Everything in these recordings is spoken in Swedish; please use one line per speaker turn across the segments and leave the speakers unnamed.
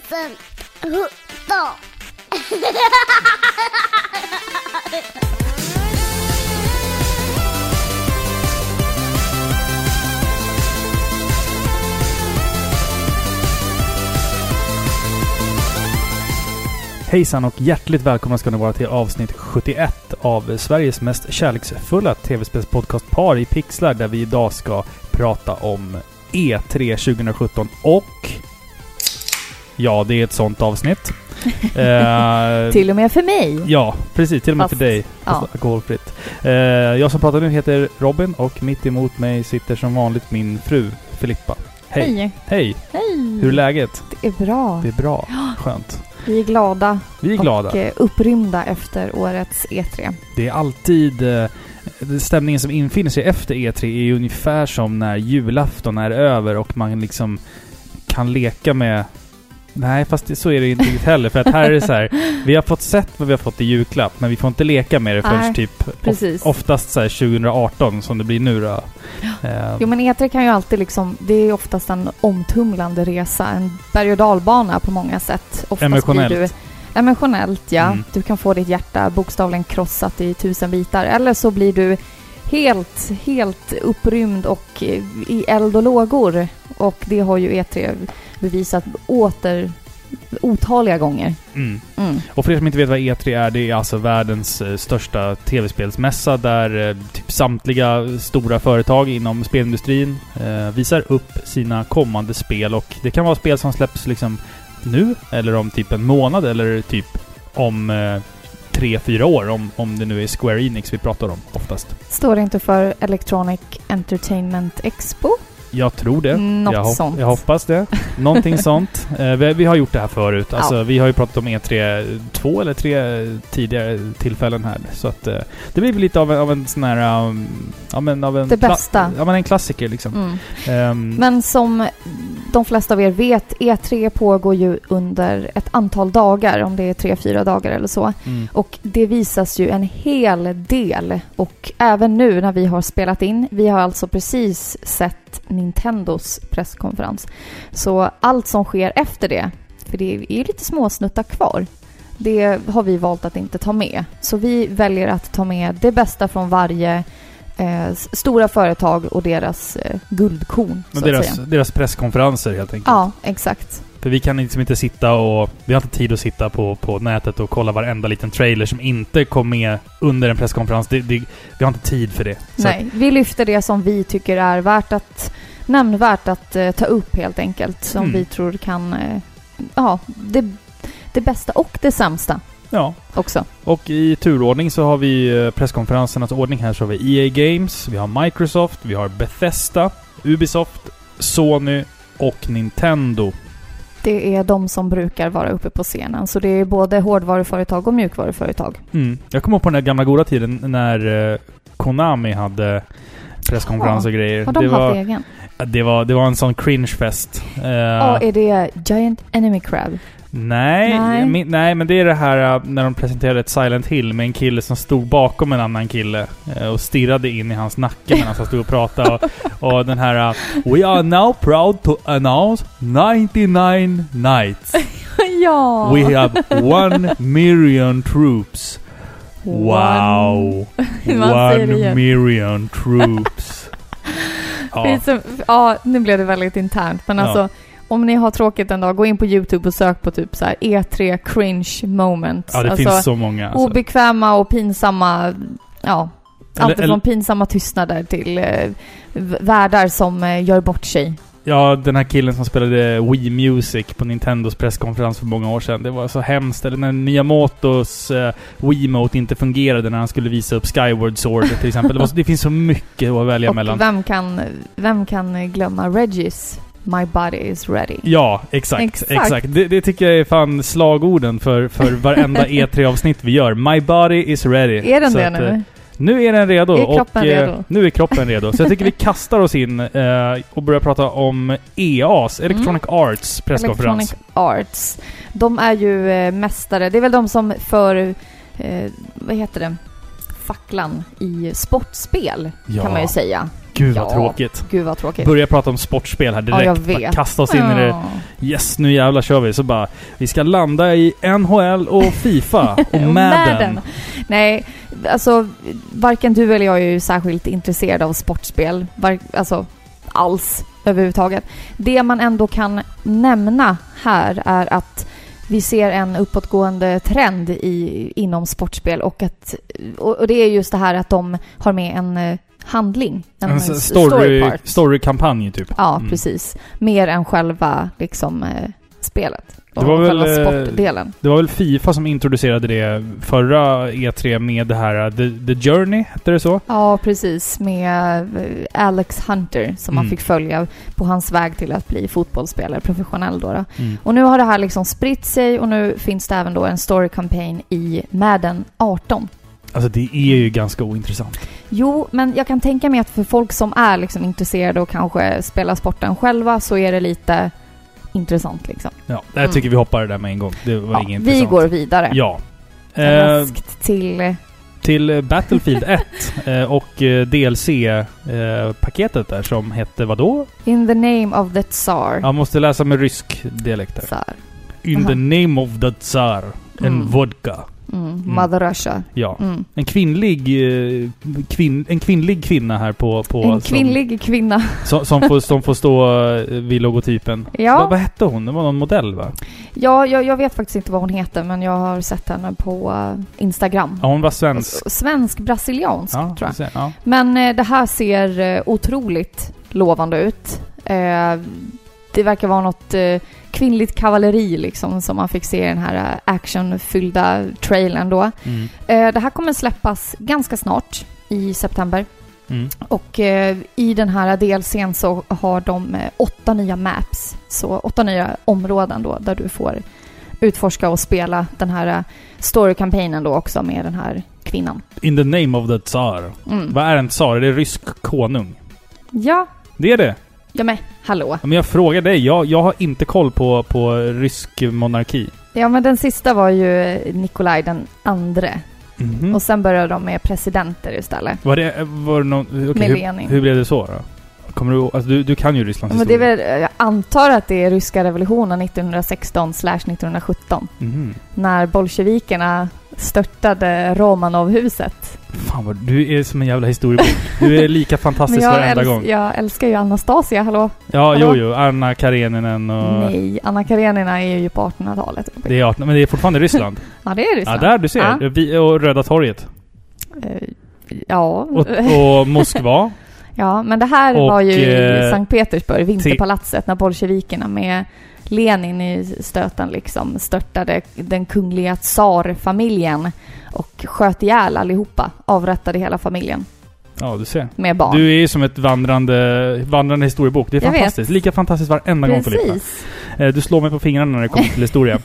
2017.
Hejsan och hjärtligt välkomna ska ni vara till avsnitt 71 av Sveriges mest kärleksfulla tv-spelspodcast Par i pixlar där vi idag ska prata om E3 2017 och... Ja, det är ett sånt avsnitt. Eh,
Till och med för mig.
Ja, precis. Till och med för
Fast-
dig. Fast
ja.
Alkoholfritt. Eh, jag som pratar nu heter Robin och mitt emot mig sitter som vanligt min fru Filippa. Hej! Hej!
Hej.
Hur är läget?
Mm. Det är bra.
Det är bra. Skönt.
Vi är glada
Vi är glada.
och eh, upprymda efter årets E E3.
Det är alltid... eh, Stämningen som infinner sig efter E3 är ju ungefär som när julafton är över och man liksom kan leka med... Nej, fast det, så är det inte riktigt heller. För att här är det så här. Vi har fått sett vad vi har fått i julklapp, men vi får inte leka med det förrän
Nej,
typ of,
Precis.
oftast så här 2018 som det blir nu då. Eh,
Jo men E3 kan ju alltid liksom, det är ju oftast en omtumlande resa, en berg och dalbana på många sätt. Oftast
Emotionellt.
blir Du, emotionellt ja.
Mm.
Du kan få ditt hjärta bokstavligen krossat i tusen bitar. Eller så blir du helt, helt upprymd och eh, i eld och lågor. Och det har ju E3 bevisat åter otaliga gånger.
mm.
Mm.
Och för er som inte vet vad E3 är, det är alltså världens eh, största tv-spelsmässa där eh, typ samtliga stora företag inom spelindustrin eh, visar upp sina kommande spel och det kan vara spel som släpps liksom nu eller om typ en månad eller typ om eh, tre, fyra år om, om det nu är Square Enix vi pratar om oftast.
Står det inte för Electronic Entertainment Expo?
Jag tror det.
Något
jag, hop-
sånt.
jag hoppas det. Någonting sånt. Eh, vi, vi har gjort det här förut. Alltså, Vi har ju pratat om E3 två eller tre eh, tidigare tillfällen här. Så att, eh, det blir väl lite av en, av en sån här... Um, ja, men av en
Det
kla-
bästa.
Ja, men en klassiker liksom.
Mm.
Ehm,
Men som de flesta av er vet, E3 pågår ju under ett antal dagar, om det är tre, fyra dagar eller så.
mm,
Och det visas ju en hel del. Och även nu när vi har spelat in, vi har alltså precis sett Nintendos presskonferens. Så allt som sker efter det, för det är ju lite småsnuttar kvar, det har vi valt att inte ta med. Så vi väljer att ta med det bästa från varje eh, s- stora företag och deras eh, guldkorn, så
men
att
deras,
säga.
deras presskonferenser helt enkelt.
Ja, exakt.
För vi kan liksom inte sitta och... Vi har inte tid att sitta på, på nätet och kolla varenda liten trailer som inte kom med under en presskonferens. Det, det, vi har inte tid för det. Så
Nej, vi lyfter det som vi tycker är värt att, nämnvärt att eh, ta upp helt enkelt. Som
Mm.
vi tror kan, eh, ja, det, det bästa och det sämsta
att- ja.
också.
Och i turordning så har vi eh, presskonferensernas ordning här. Så har vi EA Games, vi har Microsoft, vi har Bethesda, Ubisoft, Sony och Nintendo.
Det är de som brukar vara uppe på scenen. Så det är både hårdvaruföretag och mjukvaruföretag.
Mm. Jag kommer ihåg på den där gamla goda tiden när eh, Konami hade presskonferens
Ja,
och grejer.
Har de
det,
haft
var,
egen?
det, var, det var en sån cringe-fest. Eh,
Ja, är det Giant Enemy Crab?
Nej,
Nej.
min- nej, men det är det här eh, när de presenterade ett Silent Hill med en kille som stod bakom en annan kille eh, och stirrade in i hans nacke medan han stod och pratade. Och, och den här eh, We are now proud to announce 99 nights.
ja!
We have one million troops. Wow!
Man säger det
One
igen.
million troops. Ja,
Skit som, ja, nu blev det väldigt internt. Men
Ja.
alltså, om ni har tråkigt en dag, gå in på YouTube och sök på typ så här E3 cringe moments.
ja det
alltså,
finns så många. Alltså.
obekväma och pinsamma, ja.
Eller-
Allt
eller-
från pinsamma tystnader till eh, v- värdar som eh, gör bort sig.
Ja, den här killen som spelade Wii Music på Nintendos presskonferens för många år sedan. Det var så hemskt. Eller när Miyamotos eh, Wiimote inte fungerade när han skulle visa upp Skyward Sword till exempel. Det, var så, det finns så mycket att välja
och
mellan.
vem kan, vem kan eh, glömma Regis My body is ready?
Ja, exakt. Exakt.
Exakt.
Det, det tycker jag är fan slagorden för, för varenda E3-avsnitt vi gör. My body is ready.
Är den
Så
det
att,
nu?
eh, Nu är den redo.
Är kroppen
och, eh,
redo?
Nu är kroppen redo. Så jag tycker vi kastar oss in eh, och börjar prata om EAs, Electronic Arts presskonferens.
Mm. Electronic Arts. De är ju eh, mästare. Det är väl de som för, eh, vad heter det, facklan i sportspel
Ja.
kan man ju säga.
Gud vad
Ja.
tråkigt.
Gud vad tråkigt.
Börja prata om sportspel här direkt.
jag
Bara
vet.
Kasta oss in i det. Yes, nu jävlar kör vi. Så bara, vi ska landa i NHL och Fifa och
Och
Madden.
Nej, alltså varken du eller jag är ju särskilt intresserad av sportspel. Var, alltså alls överhuvudtaget. Det man ändå kan nämna här är att vi ser en uppåtgående trend i, inom sportspel och, att, och, och det är just det här att de har med en eh, handling. En,
En
s-
s- story,
part.
storykampanj typ.
Ja,
Mm.
precis. Mer än själva liksom, eh, spelet.
Det var
Och själva
väl, eh,
sportdelen.
Det var väl Fifa som introducerade det förra E3 med det här eh, The, The Journey, hette det så?
Ja, precis. Med eh, Alex Hunter som man
Mm.
fick följa på hans väg till att bli fotbollsspelare, professionell då. då. Och nu har det här liksom spritt sig och nu finns det även då en story campaign i Madden 18.
Alltså det är ju ganska ointressant.
Jo, men jag kan tänka mig att för folk som är liksom intresserade och kanske spelar sporten själva så är det lite intressant liksom.
Ja, jag
Mm.
tycker vi hoppar det där med en gång. Det var
Ja,
inget
vi
intressant.
går vidare.
Ja. Eh,
Raskt till... eh,
till eh, Battlefield 1 eh, och eh, DLC-paketet eh, där som hette vadå?
In the name of the Tsar.
Jag måste läsa med rysk dialekt där.
Tsar.
In
Aha.
the name of the Tsar and
Mm.
vodka.
Mm. Mother Russia.
Ja.
Mm.
En kvinnlig, eh, kvinn, en kvinnlig kvinna här på... på
En kvinnlig kvinna.
Som, som, som, får, som får stå eh, vid logotypen. Vad,
Ja,
vad hette hon? Det var någon modell va?
ja jag, jag vet faktiskt inte vad hon heter men jag har sett henne på eh, Instagram.
Ja, hon var svensk.
Svensk-brasiliansk
Ja,
tror jag.
se- ja.
Men eh, det här ser eh, otroligt lovande ut. Eh, det verkar vara något eh, kvinnligt kavalleri liksom som man fick se i den här eh, actionfyllda trailern då.
Mm.
Eh, det här kommer släppas ganska snart i september.
Mm.
Och eh, i den här DLCn så har de eh, åtta nya maps. Så åtta nya områden då där du får utforska och spela den här eh, story-kampanjen då också med den här kvinnan.
In the name of the tsar.
Mm.
Vad är en tsar? Är det rysk konung?
Ja,
Det är det.
ja men hallå.
Ja, Men jag frågar dig. Jag, jag har inte koll på, på rysk monarki.
Ja men den sista var ju eh, Nikolaj den andre.
Mhm.
Mm. Och sen började de med presidenter istället.
Var det, var det någon, okej,
Med
hur,
Lenin.
hur blev det så då? Kommer du, alltså, du, du kan ju Rysslands
Ja, men det är
historia.
väl, eh, jag antar att det är ryska revolutionen 1916 slash 1917.
Mhm.
När bolsjevikerna störtade Romanovhuset.
Fan vad, du är som en jävla historiebok. Du är lika fantastisk varenda
älsk-
gång.
jag älskar ju Anastasia, hallå?
Ja, jo,
Hallå?
jo. Anna Kareninen och...
Nej, Anna Karenina är ju på 1800-talet.
Det är 18, men det är fortfarande Ryssland.
Ja, det är
ja,
Ryssland.
där du ser.
Ja.
Vi, och Röda torget.
Eh, Ja.
Och, och Moskva.
ja, men det här
och,
var ju i
eh,
Sankt Petersburg, Vinterpalatset, när bolsjevikerna med Lenin i stöten liksom störtade den kungliga tsarfamiljen och sköt ihjäl allihopa, avrättade hela familjen
Ja, du ser.
med barn.
Du är ju som ett vandrande, vandrande historiebok. Det är
Jag vet.
fantastiskt. Lika fantastiskt varenda gång Filippa.
Precis.
Eh, Du slår mig på fingrarna när det kommer till historia.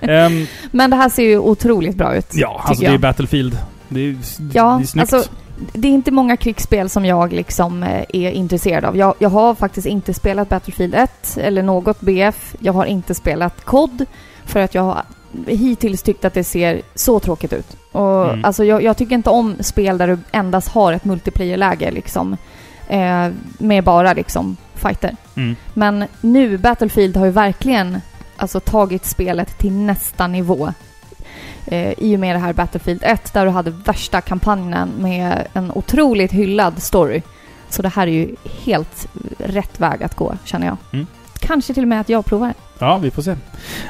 Ehm,
Men det här ser ju otroligt bra ut.
ja, alltså
jag.
det är Battlefield. Det är,
Ja,
det är snyggt.
alltså det är inte många krigsspel som jag liksom eh, är intresserad av. Jag, jag har faktiskt inte spelat Battlefield 1 eller något BF. Jag har inte spelat COD för att jag har hittills tyckt att det ser så tråkigt ut. Och
Mm.
alltså jag, jag tycker inte om spel där du endast har ett multiplayer-läge liksom. Eh, med bara liksom fighter.
Mm.
Men nu, Battlefield har ju verkligen alltså, tagit spelet till nästa nivå. Eh, I och med det här Battlefield 1 där du hade värsta kampanjen med en otroligt hyllad story. Så det här är ju helt rätt väg att gå känner jag.
Mm.
Kanske till och med att jag provar.
Ja, vi får se.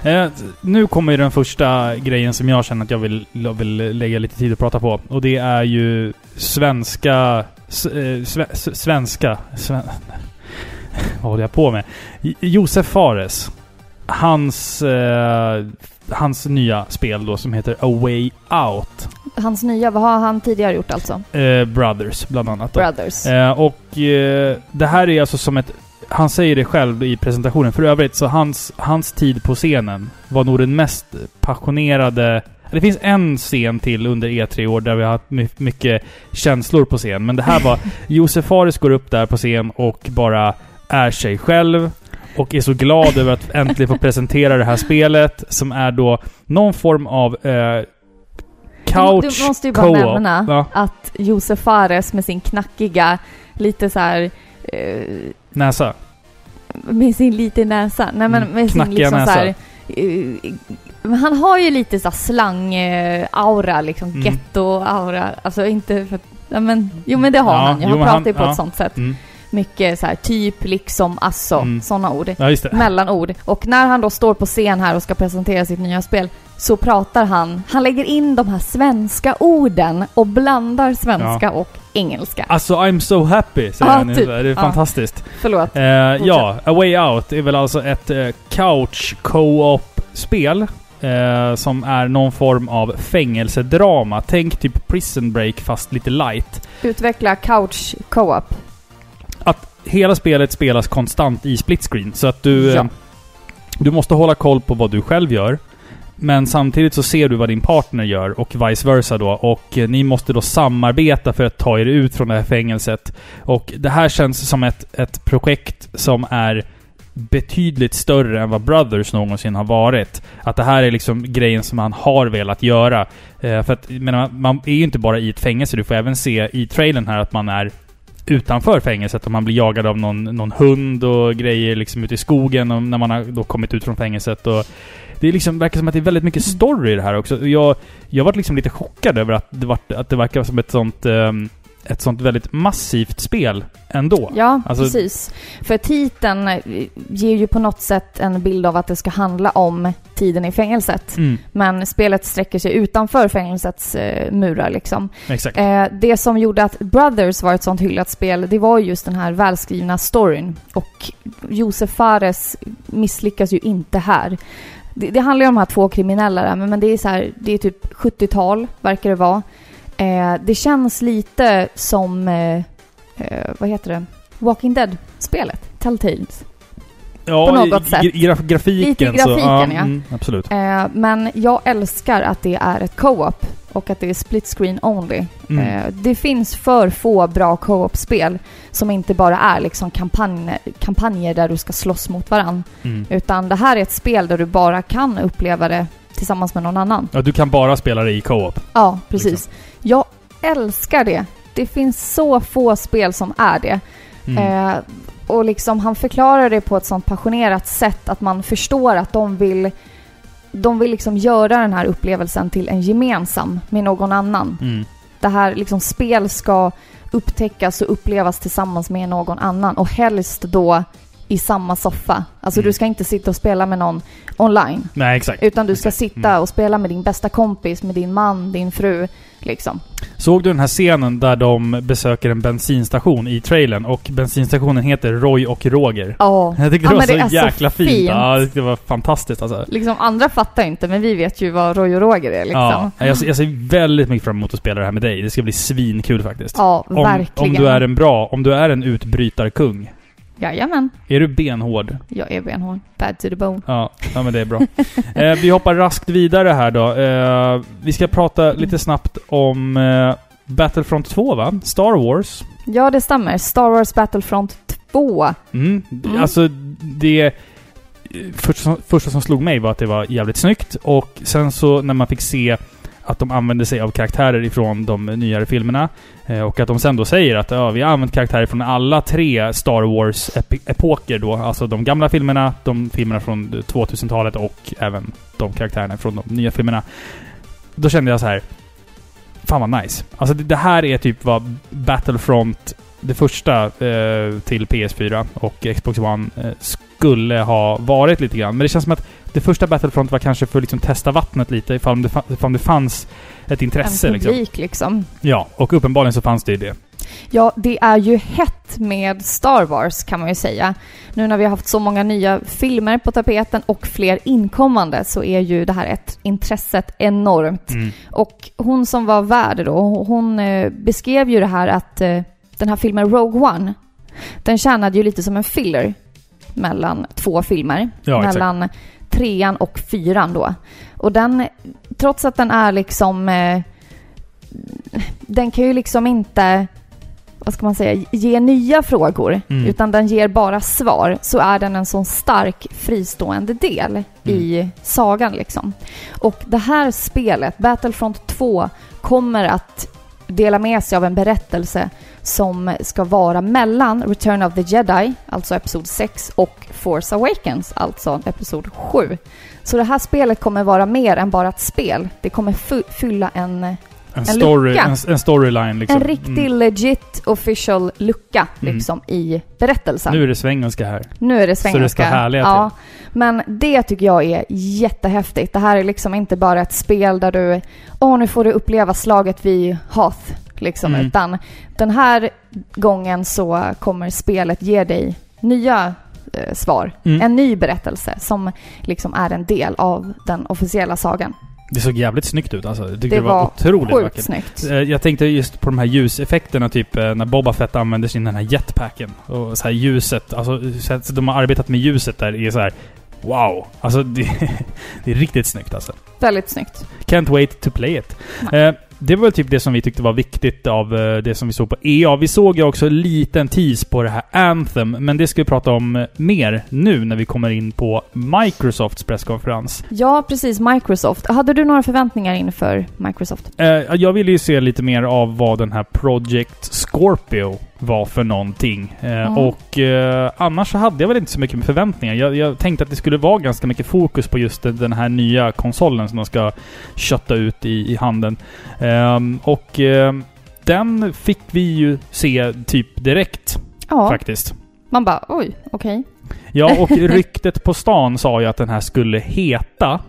Eh, nu kommer ju den första grejen som jag känner att jag vill, jag vill lägga lite tid att prata på. Och det är ju svenska... s- eh, sve, s- svenska... Sven, vad håller jag på med? J- Josef Fares. Hans... Eh, hans nya spel då som heter A Way Out.
Hans nya, vad har han tidigare gjort alltså?
Eh, Brothers, bland annat. Då.
Brothers.
Eh, och eh, det här är alltså som ett... Han säger det själv i presentationen. För övrigt så hans, hans tid på scenen var nog den mest passionerade... Det finns en scen till under E3 år där vi har haft my- mycket känslor på scen. Men det här var... Josef Fares går upp där på scen och bara är sig själv. Och är så glad över att äntligen få presentera det här spelet. Som är då någon form av... Eh, couch
Du måste ju bara
co-op.
nämna
Ja,
att Josef Fares med sin knackiga, lite så här eh,
näsa.
med sin liten näsa. Nej men
Mm,
med sin
knackiga
liksom
näsa.
så här, eh, men han har ju lite så här slang-aura, liksom
Mm.
getto-aura. Alltså inte för att, ja, men, jo men det har
Ja,
han ju.
jo,
Han
men
pratar
han-
ju på
ja.
ett sånt sätt.
Mm.
Mycket så här typ, liksom, alltså,
Mm.
sådana ord.
Ja, just det.
Mellanord. Och när han då står på scen här och ska presentera sitt nya spel så pratar han, han lägger in de här svenska orden och blandar svenska och engelska.
Alltså I'm so happy, säger
Ja,
han
typ.
typ. Det är
Ja.
fantastiskt.
Förlåt.
Eh, ja, A Way Out är väl alltså ett eh, couch co-op-spel. Eh, som är någon form av fängelsedrama. Tänk typ Prison Break fast lite light.
Utveckla couch co-op.
Hela spelet spelas konstant i split screen. Så att du, eh,
Ja.
du måste hålla koll på vad du själv gör. Men samtidigt så ser du vad din partner gör och vice versa då. Och eh, ni måste då samarbeta för att ta er ut från det här fängelset. Och det här känns som ett, ett projekt som är betydligt större än vad Brothers någonsin har varit. Att det här är liksom grejen som han har velat göra. Eh, för att jag menar, man är ju inte bara i ett fängelse, du får även se i trailern här att man är utanför fängelset och man blir jagad av någon, någon hund och grejer liksom ute i skogen och när man har då kommit ut från fängelset. Och det är liksom, verkar som att det är väldigt mycket story i det här också. Och Jag, jag varit liksom lite chockad över att det, vart, att det verkar som ett sånt, ehm, ett sånt väldigt massivt spel ändå.
Ja,
Alltså-
precis. För titeln eh, ger ju på något sätt en bild av att det ska handla om tiden i fängelset.
Mm,
Men spelet sträcker sig utanför fängelsets eh, murar liksom.
exakt.
Eh, det som gjorde att Brothers var ett sånt hyllat spel, det var ju just den här välskrivna storyn. Och Josef Fares misslyckas ju inte här. Det, det handlar ju om de här två kriminella där, men, men det är så här, det är typ 70-tal, verkar det vara. Eh, det känns lite som, eh, eh, vad heter det, Walking Dead-spelet, Telltales.
Ja,
på något
i,
sätt.
I graf, grafiken,
Lite i
så,
grafiken, ja.
Mm, absolut.
Eh, men jag älskar att det är ett co-op och att det är split screen only.
Mm.
Eh, Det finns för få bra co-op-spel som inte bara är liksom kampanjer, kampanjer där du ska slåss mot varann.
Mm.
Utan det här är ett spel där du bara kan uppleva det tillsammans med någon annan.
Ja, du kan bara spela det i co-op.
Ja, precis.
Liksom.
Jag älskar det. Det finns så få spel som är det.
Mm.
Eh, och liksom han förklarar det på ett sånt passionerat sätt att man förstår att de vill, de vill liksom göra den här upplevelsen till en gemensam med någon annan.
Mm.
Det här liksom spel ska upptäckas och upplevas tillsammans med någon annan och helst då i samma soffa. Alltså
Mm.
du ska inte sitta och spela med någon online.
Nej, exakt.
Utan du ska
Exakt.
sitta och spela med din bästa kompis, med din man, din fru. Liksom.
Såg du den här scenen där de besöker en bensinstation i trailern och bensinstationen heter Roy och Roger?
Ja.
Jag tyckte
Ja,
det var
men
så
det är så
jäkla fint.
fint.
Ja, jag tyckte det var fantastiskt alltså.
Liksom, andra fattar ju inte, men vi vet ju vad Roy och Roger är. Liksom.
Ja, jag, ser- jag ser väldigt mycket fram emot att spela det här med dig. Det ska bli svinkul faktiskt.
Ja,
om,
verkligen.
om du är en bra, om du är en utbrytarkung.
Jajamän,
Är du benhård?
jag är benhård. Bad to the bone.
Ja, ja men det är bra. eh, vi hoppar raskt vidare här då. Eh, vi ska prata lite snabbt om eh, Battlefront 2 va? Star Wars.
Ja, det stämmer. Star Wars Battlefront 2.
Mm.
Mm.
Alltså, det... Första som, första som slog mig var att det var jävligt snyggt och sen så när man fick se att de använde sig av karaktärer ifrån de nyare filmerna eh, och att de sen då säger att ja, vi har använt karaktärer från alla tre Star Wars-epoker då. Alltså de gamla filmerna, de filmerna från 2000-talet och även de karaktärerna från de nya filmerna. Då kände jag så här. Fan vad nice. Alltså det, det här är typ vad Battlefront det första eh, till PS4 och Xbox One eh, skulle ha varit lite grann. Men det känns som att det första Battlefront var kanske för att liksom testa vattnet lite ifall det, fa- ifall det fanns ett intresse.
en
Liksom.
publik liksom.
Ja, och uppenbarligen så fanns det ju det.
Ja, det är ju hett med Star Wars kan man ju säga. Nu när vi har haft så många nya filmer på tapeten och fler inkommande så är ju det här ett intresset enormt.
Mm.
Och hon som var värd då, hon eh, beskrev ju det här att eh, den här filmen Rogue One, den tjänade ju lite som en filler mellan två filmer.
Ja, exakt.
mellan trean och fyran då. Och den, trots att den är liksom, eh, den kan ju liksom inte, vad ska man säga, ge nya frågor.
Mm.
Utan den ger bara svar. Så är den en sån stark fristående del i sagan liksom. Och det här spelet, Battlefront 2, kommer att dela med sig av en berättelse som ska vara mellan Return of the Jedi, alltså Episod 6, och Force Awakens, alltså Episod 7. Så det här spelet kommer vara mer än bara ett spel. Det kommer fy- fylla en,
En, story,
lucka.
en, en storyline liksom.
en riktig
Mm.
legit official lucka
Mm.
liksom i berättelsen.
Nu är det svengelska här.
Nu är det
Så det ska
svengelska.
härliga
ja. Men det tycker jag är jättehäftigt. Det här är liksom inte bara ett spel där du, åh nu får du uppleva slaget vid Hoth. Liksom,
Mm.
Utan den här gången så kommer spelet ge dig nya eh, svar.
Mm.
En ny berättelse som liksom är en del av den officiella sagan.
Det såg jävligt snyggt ut alltså. Jag tyckte det,
Det
var,
var
otroligt
Sjukt
vackert.
snyggt.
Eh, Jag tänkte just på de här ljuseffekterna, typ eh, när Boba Fett använder sin den här jetpacken. Och så här ljuset, alltså så att de har arbetat med ljuset där är så här. Wow! Alltså det, det är riktigt snyggt alltså.
Väldigt snyggt.
Can't wait to play it. Eh, det var typ det som vi tyckte var viktigt av eh, det som vi såg på EA. Vi såg ju också en liten tease på det här Anthem, men det ska vi prata om eh, mer nu när vi kommer in på Microsofts presskonferens.
Ja, precis. Microsoft. Hade du några förväntningar inför Microsoft?
Eh, jag ville ju se lite mer av vad den här Project Scorpio var för någonting. Eh,
Mm.
Och eh, annars så hade jag väl inte så mycket med förväntningar. Jag, jag tänkte att det skulle vara ganska mycket fokus på just den- den här nya konsolen som de ska kötta ut i, i handen. Ehm, och ehm, den fick vi ju se typ direkt
Ja,
faktiskt.
man bara oj, okej.
Ja, och ryktet på stan sa ju att den här skulle heta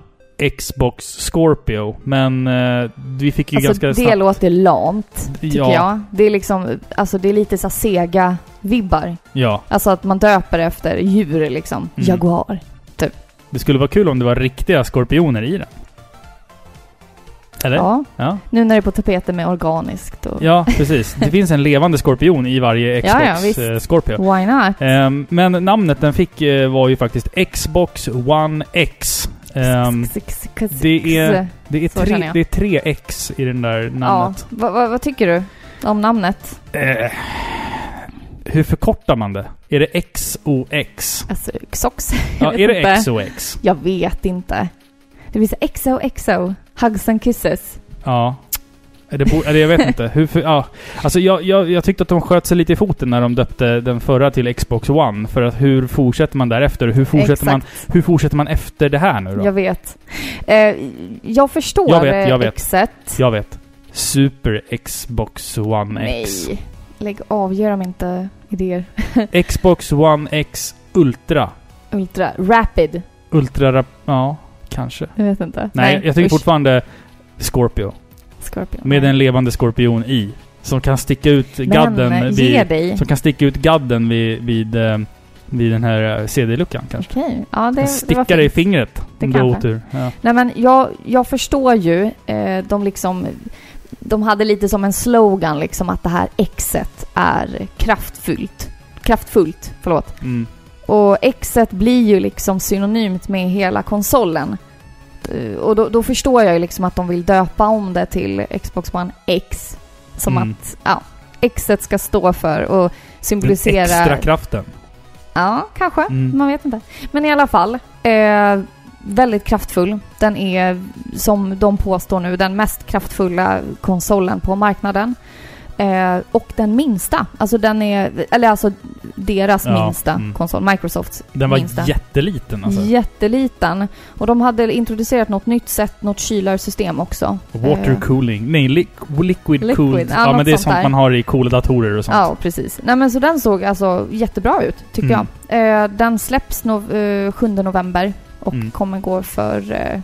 Xbox Scorpio, men eh, vi fick ju
Alltså,
ganska
det
snabbt...
låter lamt, tycker
Ja.
jag. Det är liksom, alltså det är lite så sega vibbar.
Ja,
Alltså att man döper efter djur liksom.
Mm.
Jaguar.
Det skulle vara kul om det var riktiga skorpioner i den. Eller?
Ja.
Ja,
Nu när det är på tapeten med organiskt och...
Ja, precis. Det finns en levande skorpion i varje Xbox
Ja, ja, visst.
eh, Scorpio.
Why not?
Ehm, men namnet den fick eh, var ju faktiskt Xbox One X. Ehm, det är- det, är
Så
tre,
känner jag.
det är tre X i den där
Ja.
namnet.
Va, va, vad tycker du om namnet?
Eh, hur förkortar man det? Är det XOX?
Alltså, Xox?
Ja,
vet
är det
inte.
XOX?
Jag vet inte. Det blir så XOXO. Hugs and kisses.
Ja. Det bo- eller jag vet inte. Hur för, ja. alltså jag, jag, jag tyckte att de sköt sig lite i foten när de döpte den förra till Xbox One. För att hur fortsätter man därefter? Hur fortsätter, man,
Exakt.
hur fortsätter man efter det här nu då?
Jag
Jag,
vet. Eh, jag förstår
Jag vet, jag
eh,
vet.
Xet.
vet. Super Xbox One X.
Nej. Lägg av, ge dem inte idéer.
Xbox One X Ultra.
Ultra. Rapid.
Ultra... rap- Ja, kanske.
Jag vet inte.
Nej, jag tycker
usch.
fortfarande Scorpio.
Scorpion.
Med en levande skorpion i. Som kan sticka ut gadden
Men, eh,
vid...
ge dig.
Som kan sticka ut gadden vid, vid, eh, vid den här eh, CD-luckan kanske.
Okej. Ja, det,
En
det var
stickare i
fint.
fingret.
Det
om du har
kanske.
otur. Ja.
Nej, men jag, jag förstår ju. Eh, de liksom... De hade lite som en slogan liksom att det här Xet är kraftfullt. Kraftfullt, förlåt.
Mm.
Och Xet blir ju liksom synonymt med hela konsolen. Eh, Och då, då förstår jag ju liksom att de vill döpa om det till Xbox One X. Som
Mm.
att, ja, Xet ska stå för och
Den
symbolisera...
extra kraften.
Ja, kanske.
Mm.
Man vet inte. Men i alla fall. Eh, väldigt kraftfull. Den är, som de påstår nu, den mest kraftfulla konsolen på marknaden. Eh, och den minsta. Alltså den är, eller alltså deras
Ja,
minsta
mm.
konsol, Microsofts
Den var
minsta.
jätteliten alltså.
Jätteliten. Och de hade introducerat något nytt sätt, något kylarsystem också.
Water
Eh,
cooling. Nej, li liquid,
Liquid.
cooled.
Ja,
Ja, men
något
det är
sånt
sånt
där.
man har i coola datorer och sånt.
Ja, precis. Nej men så den såg alltså jättebra ut, tycker
Mm.
jag. Eh, den släpps no- eh, 7 november och
Mm.
kommer gå för eh,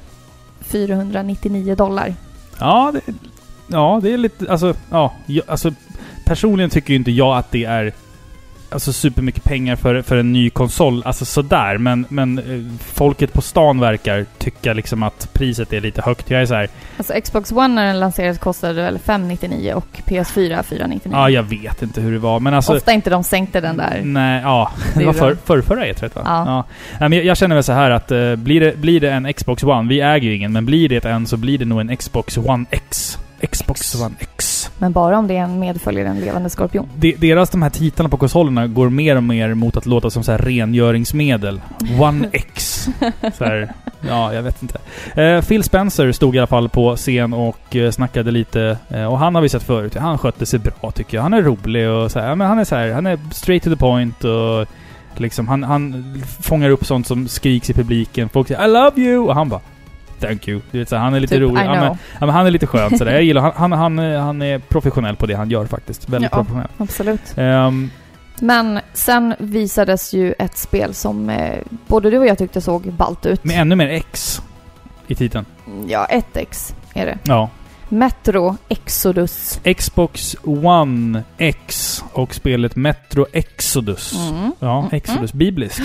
499 dollar.
Ja, det, ja, det är lite... Alltså, ja, jag, alltså, personligen tycker ju inte jag att det är alltså, supermycket pengar för, för en ny konsol. Alltså sådär. Men, men eh, folket på stan verkar tycka liksom att priset är lite högt. Jag är så här,
Alltså Xbox One när den lanserades kostade väl 599 och PS4 499.
ja, jag vet inte hur det var. Men alltså... Mm.
Ofta inte de sänkte den där.
Nej, ja.
Det
Det
är
var
bra.
för, för förra E3 va?
Ja.
Nej, men jag, jag känner väl så här att eh, blir, det, blir det en Xbox One, vi äger ju ingen, men blir det en så blir det nog en Xbox One X. Xbox One X.
Men bara om det är en medföljer en levande skorpion.
De, deras de här titlarna på konsolerna går mer och mer mot att låta som så här rengöringsmedel.
Mm.
One X. Så här, ja, jag vet inte. Eh, Phil Spencer stod i alla fall på scen och eh, snackade lite. Eh, och han har vi sett förut. Han skötte sig bra tycker jag. Han är rolig och så här, ja, men han är så här, han är straight to the point och liksom han, han fångar upp sånt som skriks i publiken. Folk säger I love you! Och han bara Thank you. Du vet, så här, han är lite
typ,
rolig.
I
Ja, men-
know.
Ja, men han är lite skön sådär. Jag gillar han, han, han, han är professionell på det han gör faktiskt. Väldigt
Ja.
professionell.
Absolut.
Ehm,
Men sen visades ju ett spel som eh, både du och jag tyckte såg ballt ut. Mm,
med ännu mer X i titeln.
Ja, 1X är det.
Ja.
Metro Exodus.
Xbox One X och spelet Metro Exodus.
Mm.
Ja,
Mm,
Exodus. Bibliskt.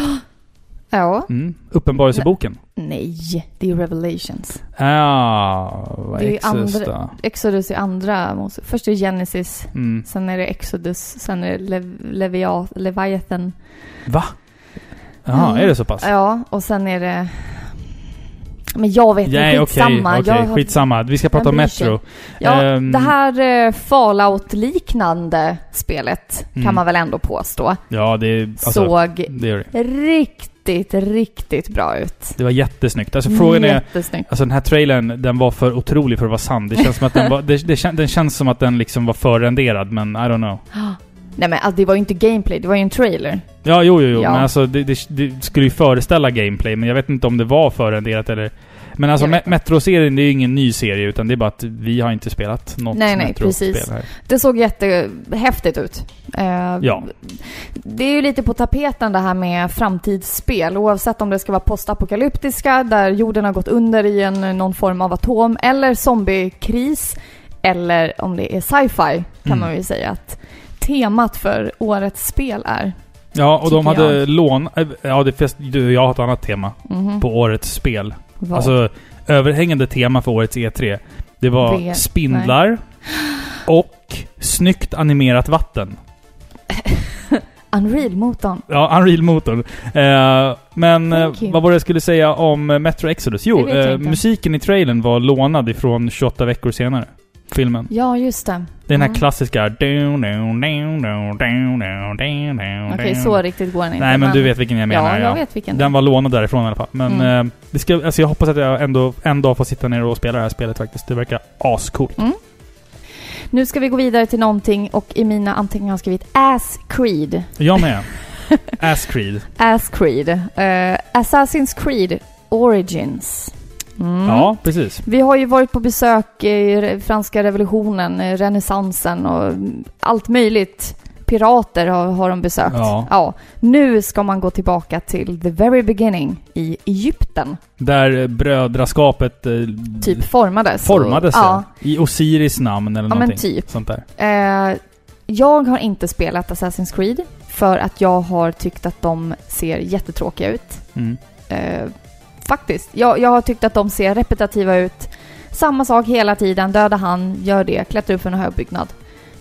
Ja.
Mm. Uppenbarelseboken.
Nej, det är ju Revelations.
Ah, vad
Det är ju
Exodus
andra-
då.
Exodus är andra Mose. Först är det Genesis,
Mm.
sen är det Exodus, sen är det Lev- Levia- Leviathan.
Va? Jaha,
Mm.
är det så pass?
Ja, och sen är det... Men jag vet inte,
Nej, okej.
skitsamma.
okej,
Jag har-
Skitsamma. Vi ska prata om
bryr sig?
Metro.
Ja,
Ehm.
det här eh, Fallout-liknande spelet
Mm.
kan man väl ändå påstå
Ja, det, är- alltså,
såg
det gör det.
riktigt, riktigt bra ut.
Det var jättesnyggt. Alltså frågan
Mm.
är...
Jättesnyggt.
Alltså den här trailern, den var för otrolig för att vara sann. Det känns som att den var... Det, det, kän- den känns som att den liksom var förrenderad, men I don't know.
Nej men alltså, det var ju inte gameplay, det var ju en trailer.
Ja, jo, jo, jo.
Ja.
Men alltså det, det, det skulle ju föreställa gameplay, men jag vet inte om det var förrenderat eller... Men alltså
Jag vet
Me- Metro-serien, det är ju ingen ny serie, utan det är bara att vi har inte spelat något
Nej, nej,
Metro-spel
precis.
här.
Det såg jättehäftigt ut. Eh,
Ja.
Det är ju lite på tapeten det här med framtidsspel. Oavsett om det ska vara postapokalyptiska där jorden har gått under i en, någon form av atom eller zombiekris. Eller om det är sci-fi kan
Mm.
man ju säga att temat för årets spel är.
Ja, och de
Tycker
hade
jag.
lån... äh, Ja, det fest, du och jag har ett annat tema
Mhm.
på årets spel.
Vad?
Alltså, överhängande tema för årets E3. Det var
Det-
spindlar och snyggt animerat vatten.
Unreal-motorn.
Ja, Unreal-motorn. Eh, men eh,
Thank you.
vad var det jag skulle säga om eh, Metro Exodus?
Det
Jo,
vet jag
eh,
inte.
musiken i trailern var lånad ifrån 28 veckor senare. Filmen.
Ja, just det.
Det är Den här
Mm.
klassiska... Okej,
Okej, så riktigt går den inte.
Nej, men du vet vilken jag menar.
Ja, jag vet vilken.
Den var lånad därifrån i alla fall. Men
Mm.
eh, det ska, alltså jag hoppas att jag ändå en dag får sitta ner och spela det här spelet faktiskt. Det verkar ascoolt.
Nu ska vi gå vidare till någonting och i mina anteckningar har jag skrivit Ass Creed.
Jag med. Ass Creed.
Ass Creed. Eh, Assassin's Creed Origins. Mm.
Ja, precis.
Vi har ju varit på besök i re- franska revolutionen, eh, renässansen och mm, allt möjligt. Pirater har, har de besökt.
Ja.
Nu ska man gå tillbaka till the very beginning i Egypten.
Där eh, brödraskapet eh,
Typ formades.
formades.
Ja,
Ja. I Osiris namn eller
ja men
någonting.
typ.
Sånt där.
Eh, jag har inte spelat Assassin's Creed för att jag har tyckt att de ser jättetråkiga ut.
Mm.
Eh, faktiskt. Jag, jag har tyckt att de ser repetitiva ut. Samma sak hela tiden. Döda han, gör det, klättra upp för en hög byggnad.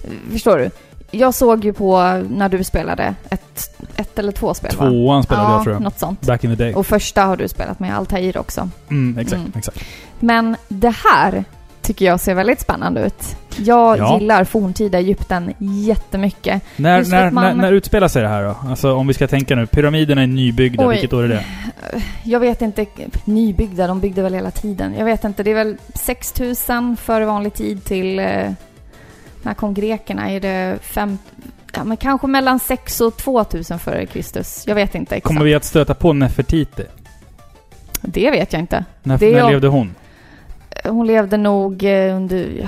Eh, Förstår du? Jag såg ju på när du spelade ett, ett eller två spel va?
Tvåan spelade jag tror jag.
något sånt.
Back in the day.
Och första har du spelat med Altair också.
Mm, exakt,
Mm.
exakt.
Men det här tycker jag ser väldigt spännande ut. Jag
Ja.
gillar forntida Egypten jättemycket.
När,
Just för
när,
att man-
när, när utspelar sig det här då? Alltså om vi ska tänka nu. Pyramiderna är nybyggda.
Oj.
Vilket år är det?
Jag vet inte, nybyggda, de byggde väl hela tiden. Jag vet inte, det är väl 6000 före vanlig tid till... eh, När kom grekerna? Är det fem, ja, men kanske mellan 6 och 2000 före Kristus. Jag vet inte exakt.
Kommer vi att stöta på Nefertiti?
Det vet jag inte.
När,
Det är
när
jag-
levde hon?
Hon levde nog eh, under... ja,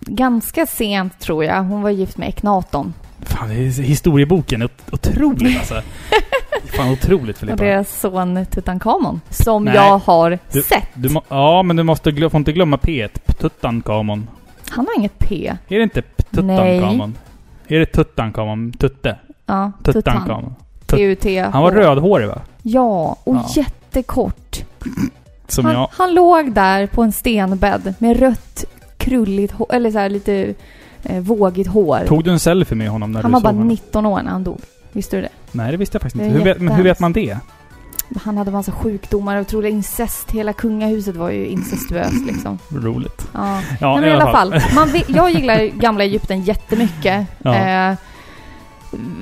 Ganska sent tror jag. Hon var gift med Eknaton.
Fan, det är historieboken är ot- otrolig alltså. Fan, otroligt
Och
Filippa.
deras son Tutankhamon. Som
Nej.
jag har
Du-
sett.
Du må, ja, men du måste glö, får inte glömma P1. Ptuttankamon.
Han har inget P.
Är det inte Ptuttankamon? Är det Tuttankamon? Tutte?
Ja, Tutan.
Tuttankamon.
T-U-T.
Han var rödhårig va?
Ja, och
Ja.
jättekort.
Som
han,
jag.
han låg där på en stenbädd med rött, krulligt hår, eller så här lite eh, vågigt hår.
Tog du en selfie med honom när
han
du
var
såg
bara
honom?
19 år när han dog. Visste du det?
Nej, det visste jag faktiskt
Det är
inte. Hur vet, men hur vet
jättehemskt.
man det?
Han hade massa sjukdomar och troligen incest. Hela kungahuset var ju incestuöst liksom.
Roligt.
Ja.
Ja,
Nej, men i alla fall. Man vet, jag gillar ju gamla Egypten jättemycket.
Ja.
Eh,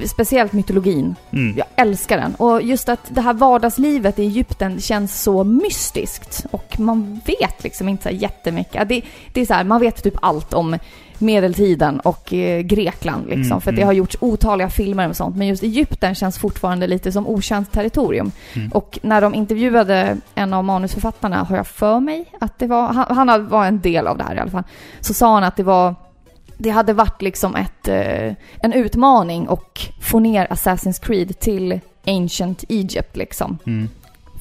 speciellt mytologin.
Mm.
Jag älskar den. Och just att det här vardagslivet i Egypten känns så mystiskt. Och man vet liksom inte så här jättemycket. Det, det är så här, man vet typ allt om medeltiden och eh, Grekland liksom.
Mm,
för att det
mm.
har gjorts otaliga filmer och sånt. Men just Egypten känns fortfarande lite som okänt territorium.
Mm.
Och när de intervjuade en av manusförfattarna, har jag för mig att det var, han, han var en del av det här i alla fall, så sa han att det var det hade varit liksom ett, eh, en utmaning och få ner Assassin's Creed till Ancient Egypt liksom.
Mm.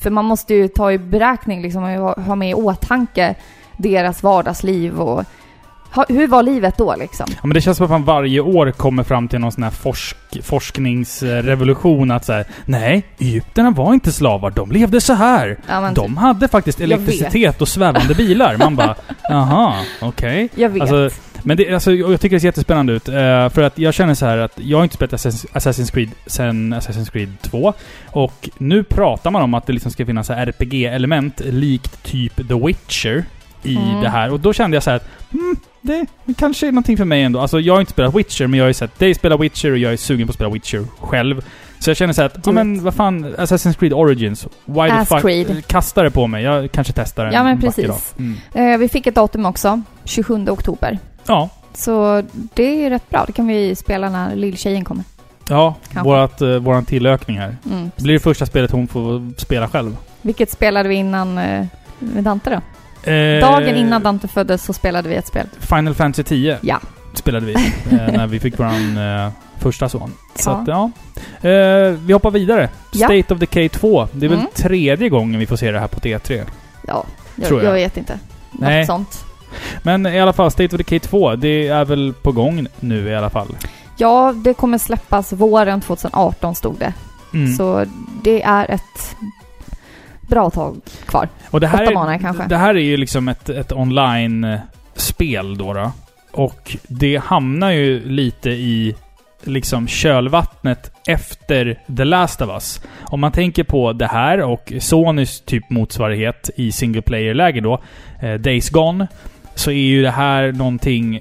För man måste ju ta i beräkning liksom och ha- ha med i åtanke deras vardagsliv och ha, hur var livet då liksom?
Ja, men det känns som att man varje år kommer fram till någon sån här forsk, forskningsrevolution. Att så här, nej, egyptierna var inte slavar. De levde så här.
Ja, men,
De hade faktiskt
typ- Jag vet.
elektricitet och svävande bilar. Man bara, jaha, okej.
Jag vet.
Alltså, men det, alltså, jag tycker det ser jättespännande ut. eh, För att jag känner så här att jag har inte spelat Assassin's- Assassin's Creed sen Assassin's Creed 2. Och nu pratar man om att det liksom ska finnas så här RPG-element likt typ The Witcher i
Mm.
det här. Och då kände jag så här att hmm, det kanske är någonting för mig ändå. Alltså jag har inte spelat Witcher, men jag har ju sett dig spela Witcher och jag är sugen på att spela Witcher själv. Så jag känner så här att,
Do
ja
it.
men vad fan, Assassin's Creed Origins. Why
Ass
the fuck?
Creed.
Kasta det på mig. Jag kanske testar den
Ja, men
en vacker
precis.
dag. Mm.
Eh, vi fick ett datum också, 27 oktober.
Ja,
Så det är ju rätt bra, det kan vi spela när lilltjejen kommer.
Ja,
Kanske.
vårat, eh, våran tillökning här.
Mm.
Det blir det första spelet hon får spela själv.
Vilket spelade vi innan eh, med Dante då?
Eh,
Dagen innan Dante föddes så spelade vi ett spel.
Final Fantasy 10
Ja.
spelade vi eh, när vi fick våran eh, första son. Så
Ja.
att, ja. Eh, vi hoppar vidare.
Ja.
State of the K2. Det är väl
Mm.
tredje gången vi får se det här på T3.
Ja, jag,
Tror
jag.
jag.
vet inte. Något
Nej.
sånt.
Men i alla fall, State of the K2, det är väl på gång nu i alla fall.
Ja, det kommer släppas våren 2018 stod det.
Mm.
Så det är ett bra tag kvar.
Och det här,
Åtta
är-
månader kanske.
Det här är ju liksom ett, ett online-spel då, då. Och det hamnar ju lite i liksom kölvattnet efter The Last of Us. Om man tänker på det här och Sonys typ motsvarighet i single player-läge då, eh, Days Gone, så är ju det här någonting...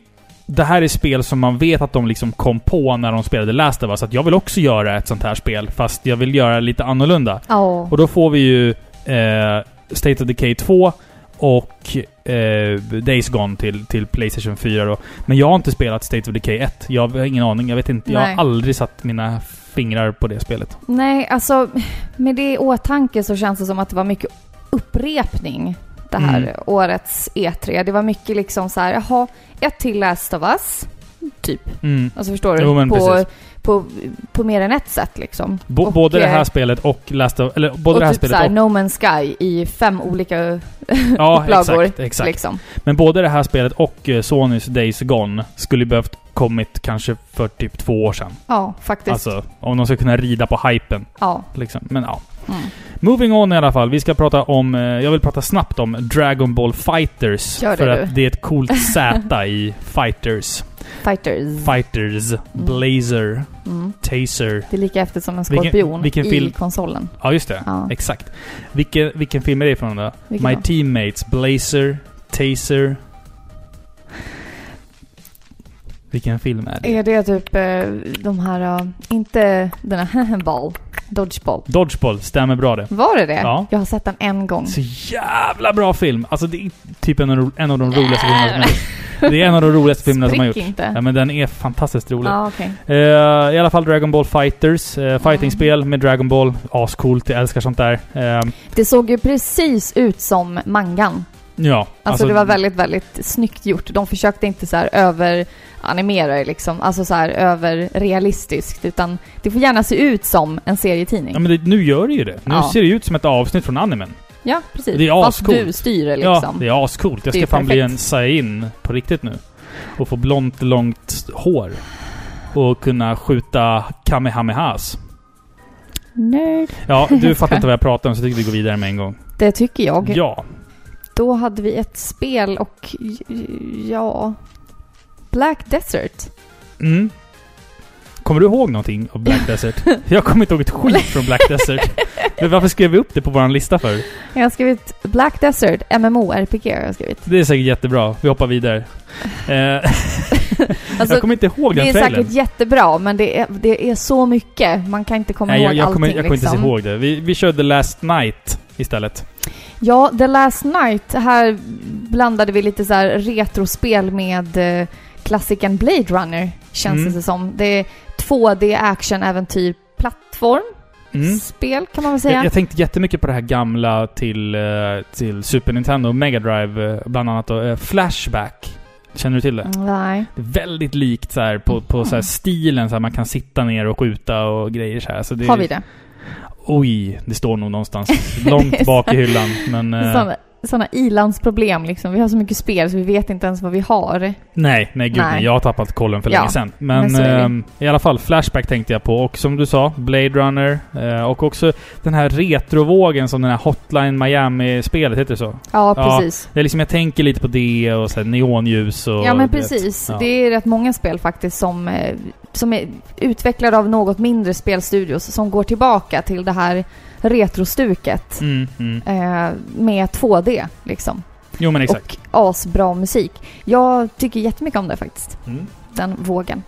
Det här är spel som man vet att de liksom kom på när de spelade Last of Us, att jag vill också göra ett sånt här spel, fast jag vill göra lite annorlunda.
Ja.
Och då får vi ju eh, State of Decay 2 och eh, Days Gone till, till Playstation 4 då. Men jag har inte spelat State of Decay 1. Jag har ingen aning. Jag vet inte. Jag
Nej.
har aldrig satt mina fingrar på det spelet.
Nej, alltså med det i åtanke så känns det som att det var mycket upprepning det här
Mm.
årets E3. Det var mycket liksom så här, jaha, ett till Last of Us, typ.
Mm.
Alltså förstår du?
Jo, men
på,
precis.
på, på mer än ett sätt liksom.
Bo-
Och,
både det här
eh,
spelet och Last of, Eller både
och
det här
typ
spelet
såhär,
och...
No Man's Sky i fem olika
ja,
upplagor,
exakt. exakt.
liksom.
Men både det här spelet och eh, Sonys Days Gone skulle ju behövt kommit kanske för typ två år sedan.
Ja, faktiskt.
Alltså, om de ska kunna rida på hypen.
Ja.
Liksom. Men ja.
Mm.
Moving on i alla fall. Vi ska prata om... eh, Jag vill prata snabbt om Dragon Ball Fighters.
Gör det,
för
du.
att det är ett coolt Z i Fighters.
Fighters.
Fighters. Blazer.
Mm.
Taser.
Det är lika efter som en
Vilken-
skorpion
vilken
i
film-
konsolen.
Ja, just det.
Ja.
Exakt. Vilken, vilken film är det ifrån då?
Vilken
My
då?
Teammates. Blazer. Taser. Vilken film är det?
Är det typ eh, de här, eh, inte den här ball, dodgeball.
Dodgeball. Stämmer bra det.
Var det det?
Ja.
Jag har sett den en gång.
Så jävla bra film! Alltså det är typ en av, de- en av de roligaste filmerna som har gjorts. Det är en av de roligaste filmerna som har
Sprick
gjorts. Ja
inte.
men den är fantastiskt rolig.
Ja, okej.
Eh, I alla fall Dragon Ball Fighters. Uh,
Mm.
fightingspel med Dragon Ball. Ascoolt, jag älskar sånt där. Eh,
Det såg ju precis ut som mangan.
ja.
Alltså, det var väldigt, väldigt snyggt gjort. De försökte inte så här överanimera det liksom, alltså så här överrealistiskt, utan det får gärna se ut som en serietidning.
Ja, men det, nu gör det ju det. Nu
Ja.
ser det ut som ett avsnitt från animen.
Ja, precis.
Det är
Fast
ascoolt.
du styr det
Ja,
liksom.
det är ascoolt. Jag
Det är
ska fan bli
perfekt.
en Saiin på riktigt nu. Och få blont, långt hår. Och kunna skjuta kamehamehas.
Nerd.
Ja, du fattar
Jag skojar.
inte vad jag pratar om så jag tycker vi går vidare med en gång.
Det tycker jag.
Ja.
Då hade vi ett spel och j- ja... Black Desert.
Mm. Kommer du ihåg någonting av Black Desert? Jag kommer inte ihåg ett skit från Black Desert. Men varför skrev vi upp det på vår lista för?
Jag har skrivit Black Desert, MMORPG har jag skrivit.
Det är säkert jättebra. Vi hoppar vidare. Eh,
Alltså,
jag kommer inte ihåg
det
den
är
trailern.
säkert jättebra, men det är, det är så mycket. Man kan inte komma
Nej, jag,
ihåg
jag
allting
kommer, jag kommer inte
liksom.
ens ihåg det. Vi, vi körde Last Night istället.
Ja, The Last Night. Här blandade vi lite så här retrospel med eh, klassikern Blade Runner, känns
Mm.
det som. Det är 2D action-äventyr, plattform,
Mm.
spel kan man väl säga.
Jag, jag tänkte jättemycket på det här gamla till, eh, till Super Nintendo och Mega Drive eh, bland annat. Då, eh, Flashback. Känner du till
Mm.
det?
Nej.
Det är väldigt likt så här, på, på
Mm.
så här, stilen, så här, man kan sitta ner och skjuta och grejer så här. Så det,
Har vi det?
Oj, det står nog någonstans långt bak i hyllan. Men eh,
Sådana, sådana ilandsproblem liksom. Vi har så mycket spel så vi vet inte ens vad vi har.
nej, nej gud
Nej.
nej. Jag har tappat kollen för
Ja,
länge sedan. Men,
men så är det.
ehm, i alla fall, Flashback tänkte jag på. Och som du sa, Blade Runner. eh, och också den här retrovågen som den här Hotline Miami-spelet, heter det så?
Ja,
Ja.
precis.
Det är liksom, jag tänker lite på det och sen neonljus och...
Ja men
du vet.
precis.
Ja.
Det är rätt många spel faktiskt som, eh, som är utvecklade av något mindre spelstudios som går tillbaka till det här retrostuket
Mm, mm.
eh, med 2D liksom.
Jo men exakt.
Och asbra musik. Jag tycker jättemycket om det faktiskt,
Mm.
den vågen.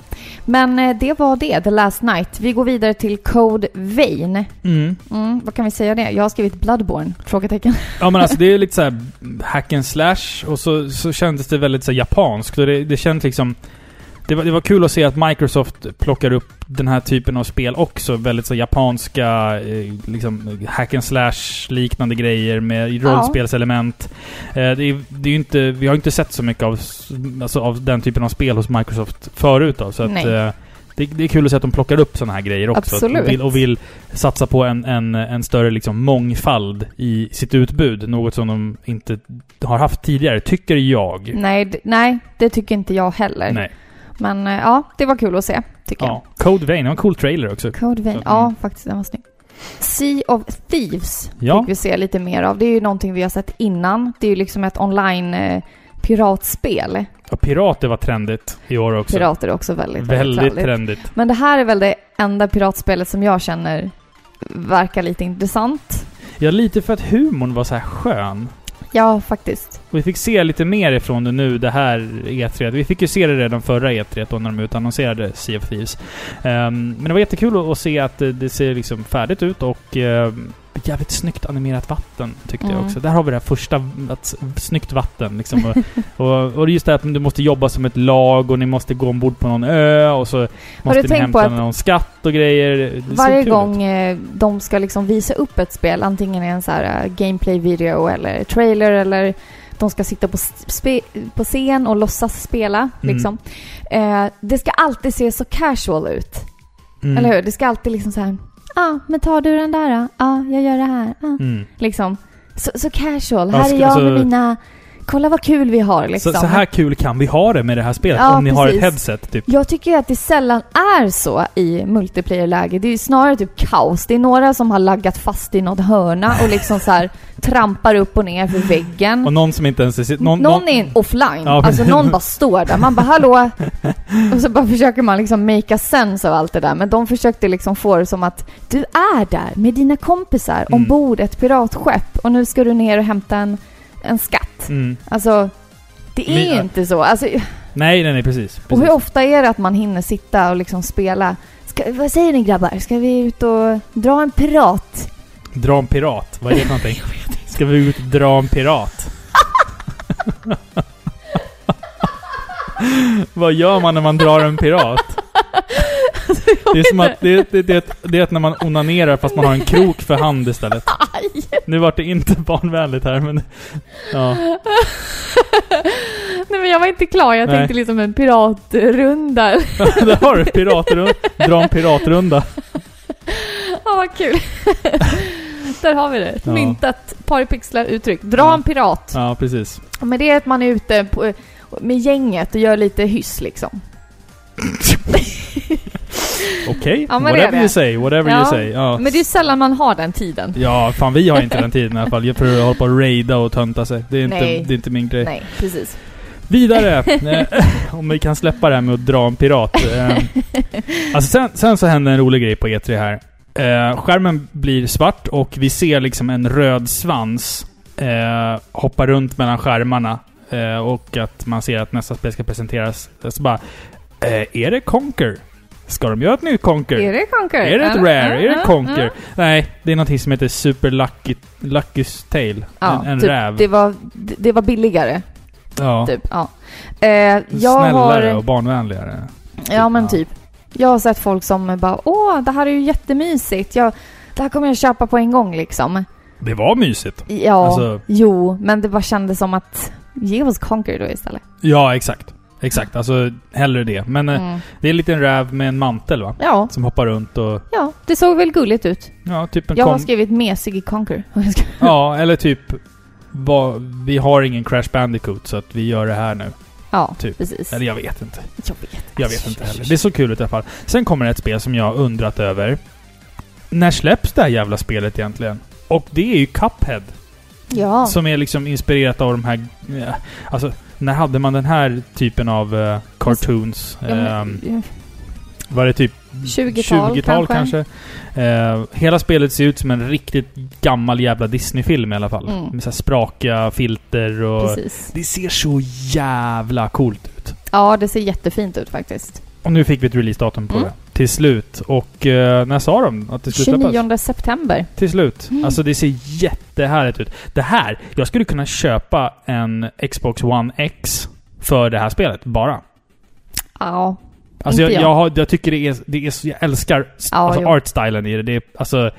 Men eh, det var det, The Last Night. Vi går vidare till Code Vein.
Mm.
Mm, vad kan vi säga det? Jag har skrivit Bloodborne? Frågetecken.
Ja men alltså det är lite såhär hack and slash och så, så kändes det väldigt så här, japanskt. Och det, det kändes liksom... Det var, det var kul att se att Microsoft plockar upp den här typen av spel också. Väldigt så här, japanska, eh, liksom hack and slash liknande grejer med
Ja.
rollspelselement. Eh, det är, det är ju inte, vi har ju inte sett så mycket av, s- alltså, av den typen av spel hos Microsoft förut då, så att,
Nej.
eh, det, det är kul att se att de plockar upp sådana här grejer också. Att-
Absolut.
Och vill, och vill satsa på en, en, en större liksom mångfald i sitt utbud. Något som de inte har haft tidigare, tycker jag.
Nej, d- nej, det tycker inte jag heller.
Nej.
Men eh, ja, det var kul att se, tycker jag.
Ja. Code Vein, det var en cool trailer också.
Code Vein.
Så att-
Ja, faktiskt. Den var snygg. Sea of Thieves
Ja.
fick vi se lite mer av. Det är ju någonting vi har sett innan. Det är ju liksom ett online eh, piratspel.
Och pirater var trendigt i år också.
Pirater är också väldigt, väldigt,
Väldigt
trendigt.
trendigt.
Men det här är väl det enda piratspelet som jag känner verkar lite intressant.
Ja, lite för att humorn var så här skön.
Ja, faktiskt.
Och vi fick se lite mer ifrån det nu, det här E3. Vi fick ju se det redan förra E3 då när de utannonserade Sea of Thieves. Ehm, men det var jättekul att- att se att eh, det ser liksom färdigt ut och ehm, jävligt snyggt animerat vatten tyckte jag
Mm.
också. Där har vi det här första, att, s- snyggt vatten liksom. Och, och, och det är just det att du måste jobba som ett lag och ni måste gå ombord på någon ö och så måste
du
ni
tänkt
hämta
på att
någon skatt och grejer. Det såg
Varje
kul ut.
gång eh, de ska liksom visa upp ett spel, antingen i en så här eh, gameplay-video eller trailer eller de ska sitta på, s- spe- på scen och låtsas spela.
Mm.
Liksom. Eh, det ska alltid se så casual ut,
Mm.
eller hur? Det ska alltid liksom så här, ja, ah, men tar du den där då? Ja, ah, jag gör det här. Ah.
Mm.
Liksom. Så, så casual.
Ja,
här
ska-
är jag med
alltså-
mina... Kolla vad kul vi har liksom.
Så, så här kul kan vi ha det med det här spelet
Ja,
om ni har ett
precis.
headset typ.
Jag tycker att det sällan är så i multiplayer-läge. Det är ju snarare typ kaos. Det är några som har laggat fast i någon hörna och liksom så här trampar upp och ner för väggen.
Och någon som inte ens är...
någon, är offline.
Ja,
alltså
precis.
någon bara står där. Man bara hallå! Och så bara försöker man liksom make a sense av allt det där. Men de försökte liksom få det som att du är där med dina kompisar
Mm.
ombord ett piratskepp och nu ska du ner och hämta en, en skatt.
Mm.
Alltså, det är
Men,
ju
ja.
inte så. Alltså,
Nej, nej, nej, precis.
Och
precis.
hur ofta är det att man hinner sitta och liksom spela? Ska, vad säger ni grabbar? Ska vi ut och dra en pirat?
Dra en pirat. Vad är det för någonting? Ska vi ut och dra en pirat? Vad gör man när man drar en pirat?
Alltså,
Det är som att, det, det, det, det är att när man onanerar fast man har en krok för hand istället.
Aj!
Nu vart det inte barnvänligt här men... Ja.
Nej men jag var inte klar. Jag
Nej.
tänkte liksom en piratrunda.
Där har du piratrunda. Dra en piratrunda.
Ja, vad kul. Där har vi det. Ett
Ja.
myntat parpixlar uttryck. Dra
Ja.
en pirat.
Ja, precis.
Men det är att man är ute på, med gänget och gör lite hyss liksom.
Okej.
Ja, men det är
Whatever
det.
you say, whatever you
Ja.
say. Ja.
Men det är sällan man har den tiden.
Ja, fan vi har inte den tiden i alla fall. Jag får hålla på och raida och tönta sig. Det är inte,
Nej.
det är inte min grej.
Nej, precis.
Vidare! Eh, Om vi kan släppa det här med att dra en pirat. Eh, Alltså sen, sen så händer en rolig grej på E3 här. Eh, Skärmen blir svart och vi ser liksom en röd svans eh, hoppa runt mellan skärmarna. Eh, Och att man ser att nästa spel ska presenteras. Så bara... eh, Är det Conker? Ska de göra ett nytt Conker?
Är det Conquer?
Är det ett
Ja,
Rare?
ja,
Är det
ja,
ett Conker?
ja.
Nej, det är någonting som heter Super Lucky, Lucky's Tale.
Ja,
en en
typ,
räv.
Det var, det, det var billigare,
ja.
typ. Ja. Eh, jag
Snällare
har,
och barnvänligare.
Ja, men
Ja.
typ. Jag har sett folk som bara åh, det här är ju jättemysigt. Jag, det här kommer jag köpa på en gång liksom.
Det var mysigt.
Ja,
Alltså-
jo, men det bara kändes som att ge oss Conquer då istället.
Ja, exakt. Exakt, alltså hellre det. Men eh,
Mm.
det är en liten räv med en mantel va?
Ja,
Som hoppar runt och...
ja, det såg väl gulligt ut.
Ja, typ en
Jag har
kom...
skrivit mesig i Conquer.
Ja, eller typ... Va, vi har ingen Crash Bandicoot så att vi gör det här nu.
ja,
Typ.
precis.
Eller jag vet inte.
Jag vet,
Jag vet inte heller. Det är så kul ut i alla fall. Sen kommer ett spel som jag har undrat över. När släpps det här jävla spelet egentligen? Och det är ju Cuphead.
Ja,
Som är liksom inspirerat av de här... eh, Alltså, när hade man den här typen av eh, cartoons?
ja, men,
Ehm, var det typ
20-tal
20-tal
kanske.
kanske? Eh, hela spelet ser ut som en riktigt gammal jävla Disney-film i alla fall.
Mm.
Med så här sprakiga filter och...
precis.
Det ser så jävla coolt ut.
Ja, det ser jättefint ut faktiskt.
Och nu fick vi ett releasedatum på
Mm.
det. Till slut. Och eh, när sa de att det skulle släppas?
29 september.
Till slut.
Mm.
Alltså det ser jättehärligt ut. Det här, jag skulle kunna köpa en Xbox One X för det här spelet, bara.
Ja,
Alltså jag,
Inte
jag.
jag.
har, jag tycker det är, det är så, jag älskar
Ja,
alltså
jo.
artstylen i det. Det är alltså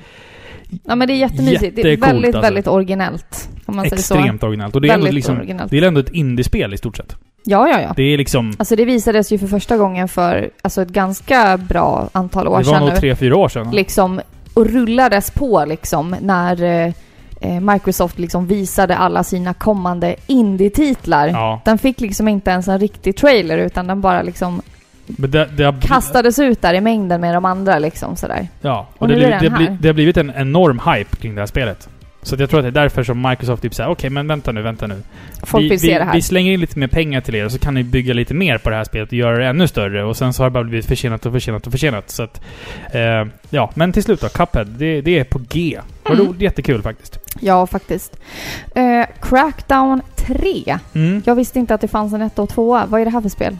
ja men det är jättemysigt. Det är
Jättecoolt,
väldigt,
alltså.
väldigt originellt. Om man säger så.
extremt originellt. Och det är, ändå
Väldigt
liksom,
originellt.
det är ändå ett indiespel i stort sett.
Ja, ja, ja.
Det är liksom...
Alltså det visades ju för första gången för alltså ett ganska bra antal år
Det var
sedan
nog
nu.
tre, fyra år sedan.
Liksom, och rullades på liksom när eh, eh, Microsoft liksom visade alla sina kommande indie-titlar.
Ja.
Den fick liksom inte ens en riktig trailer utan den bara liksom
Men det, det har,
kastades ut där i mängden med de andra liksom sådär.
Ja, och,
Och
det,
nu
blir,
är den
det, blir,
här.
det har blivit en enorm hype kring det här spelet. Så att jag tror att det är därför som Microsoft typ säger okej men vänta nu, vänta nu.
Folk
vi,
vill se
vi,
det här.
vi slänger in lite mer pengar till er och så kan ni bygga lite mer på det här spelet och göra det ännu större. Och sen så har det bara blivit försenat och försenat och försenat. Så att, eh, ja, men till slut då, Cuphead. Det, det är på G. Vad
Mm.
roligt, jättekul faktiskt.
Ja, faktiskt. Eh, Crackdown 3.
Mm.
Jag visste inte att det fanns en 1 och 2 Vad är det här för spel?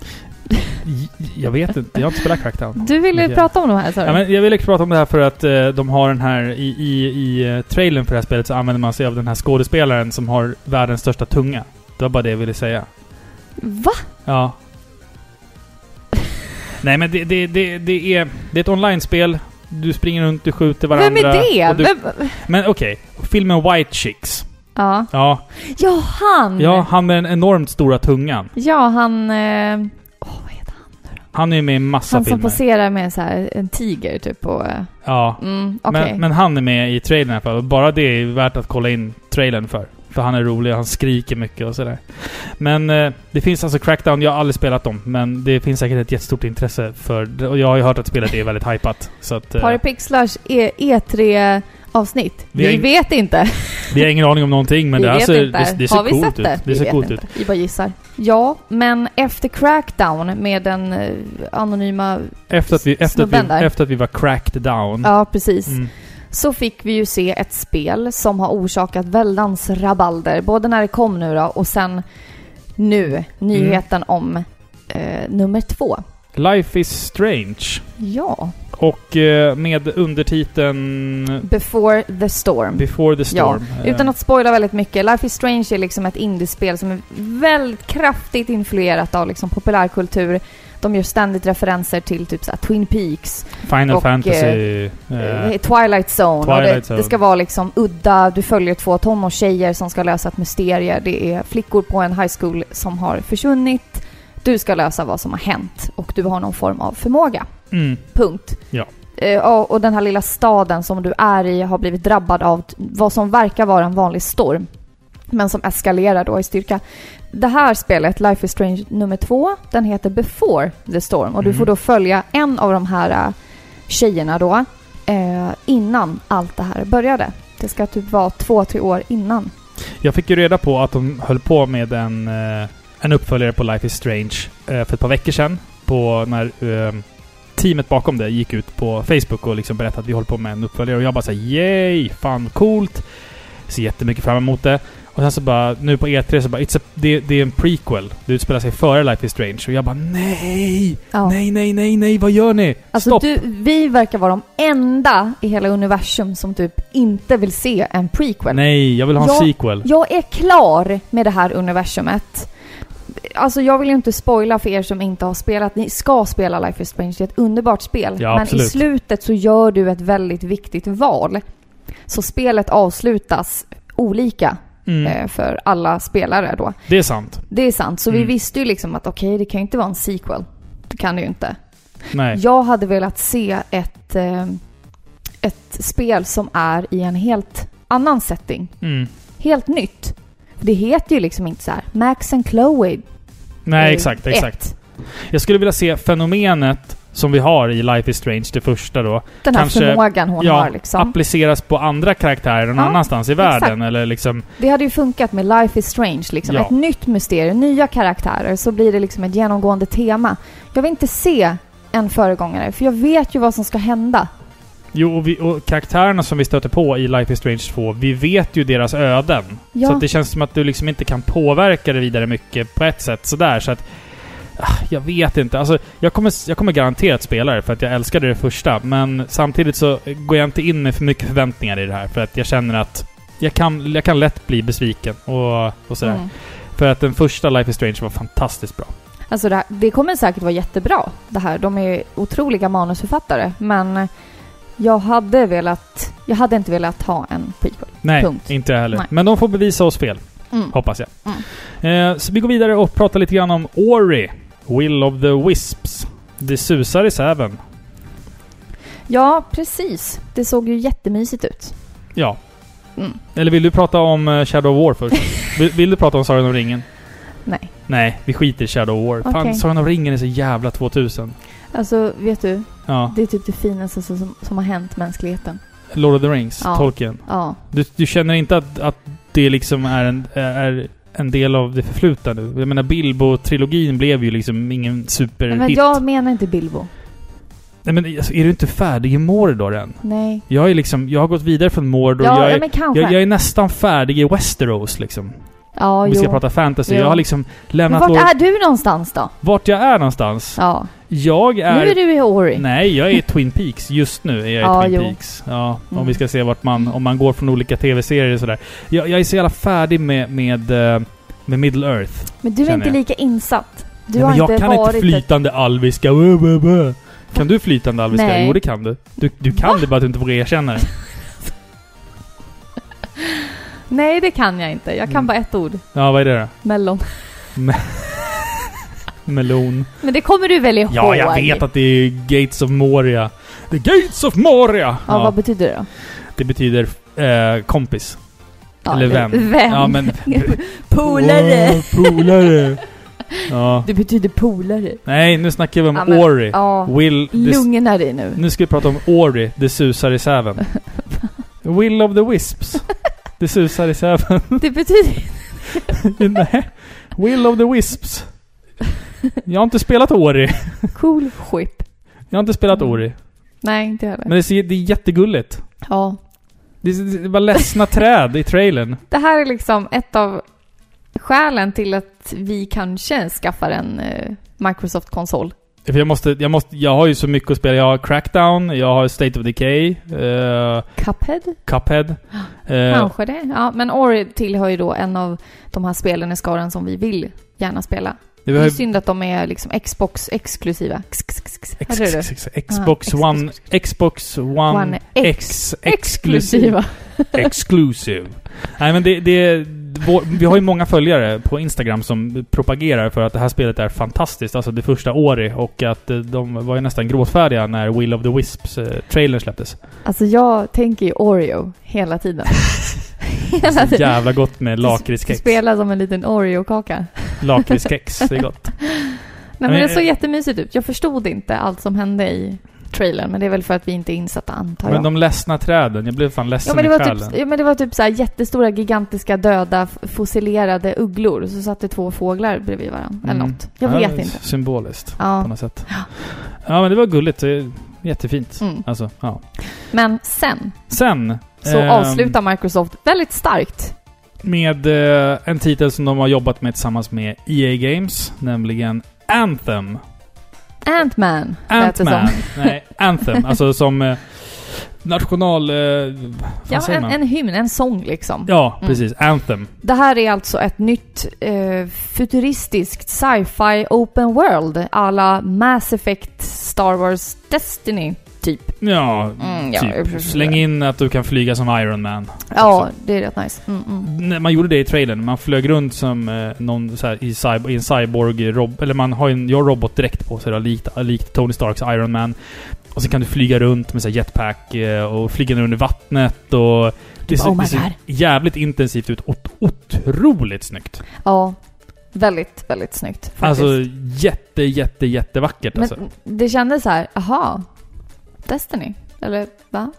J- Jag vet inte, jag har inte spelat Crackdown.
Du ville
Okej.
prata om de här sa
Ja,
du?
men jag ville prata om det här för att eh, de har den här, i, i, i eh, trailern för det här spelet så använder man sig av den här skådespelaren som har världens största tunga. Det var bara det jag ville säga.
Va?
Ja. Nej men det, det, det, det, är, det är ett online-spel. Du springer runt, du skjuter
Vem
varandra.
är det?
och Du,
Vem?
men okej, filmen White Chicks.
Ja.
Ja,
ja, han!
ja, han med den enormt stora tungan.
Ja, han... Eh, åh, vad heter han?
Han är ju med i massa
Han som
filmer.
poserar med så här, en tiger typ på... Eh,
ja.
mm, okej.
Men, men han är med i trailern i alla fall. Bara det är värt att kolla in trailern för. För han är rolig och han skriker mycket och sådär. Men eh, det finns alltså Crackdown, jag har aldrig spelat dem. Men det finns säkert ett jättestort intresse för det. Och jag har ju hört att spelet är väldigt hypat. Så att, eh,
Parapixlars e- E3-avsnitt.
Vi
Vi,
har ing-
vet inte.
Vi har ingen aning om någonting men
vi
det, här
vet
ser,
inte.
det, det
Har
ser
vi
coolt
sett
ut.
det?
Det
vi
ser
vet
coolt ut.
inte. Vi bara gissar. Ja, men efter Crackdown med den eh, anonyma...
Efter att, vi, efter, att
Snubben
vi,
där.
efter att vi var cracked down.
Ja, precis.
Mm.
så fick vi ju se ett spel som har orsakat väldans rabalder. Både när det kom nu då och sen nu, nyheten om eh, nummer två.
Life is strange.
Ja,
Och eh, med undertiteln
Before the Storm.
Before the
Ja,
storm. Eh,
utan att spoila väldigt mycket, Life is Strange är liksom ett indiespel som är väldigt kraftigt influerat av liksom populärkultur. De gör ständigt referenser till typ så här Twin Peaks,
Final
och,
Fantasy... eh,
eh, Twilight Zone. och
Twilight
det,
Zone.
det ska vara liksom udda, du följer två tonårstjejer som ska lösa ett mysterium. Det är flickor på en high school som har försvunnit. Du ska lösa vad som har hänt och du har någon form av förmåga.
mm,
Punkt.
Ja.
Eh, och- och den här lilla staden som du är i har blivit drabbad av t- vad som verkar vara en vanlig storm. Men som eskalerar då i styrka. Det här spelet, Life is Strange nummer två, den heter Before the Storm. Och du
Mm.
får då följa en av de här eh, tjejerna då. Eh, innan allt det här började. Det ska typ vara två, tre år innan.
jag fick ju reda på att de höll på med en, eh, en uppföljare på Life is Strange eh, för ett par veckor sedan. På när eh, teamet bakom det gick ut på Facebook och liksom berättade att vi håller på med en uppföljare. Och jag bara såhär yay! Fan coolt! Ser jättemycket fram emot det. Och sen så bara, nu på E3 så bara, it's a, det, det är en prequel. Det utspelar sig före Life is Strange. Och jag bara nej!
Ja.
Nej, nej, nej, nej, vad gör ni?
Alltså
Stopp!
du, vi verkar vara de enda i hela universum som typ inte vill se en prequel.
Nej, jag vill ha en
Jag-
sequel.
Jag är klar med det här universumet. Alltså jag vill ju inte spoila för er som inte har spelat. Ni ska spela Life is Strange, det är ett underbart spel.
Ja,
Men i
absolut.
slutet så gör du ett väldigt viktigt val. Så spelet avslutas olika
Mm,
eh, för alla spelare då.
det är sant.
Det är sant, så vi
Mm.
visste ju liksom att okej, det kan ju inte vara en sequel. Det kan det ju inte.
Nej.
Jag hade velat se ett, eh, ett spel som är i en helt annan setting.
Mm.
Helt nytt. Det heter ju liksom inte så här Max and Chloe.
Nej,
eh,
exakt, exakt.
ett.
Jag skulle vilja se fenomenet som vi har i Life is Strange, det första då,
Den här
Kanske-
förmågan hon
ja,
har liksom.
appliceras på andra karaktärer någon
Ja,
annanstans i världen. Eller liksom,
Det hade ju funkat med Life is Strange liksom.
Ja.
Ett nytt mysterium, nya karaktärer, så blir det liksom ett genomgående tema. Jag vill inte se en föregångare, för jag vet ju vad som ska hända.
jo, och, vi, och karaktärerna som vi stöter på i Life is Strange 2, vi vet ju deras öden.
Ja.
Så att det känns som att du liksom inte kan påverka det vidare mycket på ett sätt sådär. Så att, ah, jag vet inte. Alltså, jag, kommer, jag kommer garanterat spela det för att jag älskade det första. Men samtidigt så går jag inte in med för mycket förväntningar i det här. För att jag känner att jag kan, jag kan lätt bli besviken och, och sådär.
Mm.
För att den första Life is Strange var fantastiskt bra.
Alltså det, här, det kommer säkert vara jättebra det här. De är ju otroliga manusförfattare. Men jag hade velat... Jag hade inte velat ha en prequel. Mm.
Nej,
Punkt.
inte jag heller.
Nej.
Men de får bevisa oss fel, hoppas jag.
Mm.
Eh, så vi går vidare och pratar lite grann om Ori, Will of the Wisps. Det susar i säven.
Ja, precis. Det såg ju jättemysigt ut.
Ja.
Mm.
Eller vill du prata om eh, Shadow of War först? vill, vill du prata om Sagan om ringen?
Nej.
Nej, vi skiter i Shadow of War.
Okej.
Fan, Sagan om ringen är så jävla 2000.
Alltså, vet du?
Ja.
Det är typ det finaste som, som har hänt mänskligheten.
Lord of the Rings,
Ja.
Tolkien.
Ja.
Du, du känner inte att, att det liksom är en, är en del av det förflutna nu? Jag menar, Bilbo-trilogin blev ju liksom ingen superhit.
Men jag menar inte Bilbo.
Nej men alltså, är du inte färdig i Mordor än?
Nej.
Jag är liksom, jag har gått vidare från Mordor.
Ja,
jag,
ja
är,
men kanske.
jag, jag är nästan färdig i Westeros liksom.
ja,
Om vi
jo.
ska prata fantasy.
Jo.
Jag har liksom
men
lämnat
vart
vart,
är du någonstans då?
vart jag är någonstans.
Ja.
Jag är...
Nu är du i Ori.
Nej, jag är i Twin Peaks. Just nu är jag i
Ja,
Twin
jo.
Peaks. Ja, om
Mm.
vi ska se vart man, om man går från olika tv-serier och sådär. Jag, jag är så jävla färdig med, med, eh, med Middle Earth.
Men du är
Känner
inte
jag.
lika insatt. Du
Nej,
har
men jag
inte
kan
varit
inte flytande alviska. Bö, bö, bö. Kan du flytande alviska?
Nej.
Jo, det kan du. Du, du kan det bara att du inte vågar erkänna det.
ett... Nej, det kan jag inte. Jag kan
Mm.
bara ett ord.
Ja, vad är det då?
Mellon.
Melon.
Men det kommer du väl ihåg?
Ja, jag vet att det är Gates of Moria. The Gates of Moria!
Ja,
Ja,
vad betyder det då?
det betyder eh, kompis.
Ja,
Eller vän.
Vän.
Ja, men...
Polare.
Wow, polare! ja.
Det betyder polare.
Nej, nu snackar vi om
Ja, men-
Ori.
Ja,
Will... Det,
lugna dig nu.
nu ska vi prata om Ori, det susar i säven. Will of the Wisps. Det susar i säven.
Det betyder...
Nej. Will of the Wisps. Jag har inte spelat Ori.
Cool skip.
Jag har inte spelat Ori.
Nej, inte heller.
Men det ser- det är jättegulligt.
Ja.
Det det- det var ledsna träd i trailern.
Det här är liksom ett av skälen till att vi kanske skaffar en eh, Microsoft-konsol.
För jag, måste, jag, måste, jag har ju så mycket att spela. Jag har Crackdown, jag har State of Decay, eh,
Cuphead?
Cuphead. Eh,
Kanske det. Ja, men Ori tillhör ju då en av de här spelen i skaran som vi vill gärna spela.
det
Det
var
är
ju
synd att de är liksom Xbox-exklusiva.
Ex-
Hörde du?
ex- ex- Xbox
Ah, ex-
One... Xbox One
One X.
X exklusiv. Exclusive. Nej men det... det vår, vi har ju många följare på Instagram som propagerar för att det här spelet är fantastiskt. Alltså det första året och att eh, de var ju nästan gråtfärdiga när Will of the Wisps-trailern släpptes.
Alltså jag tänker ju Oreo hela tiden. hela
Så
tiden.
jävla gott med lakritskex.
Spela som en liten Oreo-kaka.
Lakritskex, det är gott.
Nej men
Men- eh,
det såg jättemysigt ut. Jag förstod inte allt som hände i trailern, men det är väl för att vi inte är insatta antar jag.
Men de ledsna träden, jag blev fan ledsen
Ja men, det
i
var
själen.
typ, ja men det var typ så här jättestora, gigantiska, döda, f- fossilerade ugglor. Så satt det två fåglar bredvid varandra. Eller
Mm.
något. Jag
Ja,
vet inte.
Symboliskt på
Ja.
något sätt. Ja men det var gulligt. Det är Jättefint.
Mm.
Alltså, ja.
Men sen
Sen.
så
ehm,
avslutar Microsoft väldigt starkt.
Med eh, en titel som de har jobbat med tillsammans med EA Games, nämligen Anthem.
Ant-Man lät det
Ant-Man.
som.
Nej, Anthem. Alltså som eh, national... Eh, vad
Ja,
säger
en,
man?
en hymn, en sång liksom.
Ja,
Mm.
precis. Anthem.
Det här är alltså ett nytt eh, futuristiskt sci-fi open world alla Mass Effect, Star Wars, Destiny, typ.
Ja,
Mm, ja, jag förstår.
typ. Släng in att du kan flyga som Iron Man.
Ja, det är rätt nice. Mm, mm.
När man gjorde det i trailern. Man flög runt som eh, någon så här, i, cyber, i en cyborg... eh, Rob, eller man har ju en jag robot direkt på sig då, likt, likt Tony Starks Iron Man. Och sen kan du flyga runt med så här jetpack eh, och flyga ner under vattnet och... Det ser,
oh my
det ser
God.
jävligt intensivt ut och otroligt snyggt.
Ja, väldigt, väldigt snyggt faktiskt.
Alltså jätte, jätte, jättevackert alltså.
Men det kändes så här, aha, Destiny? Eller va?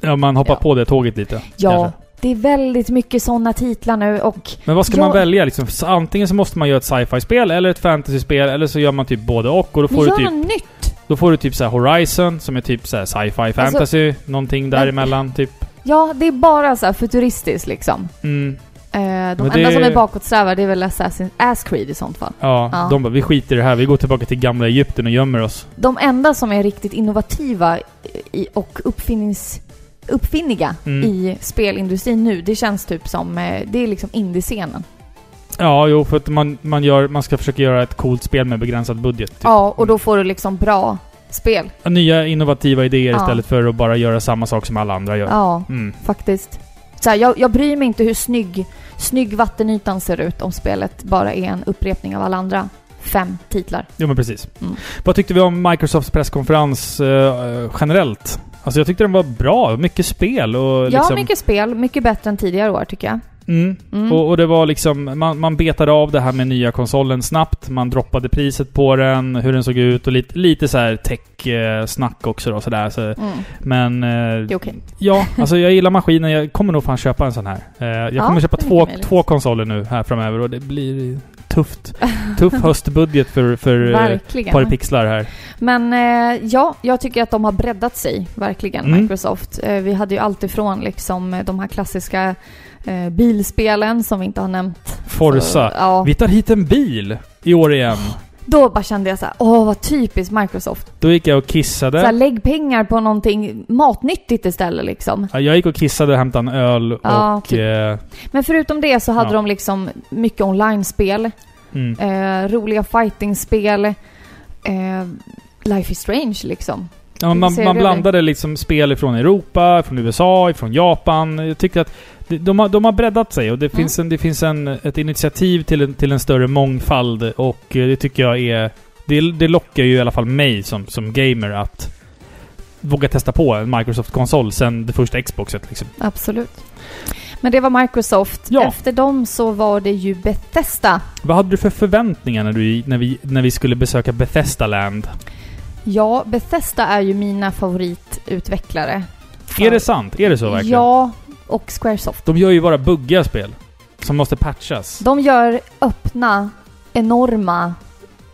Ja, man hoppar
Ja.
på det tåget lite.
Ja,
kanske.
det är väldigt mycket sådana titlar nu och
Men vad ska
Ja.
man välja liksom? Så Antingen så måste man göra ett sci-fi-spel eller ett fantasy-spel eller så gör man typ både och. Och då
vi
får, du
gör
typ,
något nytt.
då får du typ så här Horizon som är typ så här sci-fi
Alltså-
fantasy. någonting däremellan typ.
Ja, det är bara så här futuristiskt liksom.
Mm,
Eh, de
Men
enda
det-
som är bakåtsträvare det är väl Assassin's Ass Creed i sånt fall.
ja,
Ja.
de bara, vi skiter i det här. Vi går tillbaka till gamla Egypten och gömmer oss.
De enda som är riktigt innovativa i, och uppfinnings, uppfinniga
Mm.
i spelindustrin nu, det känns typ som, eh, det är liksom indiescenen.
Typ. Ja, jo, för att man, man, gör, man ska försöka göra ett coolt spel med begränsad budget. Typ.
Ja, och då får du liksom bra spel.
Nya innovativa idéer
Ja.
istället för att bara göra samma sak som alla andra gör.
Ja.
Mm.
faktiskt. Så här, jag, jag bryr mig inte hur snygg, snygg vattenytan ser ut om spelet bara är en upprepning av alla andra fem titlar.
Jo men precis.
Mm.
Vad tyckte vi om Microsofts presskonferens eh, generellt? Alltså jag tyckte den var bra. Mycket spel och
Ja,
liksom...
mycket spel. Mycket bättre än tidigare år tycker jag.
Mm.
Mm.
Och, och det var liksom... Man, man betade av det här med nya konsolen snabbt. Man droppade priset på den, hur den såg ut och lite, lite så här tech-snack också då sådär. Så,
Mm.
men... eh,
Det är okej.
Ja, alltså jag gillar maskinen. Jag kommer nog fan köpa en sån här. Eh, jag
Ja,
kommer köpa
det är
två,
mycket möjligt.
två konsoler nu här framöver och det blir tufft. Tuff höstbudget för, för eh, ett par
Verkligen.
pixlar här.
Men eh, ja, jag tycker att de har breddat sig, verkligen,
Mm.
Microsoft. Eh, vi hade ju allt ifrån liksom eh, de här klassiska eh, bilspelen som vi inte har nämnt.
Forza.
Så, ja.
Vi tar hit en bil i år igen.
Då bara kände jag så här, åh vad typiskt Microsoft.
Då gick jag och
Så här,
kissade.
lägg pengar på någonting matnyttigt istället liksom.
Ja, Jag gick och kissade och hämtade en öl
Ja,
och...
typ.
Eh,
Men förutom det så hade
Ja.
de liksom mycket online-spel,
mm.
eh, roliga fighting-spel, eh, Life is Strange liksom.
ja, man,
ser
man
du
blandade liksom spel från Europa, från USA, från Japan. Jag tyckte att de, de, har, de har breddat sig och det finns, en, det finns en, ett initiativ till en, till en större mångfald och eh, det tycker jag är... Det, det lockar ju i alla fall mig som, som gamer att våga testa på en Microsoft-konsol sen det första Xboxet liksom.
Absolut. Men det var Microsoft.
Ja.
Efter dem så var det ju Bethesda.
Vad hade du för förväntningar när, du, när, vi, när vi skulle besöka Bethesda Land?
Ja, Bethesda är ju mina favoritutvecklare.
Är det sant? Är det så verkligen?
Ja, och Squaresoft.
De gör ju bara buggiga spel. Som måste patchas.
De gör öppna, enorma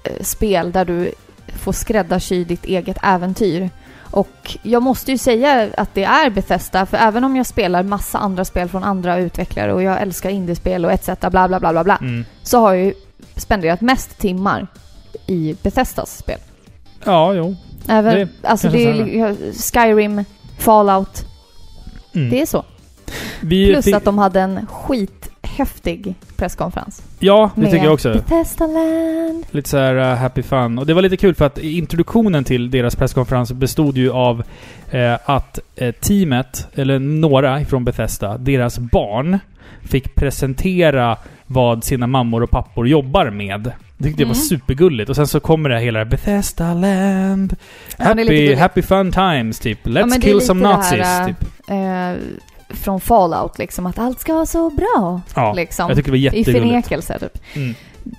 eh, spel där du får skräddarsy ditt eget äventyr. Och jag måste ju säga att det är Bethesda, för även om jag spelar massa andra spel från andra utvecklare och jag älskar indiespel och etc. bla bla bla bla bla,
Mm.
så har jag ju spenderat mest timmar i Bethesdas spel.
Ja, jo.
Även,
Det
alltså
kanske
det är ju- Skyrim, Fallout,
Mm.
det är så.
vi
Plus
fick-
att de hade en skithäftig presskonferens.
Ja, det
med
tycker jag också.
Bethesda Land.
Lite så här uh, happy fun. Och det var lite kul för att introduktionen till deras presskonferens bestod ju av eh, att eh, teamet, eller några ifrån Bethesda, deras barn fick presentera vad sina mammor och pappor jobbar med. Det tyckte jag var
Mm.
supergulligt. Och sen så kommer det här hela Bethesda land.
Ja, men det är lite
Happy,
gulligt.
happy fun times, typ. Let's
men det är
kill
lite
some
det här,
nazis,
äh,
typ.
eh, från Fallout liksom, att allt ska vara så bra.
Ja,
liksom.
jag tycker det var
I
jättegulligt.
förnekelse typ.
Mm.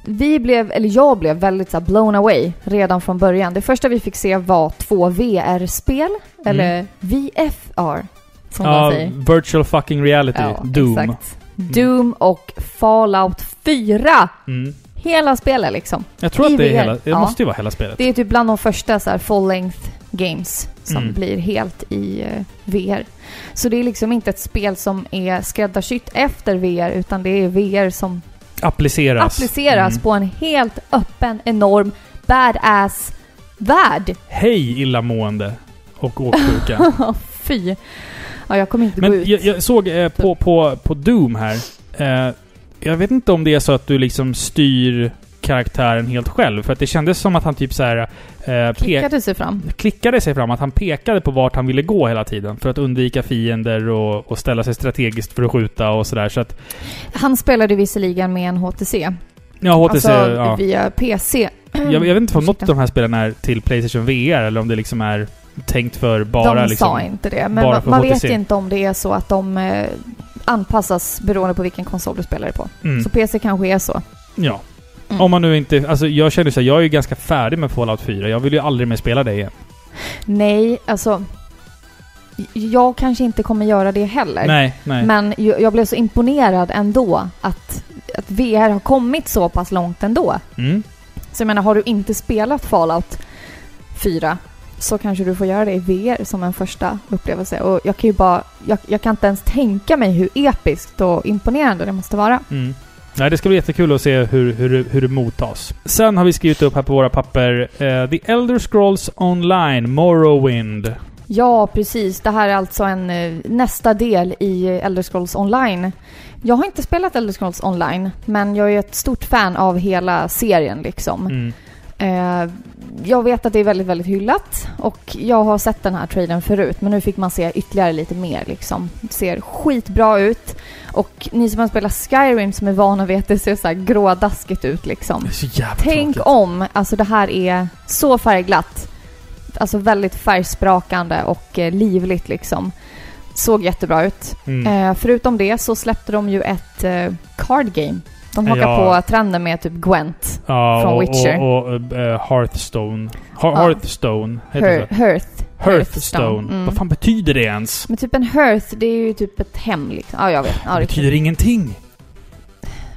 vi blev, eller jag blev väldigt så här, blown away redan från början. Det första vi fick se var två VR-spel, eller VFR som
Mm. Ja,
de säger.
virtual fucking reality. Doom.
Exakt. Doom och Fallout 4!
Mm.
Hela spelet liksom.
Jag tror att det är
IVR.
hela... Det
Ja.
måste ju vara hela spelet.
Det är typ bland de första så här full-length games som
Mm.
blir helt i eh, VR. Så det är liksom inte ett spel som är skräddarsytt efter VR utan det är VR som
Appliceras.
appliceras
Mm.
på en helt öppen, enorm, badass värld.
Hej illamående och åksjuka.
Fy! Ja, jag kommer inte gå
Men
ut. Typ.
jag, jag såg eh, på, på, på Doom här. Eh, jag vet inte om det är så att du liksom styr karaktären helt själv. För att det kändes som att han typ så här... Eh, pe-
Klickade sig fram.
klickade sig fram, att han pekade på vart han ville gå hela tiden. För att undvika fiender och, och ställa sig strategiskt för att skjuta och sådär. Så att...
Han spelade visserligen med en HTC.
Ja, HTC...
alltså
ja.
via PC.
Jag, jag vet inte om något
Ursäkta.
av de här spelen är till Playstation VR eller om det liksom är tänkt för bara
de
liksom...
sa inte det, men
bara
man,
för
man vet
HTC.
inte om det är så att de eh, anpassas beroende på vilken konsol du spelar det på.
Mm,
Så PC kanske är så.
ja.
Mm.
Om man nu inte... Alltså jag känner så här, jag är ju ganska färdig med Fallout 4. Jag vill ju aldrig mer spela det igen.
Nej, alltså... j- Jag kanske inte kommer göra det heller.
Nej, nej.
Men ju- jag blev så imponerad ändå att, att VR har kommit så pass långt ändå.
Mm.
Så jag menar, har du inte spelat Fallout 4 så kanske du får göra det i VR som en första upplevelse. Och jag kan ju bara... Jag, jag kan inte ens tänka mig hur episkt och imponerande det måste vara.
Mm. Nej, det ska bli jättekul att se hur, hur, hur det mottas. Sen har vi skrivit upp här på våra papper eh, The Elder Scrolls Online Morrowind.
Mm. Ja, precis. Det här är alltså en, eh, nästa del i Elder Scrolls Online. Jag har inte spelat Elder Scrolls Online, men jag är ett stort fan av hela serien liksom.
Mm.
Eh, jag vet att det är väldigt, väldigt hyllat och jag har sett den här trailern förut, men nu fick man se ytterligare lite mer liksom. Det ser skitbra ut och ni som har spelat Skyrim som är vana vid att det ser så här grådaskigt ut liksom.
Det är så jävla
Tänk
tråkigt.
om, alltså det här är så färgglatt. Alltså väldigt färgsprakande och eh, livligt liksom. Såg jättebra ut.
Mm.
Eh, förutom det så släppte de ju ett eh, card game. De hakar
Ja.
på trenden med typ Gwent,
Ja,
från
och,
Witcher.
och, och eh, Hearthstone. Har-
Ja.
Hearthstone heter det
Her-
så?
Hearth.
Hearthstone.
Mm.
Vad fan betyder det ens?
Men typ en Hearth, det är ju typ ett hem liksom. Ja, jag vet. Ja,
det
det
betyder ingenting.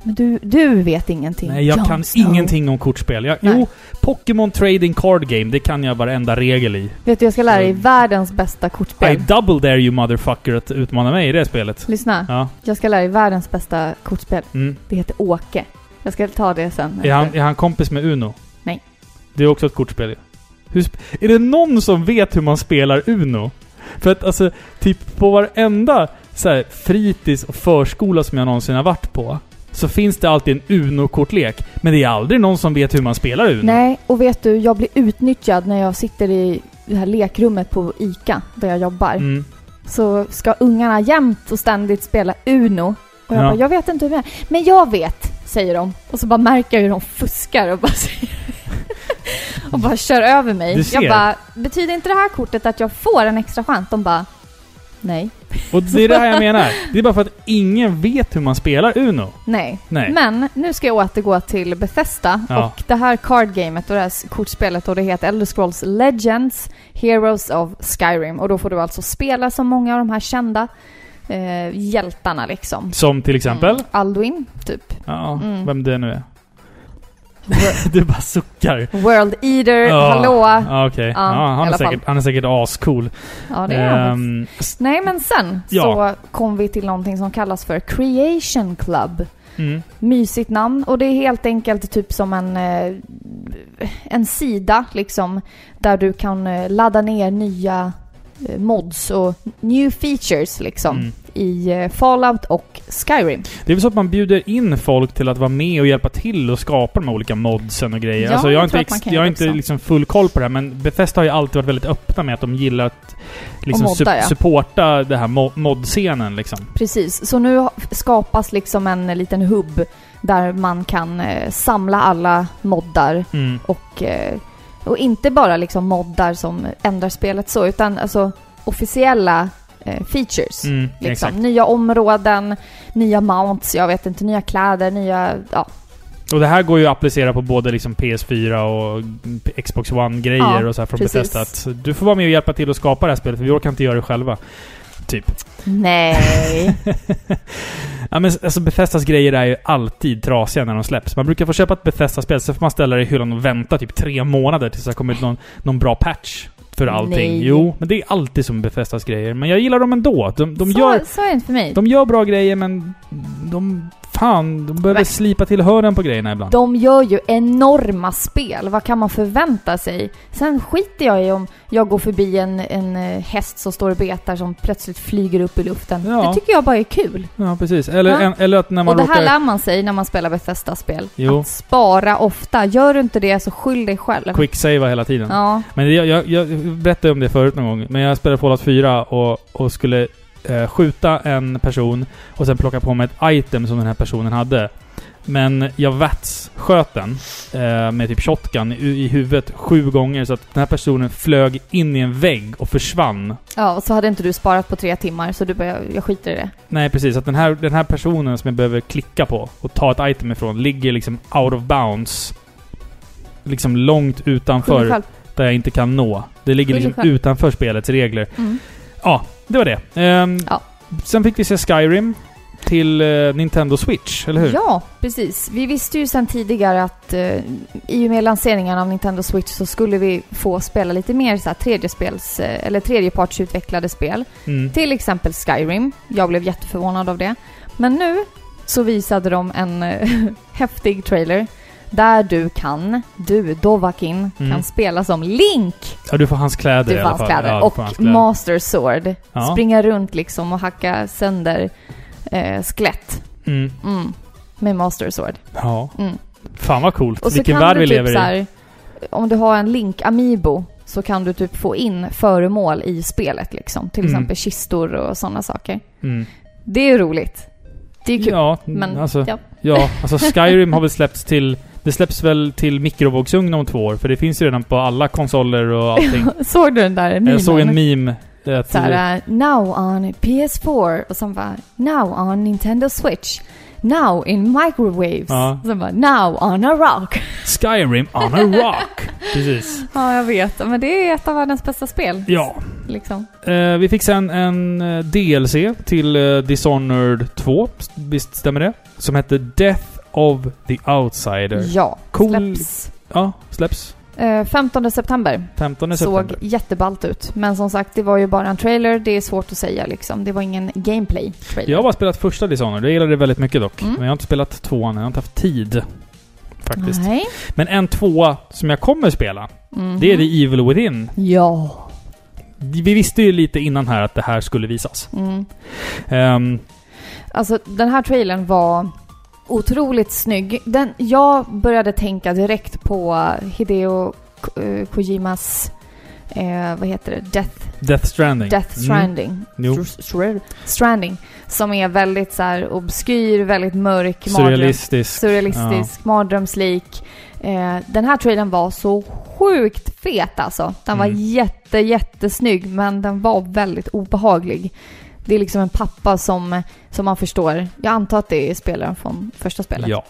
Men du, du vet ingenting.
Nej, jag
Jon
kan
Snow.
ingenting om kortspel. Jag,
Nej.
jo, Pokémon Trading Card Game, det kan jag varenda regel i.
Vet du, jag ska lära dig
Så-
världens bästa
I
kortspel.
double dare you motherfucker att utmana mig i det spelet.
Lyssna,
Ja.
jag ska lära dig världens bästa kortspel.
Mm.
Det heter Åke. Jag ska ta det sen.
Är, han, är han kompis med Uno?
Nej.
Det är också ett kortspel ju. Hur sp- är det någon som vet hur man spelar Uno? För att alltså, typ på varenda så här, fritids och förskola som jag någonsin har varit på, så finns det alltid en Uno-kortlek. Men det är aldrig någon som vet hur man spelar Uno.
Nej, och vet du, jag blir utnyttjad när jag sitter i det här lekrummet på ICA där jag jobbar.
Mm.
Så ska ungarna jämt och ständigt spela Uno. Och jag
Ja.
bara, jag vet inte hur det är. Men jag vet, säger de. Och så bara märker jag hur de fuskar och bara säger... och bara kör över
Du
mig.
ser.
Jag bara, betyder inte det här kortet att jag får en extra chans? De bara, nej.
Och det är det här jag menar. Det är bara för att ingen vet hur man spelar Uno.
Nej.
Nej.
Men nu ska jag återgå till Bethesda
Ja.
och det här cardgamet och det här s- kortspelet och det heter Elder Scrolls Legends Heroes of Skyrim och då får du alltså spela som många av de här kända eh, hjältarna liksom.
Som till exempel?
Mm, Alduin, typ.
Ja,
Mm.
vem det nu är. du bara suckar.
World Eater,
Ja.
hallå!
Ja, okej.
Ja,
Ja,
i
han, är
alla
säkert, han är säkert ascool.
Ja, det är han.
Ehm,
Nej, men sen
Ja.
så kom vi till någonting som kallas för Creation Club.
mm,
mysigt namn och det är helt enkelt typ som en, eh, en sida liksom där du kan eh, ladda ner nya eh, mods och new features liksom
mm.
i eh, Fallout och Skyrim.
Det är väl så att man bjuder in folk till att vara med och hjälpa till och skapa de här olika modsen och grejer.
Ja,
alltså, jag
jag
har
tror
inte,
att man
ex-
kan
jag har
göra
inte
också.
liksom full koll på det här, men Bethesda har ju alltid varit väldigt öppna med att de gillar att liksom
modda,
sup-
ja.
supporta det här mo- modscenen liksom.
Precis, så nu ha- skapas liksom en eh, liten hubb där man kan eh, samla alla moddar
Mm.
och, eh, och inte bara liksom moddar som ändrar spelet så utan alltså officiella eh, features.
Mm,
Liksom.
Exakt.
Nya områden, nya mounts, jag vet inte, nya kläder, nya... Ja,
Och det här går ju att applicera på både liksom PS4 och Xbox One-grejer
Ja,
och så här från
precis.
Bethesda. Att du får vara med och hjälpa till att skapa det här spelet, för vi orkar inte göra det själva.
Nej.
Ja, men alltså Bethesdas grejer är ju alltid trasiga när de släpps. Man brukar få köpa ett Bethesda-spel, så får man ställa det i hyllan och vänta typ tre månader tills det har kommit någon, någon bra patch för allting.
Nej.
Jo, men det är alltid som Bethesdas grejer. Men jag gillar dem ändå. De, de,
så,
gör,
så är det inte för mig.
de gör bra grejer, men de... Fan, de behöver
Men-
slipa till hörnen på grejerna ibland.
De gör ju enorma spel. Vad kan man förvänta sig? Sen skiter jag i om jag går förbi en, en eh, häst som står och betar som plötsligt flyger upp i luften.
Ja.
Det tycker jag bara är kul.
Ja, precis. Eller,
Ja.
En, eller att när
Och
man
det här
råkar...
lär man sig när man spelar Bethesda-spel.
Jo.
Att spara ofta. Gör du inte det så skyll dig själv.
Quicksava hela tiden.
Ja.
Men det- jag, jag, jag berättade om det förut någon gång, men jag spelade Fallout 4 och, och skulle eh, skjuta en person och sen plocka på mig ett item som den här personen hade. Men jag vats sköt den eh, med typ shotgun i, i huvudet sju gånger så att den här personen flög in i en vägg och försvann.
ja, och så hade inte du sparat på tre timmar så du bara, jag skiter i det.
Nej precis, att den här, den här personen som jag behöver klicka på och ta ett item ifrån ligger liksom out of bounds. Liksom långt
Skyll dig
utanför
själv.
där jag inte kan nå. Det ligger
Skyll dig
liksom
själv.
utanför spelets regler.
Mm.
Ja, det var det. Ehm,
Ja.
Sen fick vi se Skyrim till eh, Nintendo Switch, eller hur?
Ja, precis. Vi visste ju sedan tidigare att eh, i och med lanseringen av Nintendo Switch så skulle vi få spela lite mer så här tredjespels, eh, eller tredjepartsutvecklade spel.
Mm.
Till exempel Skyrim. Jag blev jätteförvånad av det. Men nu så visade de en eh, häftig trailer där du kan, du Dovakin,
Mm.
kan spela som Link!
Ja, du får hans kläder i
Du får
alla
hans
fall.
kläder.
Ja, du
och
får hans kläder.
Master Sword.
Ja.
Springa runt liksom och hacka sönder eh, skelett.
Mm.
Mm. Med Master Sword.
Ja.
Mm.
Fan vad coolt.
Och så
Vilken
kan
värld
du
vi
typ
lever
så
i.
här, om du har en Link Amiibo så kan du typ få in föremål i spelet liksom. Till
Mm.
exempel kistor och sådana saker.
Mm.
Det är ju roligt. Det är ju kul.
Ja,
men
alltså, ja.
ja.
alltså Skyrim har väl släppts till... Det släpps väl till mikrovågsugn om två år? För det finns ju redan på alla konsoler och allting.
Såg du den där memen?
jag såg en meme. eh, att-
Så här, eh, now on PS4 och sen bara now on Nintendo Switch. Now in microwaves.
Ja.
Och sen bara now on a rock.
Skyrim on a rock! Precis.
Ja, jag vet. Men det är ett av världens bästa spel.
Ja.
Liksom.
Eh, vi fick sen en eh, DLC till eh, Dishonored 2. S- Visst stämmer det? Som hette Death of the Outsider.
Ja,
Cool.
släpps.
Ja, släpps
Eh, 15 september.
15
Såg
september.
jätteballt ut. Men som sagt, det var ju bara en trailer. Det är svårt att säga liksom. Det var ingen gameplay-trailer.
Jag har bara spelat första Dishonored. Jag gillade det väldigt mycket dock.
Mm.
Men jag har inte spelat tvåan. Jag har inte haft tid. Faktiskt.
Nej.
Men en tvåa som jag kommer spela,
Mhm.
det är The Evil Within.
Ja.
Vi visste ju lite innan här att det här skulle visas.
Mm.
Ehm,
Alltså den här trailern var otroligt snygg. Den, jag började tänka direkt på Hideo Ko- eh, Kojimas, eh, vad heter det, Death,
Death Stranding.
Death
Mm.
Stranding.
Jo.
Str- str- Stranding. Som är väldigt så här obskyr, väldigt mörk, mardröm-
Surrealistisk.
surrealistisk, mardrömslik. Eh, den här trailern var så sjukt fet alltså. Den var
Mm.
jätte, jättesnygg men den var väldigt obehaglig. Det är liksom en pappa som, som man förstår, jag antar att det är spelaren från första
Ja.
spelet,
ja.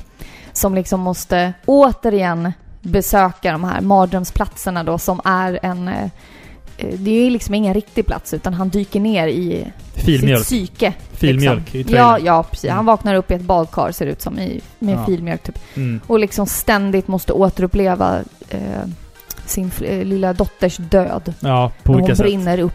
som liksom måste återigen besöka de här mardrömsplatserna då som är en... eh, eh, Det är liksom ingen riktig plats utan han dyker ner i
Filmjölk.
sitt psyke.
Filmjölk i
liksom.
trailern. Mm.
Ja, ja precis. Han vaknar upp i ett badkar ser det ut som, i, med
Ja.
filmjölk typ.
Mm.
Och liksom ständigt måste återuppleva eh, sin fl- eh, lilla dotters död.
Ja, på
när hon
olika sätt.
brinner upp.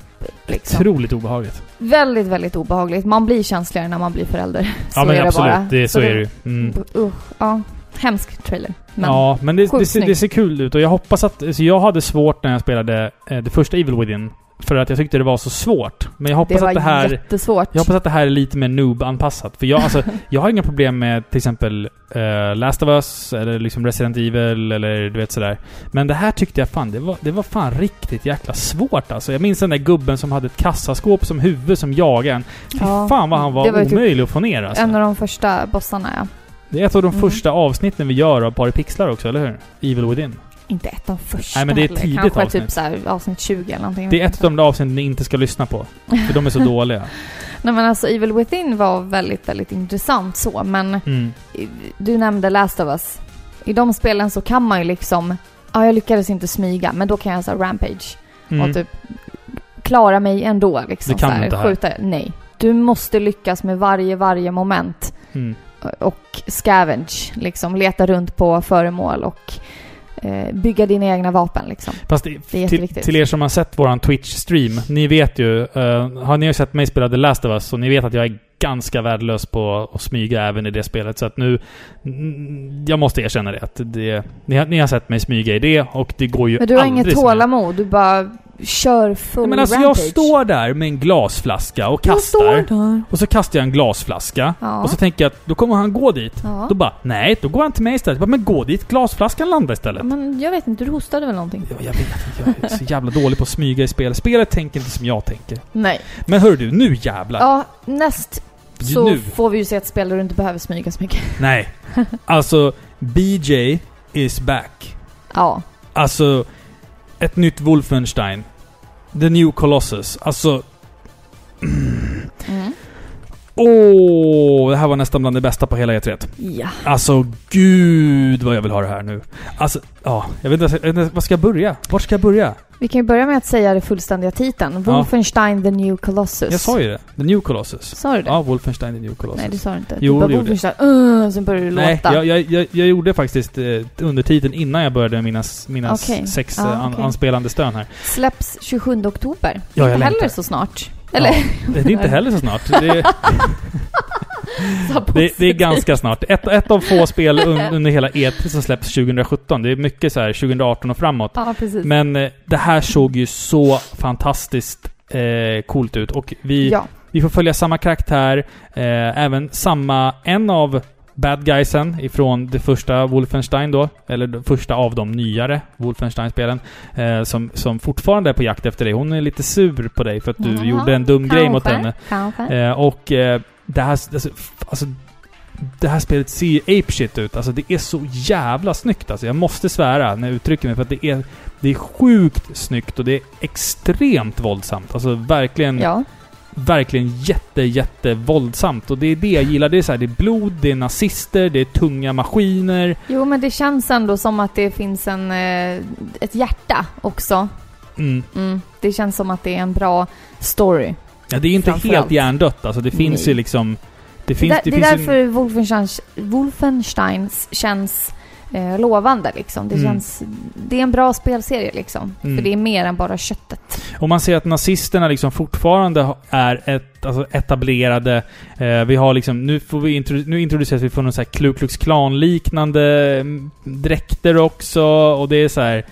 Liksom.
Otroligt obehagligt.
Väldigt, väldigt obehagligt. Man blir känsligare när man blir förälder. Så
ja, men
är det
absolut.
bara.
Det, så,
det-
är det ju. Mm.
B- Usch, ja. Hemsk trailer. Men,
ja, men det,
sjukt
det, ser, det
snyggt.
ser kul ut och jag hoppas att... Så jag hade svårt när jag spelade eh, det första Evil Within. För att jag tyckte det var så svårt. Men jag
det
hoppas
var
att det här...
jättesvårt.
Jag hoppas att det här är lite mer noob-anpassat. För jag, alltså, jag har inga problem med till exempel eh, Last of Us eller liksom Resident Evil eller du vet sådär. Men det här tyckte jag fan, det var, det var fan riktigt jäkla svårt alltså. Jag minns den där gubben som hade ett kassaskåp som huvud som jagade en. Fy
Ja,
fan vad han var,
det var ju typ
omöjlig att få ner alltså.
En av de första bossarna, ja.
Det är ett av de
Mm.
första avsnitten vi gör av Par i pixlar också, eller hur? Evil Within.
Inte ett av första
Nej, men det är ett
heller.
tidigt
Kanske
avsnitt.
typ så här, avsnitt 20 eller någonting.
Det är ett av de där avsnitten ni inte ska lyssna på. För de är så dåliga.
Nej men alltså Evil Within var väldigt, väldigt intressant så. Men
Mm.
Du nämnde Last of Us. I de spelen så kan man ju liksom, ja jag lyckades inte smyga, men då kan jag så här rampage
Mm.
och typ klara mig ändå liksom.
Det kan
så
du
här,
inte här.
skjuta. Nej. Du måste lyckas med varje, varje moment
Mm.
och scavenge, liksom leta runt på föremål och eh, bygga dina egna vapen liksom.
Fast det,
Det är
till,
jätteviktigt.
till er som har sett våran Twitch-stream, ni vet ju... eh, har ni sett mig spela The Last of Us så ni vet att jag är ganska värdelös på att smyga även i det spelet. Så att nu... mm, Jag måste erkänna det. Att det ni, har, ni har sett mig smyga i det och det går ju
Men du har
aldrig
inget
som jag-
tålamod, du bara kör full
Men alltså jag
rampage.
står där med en glasflaska och
Jag står
kastar.
där.
Och så kastar jag en glasflaska.
Ja.
Och så tänker jag att då kommer han gå dit.
ja.
Då bara, nej, då går han till mig istället. Jag Bara, men gå dit glasflaskan landar istället.
Ja, Men jag vet inte, du hostade väl någonting?
Jag, jag vet inte, jag är så jävla dålig på att smyga i spel. Spelet tänker inte som jag tänker.
Nej.
Men hör du, nu jävlar!
Ja, näst så
Nu!
får vi ju se ett spel där du inte behöver smyga så mycket.
Nej. Alltså, BJ is back.
Ja.
Alltså, ett nytt Wolfenstein. The New Colossus. Alltså,
Mm.
åh! Det här var nästan bland det bästa på hela E3.
Ja.
Alltså, gud vad jag vill ha det här nu. Alltså, ja. Jag vet inte, jag vet inte var ska jag börja? Vart ska jag börja?
Vi kan ju börja med att säga det fullständiga titeln. Wolfenstein the New Colossus.
Jag sa ju det. The New Colossus.
Sa du det?
Ja, Wolfenstein The New Colossus.
Nej, det sa du inte.
Jo,
du bara
det gjorde jag.
Wolfenstein, uh, sen började du
Nej,
låta.
jag, jag, jag, jag gjorde faktiskt eh, undertiteln innan jag började med mina, s- mina s-
Okej.
sex
Ja,
eh, an,
okej.
anspelande stön här.
Släpps 27 oktober.
jag
inte
längtar.
heller så snart. Eller?
Ja, det är inte heller så snart. Det,
så
det, det är
positivt.
ganska snart. Ett, ett av få spel un, under hela E3 som släpps 2017. Det är mycket så här 2018 och framåt.
Ja, precis.
Men eh, det här såg ju så fantastiskt eh, coolt ut. Och vi,
ja.
vi får följa samma karaktär, eh, även samma... En av bad guysen ifrån det första Wolfenstein då, eller det första av de nyare Wolfenstein-spelen, eh, som, som fortfarande är på jakt efter dig. Hon är lite sur på dig för att du
Ja,
gjorde en dum grej mot henne.
Kanske.
Eh, och eh, det här... Alltså, f- alltså, det här spelet ser ju apeshit ut. Alltså det är så jävla snyggt alltså. Jag måste svära när jag uttrycker mig för att det är... Det är sjukt snyggt och det är extremt våldsamt. Alltså verkligen
Ja.
verkligen jätte, jätte våldsamt. Och det är det jag gillar. Det är, så här, det är blod, det är nazister, det är tunga maskiner.
Jo, men det känns ändå som att det finns en, eh, ett hjärta också.
Mm.
Mm. Det känns som att det är en bra story.
Ja, det är inte
Framförallt.
helt hjärndött. Alltså, det finns
Nej.
ju liksom... Det finns,
det, där, det,
finns
är
en-
därför Wolfensteins, Wolfensteins känns eh, lovande liksom. Det,
Mm.
känns, det är en bra spelserie liksom.
Mm.
För det är mer än bara köttet.
Och man ser att nazisterna liksom fortfarande ha- är ett, alltså etablerade. Eh, vi har liksom, nu, får vi introdu- nu introduceras vi för någon så här Ku Klux Klan-liknande mm, dräkter också. Och det är så här.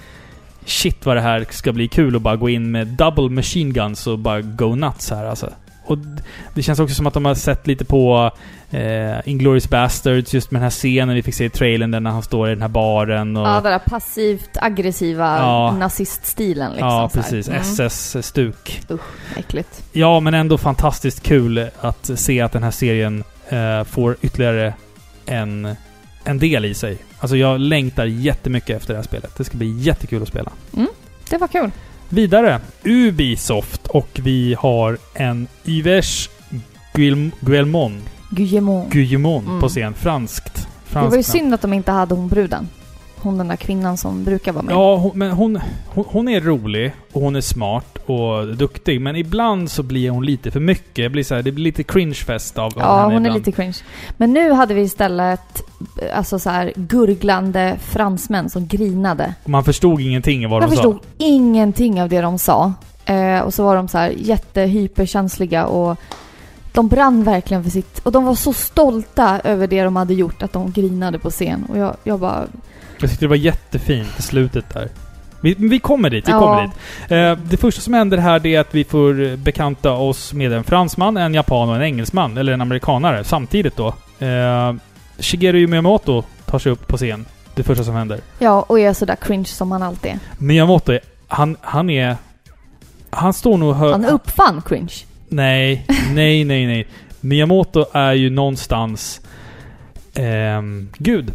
Shit vad det här ska bli kul att bara gå in med double machine guns och bara go nuts här alltså. Och d- det känns också som att de har sett lite på eh, Inglourious Bastards just med den här scenen vi fick se i trailern där när han står i den här baren och...
Ja, den där passivt aggressiva
Ja.
naziststilen liksom.
ja
så här.
precis.
Mm.
SS-stuk.
Äckligt.
Ja, men ändå fantastiskt kul att se att den här serien eh, får ytterligare en, en del i sig. Alltså jag längtar jättemycket efter det här spelet. Det ska bli jättekul att spela.
Det var kul.
Vidare, Ubisoft och vi har en Yves Guilm- Guillemon,
Guillemot.
Guillemon
Mm.
på scen. Franskt.
Det
Franskt
var
namn.
ju synd att de inte hade hon bruden. Hon den där kvinnan som brukar vara med.
Ja, hon, men hon, hon, hon är rolig och hon är smart och duktig. Men ibland så blir hon lite för mycket. Det blir, så här, det blir lite cringe-fest av av
Ja,
henne
hon är
ibland.
lite cringe. Men nu hade vi istället eh, alltså så här, gurglande fransmän som grinade.
Man förstod ingenting av vad
Jag
de
förstod
sa.
ingenting av det de sa. Eh, och så var de så här jättehyperkänsliga och de brann verkligen för sitt... Och de var så stolta över det de hade gjort att de grinade på scen. Och jag, jag bara...
Jag tyckte det var jättefint i slutet där. Vi, men vi kommer dit, vi
Ja.
kommer dit. Eh, det första som händer här det är att vi får eh, bekanta oss med en fransman, en japan och en engelsman. Eller en amerikanare samtidigt då. Eh, Shigeru Miyamoto tar sig upp på scen. Det första som händer.
Ja, och är sådär cringe som han alltid är.
Miyamoto, är- han, han är... Han står nog hö-
Han uppfann cringe.
Nej, nej, nej, nej. Miyamoto är ju någonstans... ehm, gud.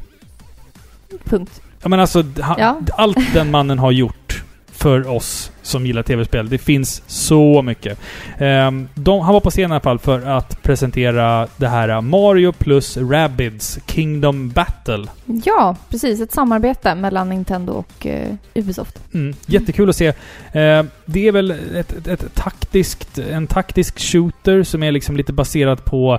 Punkt.
Ja men alltså, han,
Ja.
allt den mannen har gjort för oss som gillar tv-spel. Det finns så mycket. Ehm, de, han var på scen i alla fall för att presentera det här Mario plus Rabbids Kingdom Battle. Mm,
Ja, precis. Ett samarbete mellan Nintendo och eh, Ubisoft.
Mm, jättekul att se. Eh, det är väl ett, ett, ett taktiskt, en taktisk shooter som är liksom lite baserat på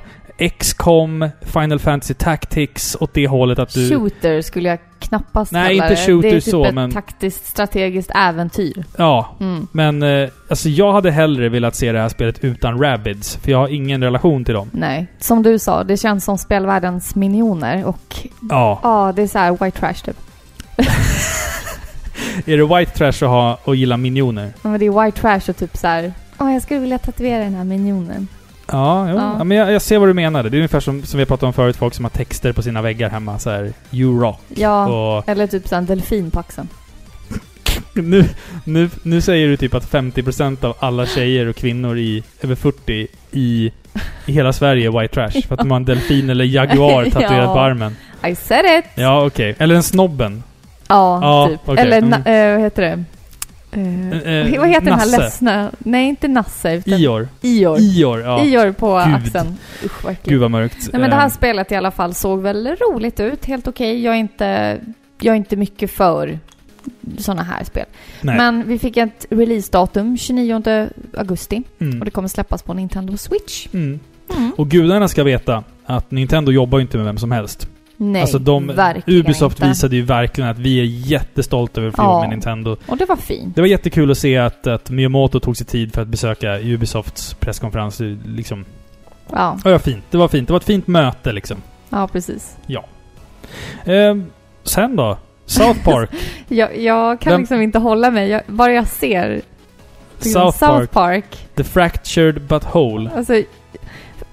XCOM, Final Fantasy Tactics, åt det hållet att du...
Shooter skulle jag knappast
Nej,
kalla
inte shooter
det. Det är typ
så,
ett
men-
taktiskt strategiskt äventyr.
Ja,
Mm.
men eh, alltså jag hade hellre velat se det här spelet utan Rabbids, för jag har ingen relation till dem.
Nej, som du sa, det känns som spelvärldens minioner och
Ja.
ja, det är så här white trash typ.
Är det white trash att ha och gilla minioner?
Ja, Men det är white trash och typ så här, åh jag skulle vilja tatuera den här minionen.
Ja, jo.
Ja.
ja. men jag, jag ser vad du menar. Det är ungefär som, som vi pratade om förut, folk som har texter på sina väggar hemma. Så här, you rock.
Ja,
Och
eller typ så här en delfin på axeln.
Nu, nu, nu säger du typ att 50% av alla tjejer och kvinnor i över 40 i, i hela Sverige är white trash. För att de har en delfin eller jaguar tatuerad
Ja.
på armen.
I said it!
Ja, okej. Eller en snobben.
Ja,
Ja,
typ.
okej,
Eller
mm.
na- eh, vad heter det? Eh,
Eh, eh,
vad heter den här
Nasse.
ledsna? Nej, inte Nasse, utan
Ior.
Ior.
Ior, ja.
Ior på
Gud.
axeln. Usch, vad äckligt.
Gud vad mörkt.
Nej men det här
Eh,
spelet i alla fall såg väl roligt ut, helt okej. Jag, är inte- jag är inte mycket för sådana här spel.
nej.
Men vi fick ett releasedatum 29 augusti och
Mm.
det kommer släppas på Nintendo Switch.
Mm. Och gudarna ska veta att Nintendo jobbar ju inte med vem som helst.
Nej,
alltså de,
verkligen
Ubisoft
inte.
visade ju verkligen att vi är jättestolta över att vi
Ja.
jobbar med Nintendo.
Och det var fint.
Det var jättekul att se att, att Miyamoto tog sig tid för att besöka Ubisofts presskonferens. Liksom.
Ja,
Ja, ja, fint. Det var fint. Det var ett fint möte liksom.
ja precis.
Ehm, sen då? South Park.
Jag, jag kan
Vem-
liksom inte hålla mig. Jag, bara jag ser liksom
South Park.
Park.
The Fractured But Whole.
Alltså,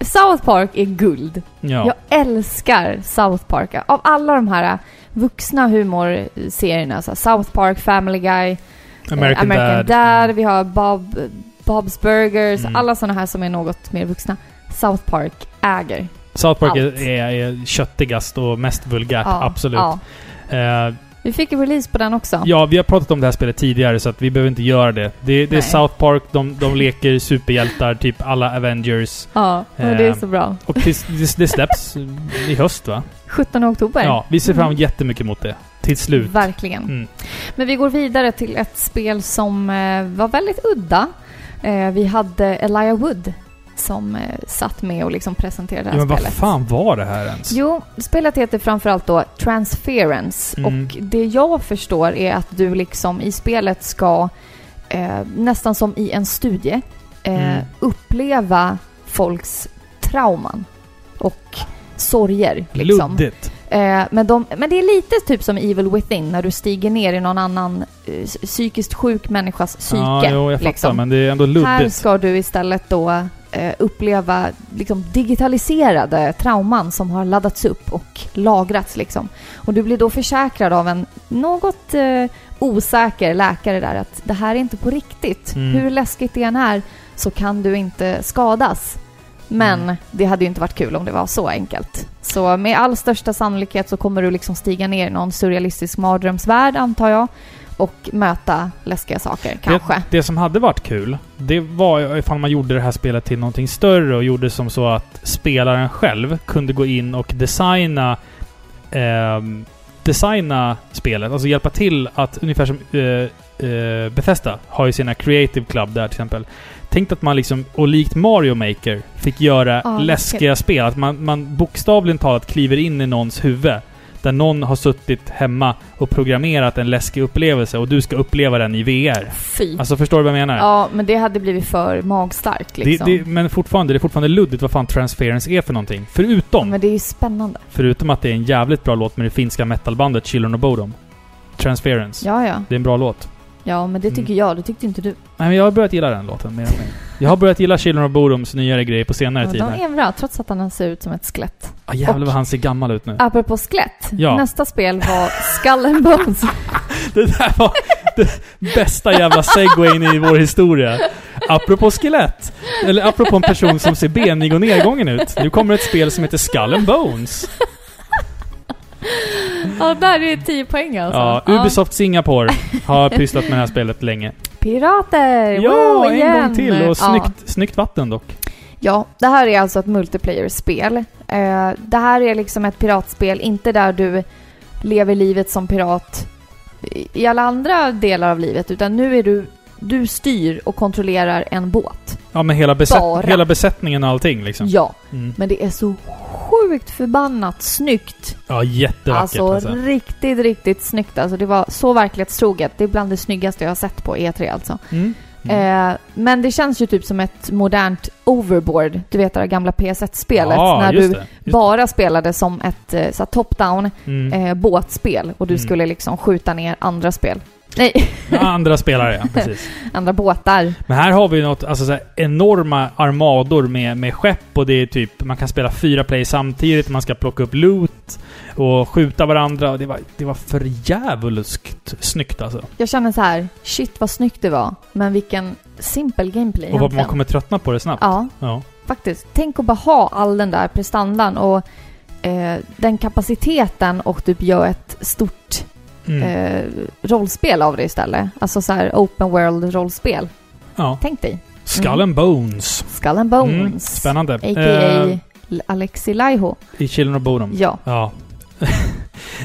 South Park är guld.
Ja.
Jag älskar South Park. Av alla de här eh, vuxna humorserierna, så här South Park, Family Guy,
American,
eh, American Dad,
Mm.
vi har Bob, Bob's Burgers,
Mm.
alla sådana här som är något mer vuxna. South Park äger.
South Park
Allt.
är, är, är köttigast och mest vulgärt.
Ja,
absolut.
ja.
Ehm,
Vi fick en release på den också.
ja, vi har pratat om det här spelet tidigare så att vi behöver inte göra det. Det, det är
Nej.
South Park. De, de leker superhjältar, typ alla Avengers.
Ja, och det är
Eh.
så bra.
Och det, det, det släpps i höst va?
17 oktober.
Ja, vi ser fram
Mm.
jättemycket mot det. Till slut.
Verkligen.
Mm.
Men vi går vidare till ett spel som eh, var väldigt udda. Eh, vi hade Elijah Wood som eh, satt med och liksom presenterade det
Ja,
här
men vad
spelet.
fan var det här ens?
Jo, spelet heter framförallt då Transference
Mm.
och det jag förstår är att du liksom i spelet ska eh, nästan som i en studie eh,
Mm.
uppleva folks trauman och sorger. Liksom.
Luddigt.
Eh, men, de, men det är lite typ som Evil Within när du stiger ner i någon annan eh, psykiskt sjuk människas psyke. liksom.
ja, jo, jag fattar. Men det är ändå
Här
luddigt.
ska du istället då eh, uppleva liksom, digitaliserade trauman som har laddats upp och lagrats. Liksom. Och du blir då försäkrad av en något eh, osäker läkare där att det här är inte på riktigt.
Mm.
Hur läskigt det än är så kan du inte skadas. Men
Mm.
det hade ju inte varit kul om det var så enkelt. Så med all största sannolikhet så kommer du liksom stiga ner i någon surrealistisk mardrömsvärld antar jag och möta läskiga saker kanske.
Det, det som hade varit kul, det var ju ifall man gjorde det här spelet till någonting större och gjorde som så att spelaren själv kunde gå in och designa ehm, designa spelet, alltså hjälpa till att ungefär som eh, eh, Bethesda har ju sina Creative Club där till exempel. Tänk att man liksom, och likt Mario Maker, fick göra
Ja,
läskiga spel. Att man, man bokstavligen talat kliver in i någons huvud. Där någon har suttit hemma och programmerat en läskig upplevelse och du ska uppleva den i VR.
Fy.
Alltså förstår du vad jag menar?
Ja, men det hade blivit för magstarkt liksom.
det, det, men fortfarande, det är fortfarande luddigt vad fan transference är för någonting. Förutom,
Men det är ju spännande.
förutom att det är en jävligt bra låt med det finska metalbandet Children of Bodom. Transference.
Ja, ja.
Det är en bra låt.
Ja, men det tycker jag. Det tyckte inte du.
Mm. Nej men jag har börjat gilla den låten mer och mer. Jag har börjat gilla Children of Bodoms nyare grejer på senare
Ja,
tid.
de
här.
är bra, trots att han ser ut som ett skelett.
Ah, jävlar
och-
vad han ser gammal ut nu.
Apropå skelett.
Ja.
Nästa spel var Skull and Bones.
Det där var det bästa jävla segwayn i vår historia. Apropå skelett. Eller apropå en person som ser benig och nedgången ut. Nu kommer ett spel som heter Skull and Bones.
ja, där är alltså. det 10 poäng alltså.
Ja, Ubisoft Singapore har pysslat med det här spelet länge.
Pirater!
Ja,
Wow,
en
igen!
gång till! Och
Ja.
snyggt, snyggt vatten dock.
Ja, det här är alltså ett multiplayer-spel. Eh, det här är liksom ett piratspel, inte där du lever livet som pirat i- i alla andra delar av livet, utan nu är du, du styr och kontrollerar en båt.
Ja, men hela,
Bara.
besätt, hela besättningen och allting liksom.
Ja,
Mm.
men det är så sjukt förbannat snyggt.
Ja, jättevackert
Alltså,
alltså.
riktigt, riktigt snyggt. Alltså, det var så verklighetstroget. Det är bland det snyggaste jag har sett på E3 alltså.
Mm.
Eh, men det känns ju typ som ett modernt overboard, du vet det där gamla PS1-spelet.
Ja,
när
just
du
det, just det.
bara spelade som ett eh, så här top-down
Mm.
eh, båtspel och du
Mm.
skulle liksom skjuta ner andra spel. Nej,
Ja, Andra spelare, ja. Precis.
andra båtar.
Men här har vi ju något, alltså så här, enorma armador med, med skepp och det är typ, man kan spela fyra play samtidigt, man ska plocka upp loot och skjuta varandra och det var, det var för djävulskt snyggt alltså.
Jag känner så här, shit vad snyggt det var, men vilken simpel gameplay
Och vad man
egentligen.
kommer tröttna på det snabbt.
Ja,
Ja.
faktiskt. Tänk att bara ha all den där prestandan och eh, den kapaciteten och typ göra ett stort
Mm.
eh, rollspel av det istället. Alltså så här open world-rollspel.
ja.
Tänk dig. Mm.
Skull and Bones.
Skull and
Mm,
Bones.
Spännande.
A.k.a.
Eh, Mm.
Alexi Laiho.
I Children of Bodom.
Ja.
Ja.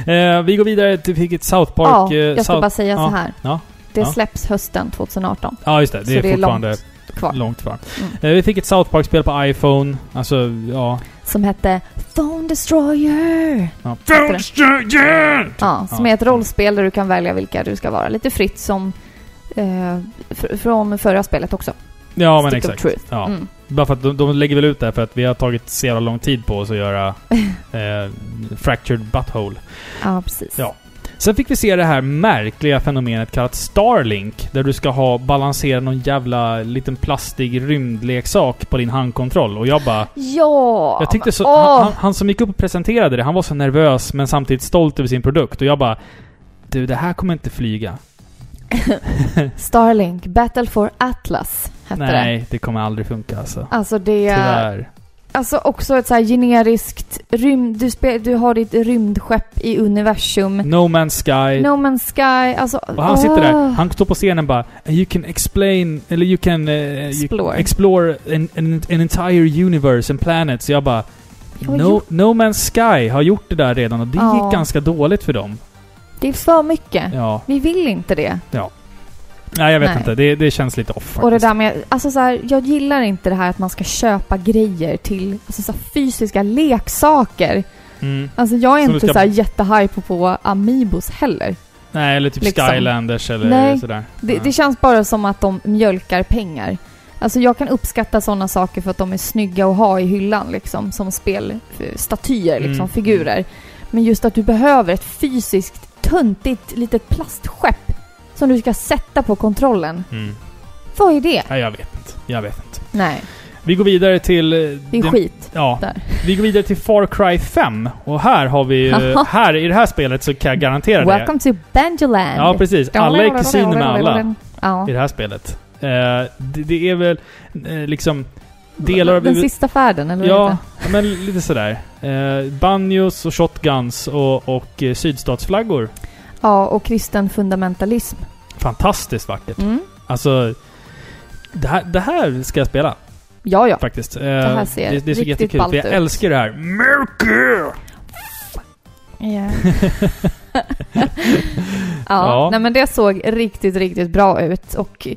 eh, vi går vidare till vilket South Park... eh,
Ja, jag ska
South...
bara säga
ja,
så här.
ja,
det
ja.
släpps hösten 2018.
ja, just det.
så
Det är
det är
fortfarande
långt kvar. Mm.
långt kvar. Eh, vi fick ett South Park-spel på iPhone. Alltså, ja.
Som hette Phone Destroyer.
ja.
Heter det?
Stranger!
Ja, som
Ja.
är ett rollspel där du kan välja vilka du ska vara. Lite fritt som eh, fr- från förra spelet också.
Ja, men
Stick
exakt.
Of truth.
Ja.
Mm.
Bara för att de, de lägger väl ut det här för att vi har tagit så jävla lång tid på oss att göra eh, Fractured Butthole.
ja, precis.
Ja. Sen fick vi se det här märkliga fenomenet kallat Starlink, där du ska ha balansera någon jävla liten plastig rymdleksak på din handkontroll. Och jag bara...
Ja!
Jag tyckte så,
men- åh!
han, han, han som gick upp och presenterade det, han var så nervös men samtidigt stolt över sin produkt. Och jag bara... Du, det här kommer inte flyga.
Starlink, Battle for Atlas hette det.
Nej, det kommer aldrig funka alltså.
Alltså det...
Tyvärr.
Alltså också ett så här generiskt rymd... Du, spe, du har ditt rymdskepp i universum.
No Man's Sky.
No Man's Sky, alltså...
Och han sitter där,
åh.
han står på scenen bara You can explain, eller you can... eh, you
Explore.
explore an, an, an entire universe and planets. Så jag bara...
Jag har
No,
gjort-
no Man's Sky har gjort det där redan och det
Ja. Äh.
gick ganska dåligt för dem.
Det är för mycket.
Ja.
Vi vill inte det.
Nej, jag vet
Nej.
inte. Det, det känns lite off faktiskt.
Och det där med, alltså så här, jag gillar inte det här att man ska köpa grejer till, alltså så här, fysiska leksaker.
mm.
Alltså jag är
Som du
inte
ska-
så här jättehype på Amiibos heller.
Nej, eller typ
Liksom.
Skylanders eller
Nej.
sådär.
Det,
Ja.
det känns bara som att de mjölkar pengar. Alltså jag kan uppskatta sådana saker för att de är snygga att ha i hyllan liksom, som spelstatyer, liksom,
Mm.
figurer. Men just att du behöver ett fysiskt, töntigt litet plastskepp som du ska sätta på kontrollen.
Mm.
Vad är det?
Nej, jag vet inte. Jag vet inte.
Nej,
Vi går vidare till... eh,
det är
den-
skit.
Ja.
Där.
Vi går vidare till Far Cry 5. Och här har vi... eh,
Jaha.
här, i det här spelet så kan jag garantera det.
Welcome to Banjoland!
Ja, precis. Alla är kusiner med alla
Ja.
i det här spelet. Eh, det, det är väl eh, liksom delar av...
Den sista färden, eller vad
ja,
heter
ja, men lite sådär. Eh, banjos och shotguns och, och eh, sydstatsflaggor.
det? Ja, och kristen fundamentalism.
Fantastiskt vackert.
Mm.
Alltså... Det här, det här ska jag spela
Ja, ja.
faktiskt. Eh,
här ser
det, det ser
riktigt
jättekul
ballt
ut. Jag
ut.
älskar det här. Mercury!
Ja. Nej, men det såg riktigt, riktigt bra ut. Och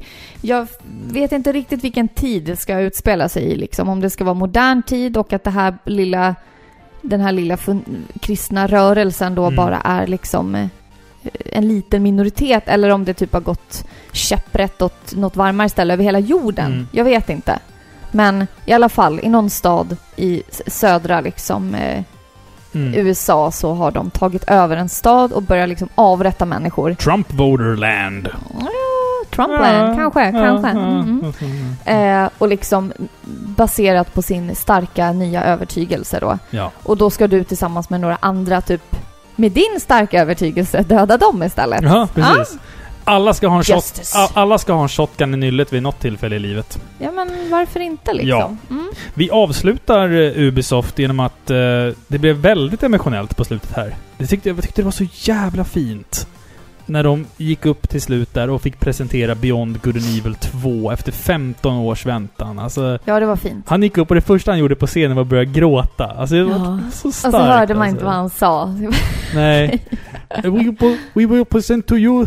jag vet inte riktigt vilken tid det ska utspela sig i. Liksom. Om det ska vara modern tid och att det här lilla, den här lilla fun- kristna rörelsen då
Mm.
bara är liksom eh, en liten minoritet. Eller om det typ har gått käpprätt åt något varmare ställe över hela jorden.
Mm.
Jag vet inte. Men i alla fall, i någon stad i s- södra liksom... Eh,
Mm.
USA så har de tagit över en stad och börjar liksom avrätta människor.
Trump voterland.
Ja, Trumpland, kanske, kanske. Mm. Eh, och liksom baserat på sin starka nya övertygelse då.
Ja.
Och då ska du tillsammans med några andra typ med din starka övertygelse döda dem istället.
ja,
Ah.
precis. Alla ska, ha en shot,
Justice.
a- alla ska ha en shotgun i nyllet vid något tillfälle i livet.
Ja men varför inte liksom? Mm.
Vi avslutar eh, Ubisoft genom att eh, det blev väldigt emotionellt på slutet här. Det tyckte, jag tyckte det var så jävla fint. när de gick upp till slut där och fick presentera Beyond Good and Evil 2 efter 15 års väntan. Alltså,
Ja, det var fint.
han gick upp och det första han gjorde på scenen var att börja gråta. Alltså, det var
Ja.
så starkt.
Och så hörde man
alltså.
inte vad han sa.
Nej. we, po- we will present to you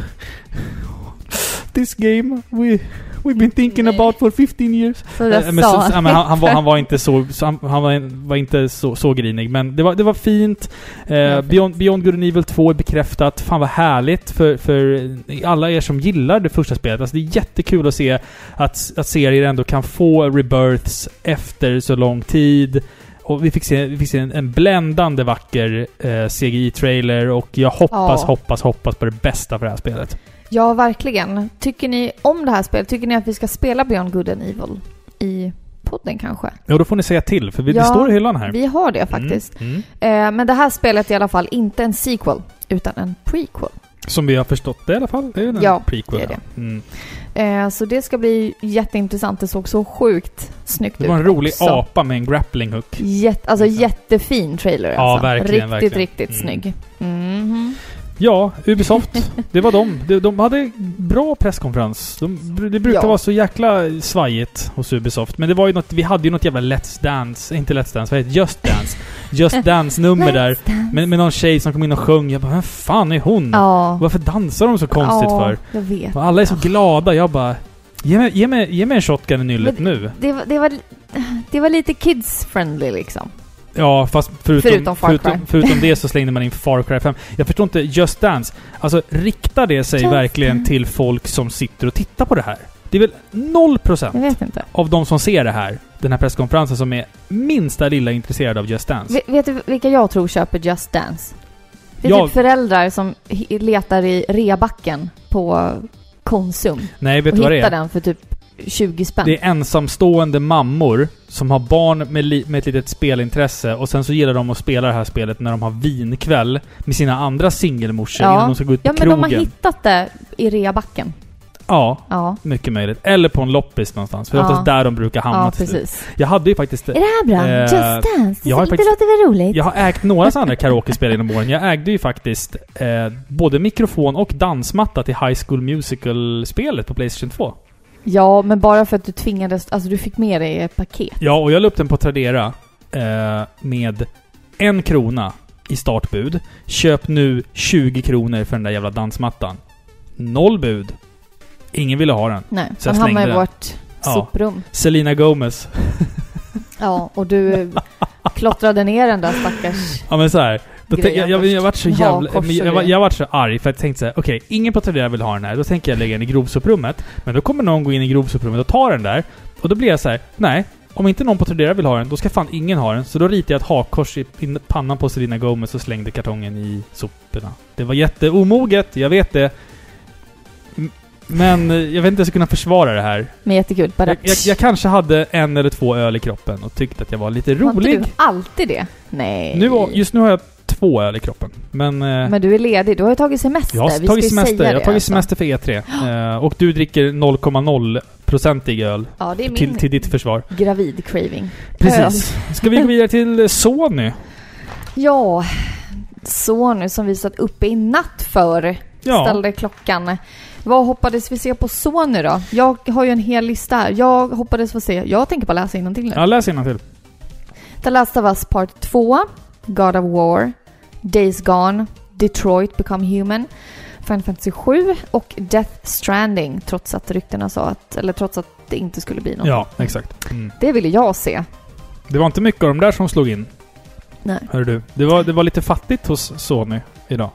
this game we, we've been thinking
Nej.
about for 15 years.
Så det
Eh, men
sa
så, så, ja, men han, han, var,
inte.
han var inte så, så, han, han var, var inte så, så grinig, men det var, det var fint. Eh,
fint.
Beyond, Beyond Good and Evil 2 är bekräftat. Fan vad härligt för, för eh, alla er som gillar det första spelet. Alltså det är jättekul att se att, att serier ändå kan få rebirths efter så lång tid. Och vi fick se, vi fick se en, en bländande vacker eh, CGI-trailer och jag hoppas,
Ja.
hoppas, hoppas på det bästa för det här spelet.
Ja, verkligen. Tycker ni om det här spelet? Tycker ni att vi ska spela Beyond Good and Evil i podden kanske?
Ja, då får ni säga till, för vi,
Ja,
det står i hyllan här.
Vi har det faktiskt.
Mm, mm.
Eh, men det här spelet är i alla fall inte en sequel, utan en prequel.
Som vi har förstått det i alla fall. Det är ju en
Ja,
prequel.
det är det.
ja. Mm.
Eh, så det ska bli jätteintressant. Det såg så sjukt snyggt
Det var en
ut
rolig
också.
apa med en grappling hook.
Jätte, alltså
Exakt.
jättefin trailer
Ja,
alltså.
verkligen,
Riktigt,
verkligen.
riktigt
Mm.
snygg. Mhm.
Ja, Ubisoft. det var de. de. De hade bra presskonferens. De, det brukar
Ja.
vara så jäkla svajigt hos Ubisoft. Men det var ju något, vi hade ju något jävla Let's Dance, inte Let's Dance, vad heter det? Just Dance. Just Dance-nummer där. Med, med någon tjej som kom in och sjöng. Jag bara, vem fan är hon?
Ja.
Varför dansar de så konstigt
ja,
för?
jag vet.
Och alla är så glada. Jag bara, ge mig, ge mig, ge mig en shotgun i nyllet nu.
Det var, det, var, det var lite kids-friendly liksom.
Ja, fast förutom,
Förutom
förutom,
Far Cry.
förutom, det så slängde man in Far Cry 5. Jag förstår inte Just Dance. Alltså, riktar det sig
Just
verkligen
Dance.
till folk som sitter och tittar på det här? Det är väl 0%
Jag vet inte.
av de som ser det här, den här presskonferensen, som är minsta lilla intresserade av Just Dance.
V- vet du vilka jag tror köper Just Dance? Det är
Jag-
typ föräldrar som hi- letar i rebacken på Konsum
Nej, vet
och
du vad det
hittar
är?
den för typ 20 spänn.
Det är ensamstående mammor som har barn med, li- med ett litet spelintresse och sen så gillar de att spela det här spelet när de har vinkväll med sina andra singelmorsor
Ja.
innan de ska gå ut på
ja, men de
krogen.
har hittat det i rebacken.
ja,
Ja,
mycket möjligt. Eller på en loppis någonstans. För det är
Ja.
oftast där de brukar hamna
ja
till slut.
precis.
Jag hade ju faktiskt...
Är det här bra?
Eh,
Just Dance?
jag
Det,
har faktiskt-
låter väl roligt?
Jag har ägt några sådana här karaokespel genom åren. Jag ägde ju faktiskt eh, både mikrofon och dansmatta till High School Musical-spelet på Playstation 2.
Ja, men bara för att du tvingades... Alltså du fick med dig ett paket.
Ja, och jag la upp den på Tradera eh, med en krona i startbud. Köp nu 20 kronor för den där jävla dansmattan. Noll bud. Ingen ville ha den.
Nej,
Så jag
den hamnade i
slängde den.
vårt
Ja.
soprum.
Selena Gomez.
Ja, och du klottrade ner den där stackars...
Ja men så här. Då
Grejen
tänk, jag, jag, jag vart så
först.
jävla...
Hakkors
men jag,
och
jag, var-
grejer.
jag vart så arg för jag tänkte såhär, okej, ingen på Tradera vill ha den här. Då tänker jag lägga den i grovsoprummet. Men då kommer någon gå in i grovsoprummet och ta den där. Och då blir jag så här: nej. Om inte någon på Tradera vill ha den, då ska fan ingen ha den. Så då ritade jag ett hakkors i pin- pannan på Selena Gomez och slängde kartongen i soporna. Det var jätteomoget, jag vet det. M- Men eh, jag vet inte om jag ska kunna försvara det här.
Men jättekul. Bara,
Jag, jag, jag kanske hade en eller två öl i kroppen och tyckte att jag var lite
Har inte
rolig.
Du alltid det? Nej.
Nu, har- just nu har jag två öl i kroppen. Men, eh,
Eh, Men du är ledig. Du har ju tagit semester.
jag har
Vi ska
tagit
ju
semester.
säga
Jag har
det,
tagit
alltså.
semester för E3. Eh, och du dricker 0,0-procentig öl.
Ja, det är min
Till, till ditt försvar.
gravid-craving.
Precis. Ska vi gå vidare till Sony?
Ja, Sony som vi satt uppe i natt för
Ja.
ställde klockan. Vad hoppades vi se på Sony då? Jag har ju en hel lista här. Jag hoppades få se... Jag tänker bara läsa innantill nu.
ja läs till.
The Last of Us Part 2, God of War, Days Gone, Detroit Become Human, Final Fantasy 7 och Death Stranding trots att ryktena sa att, eller trots att det inte skulle bli något.
Ja, exakt. Mm.
Det ville jag se.
Det var inte mycket av de där som slog in.
Nej.
Hör du. Det var, det var lite fattigt hos Sony idag.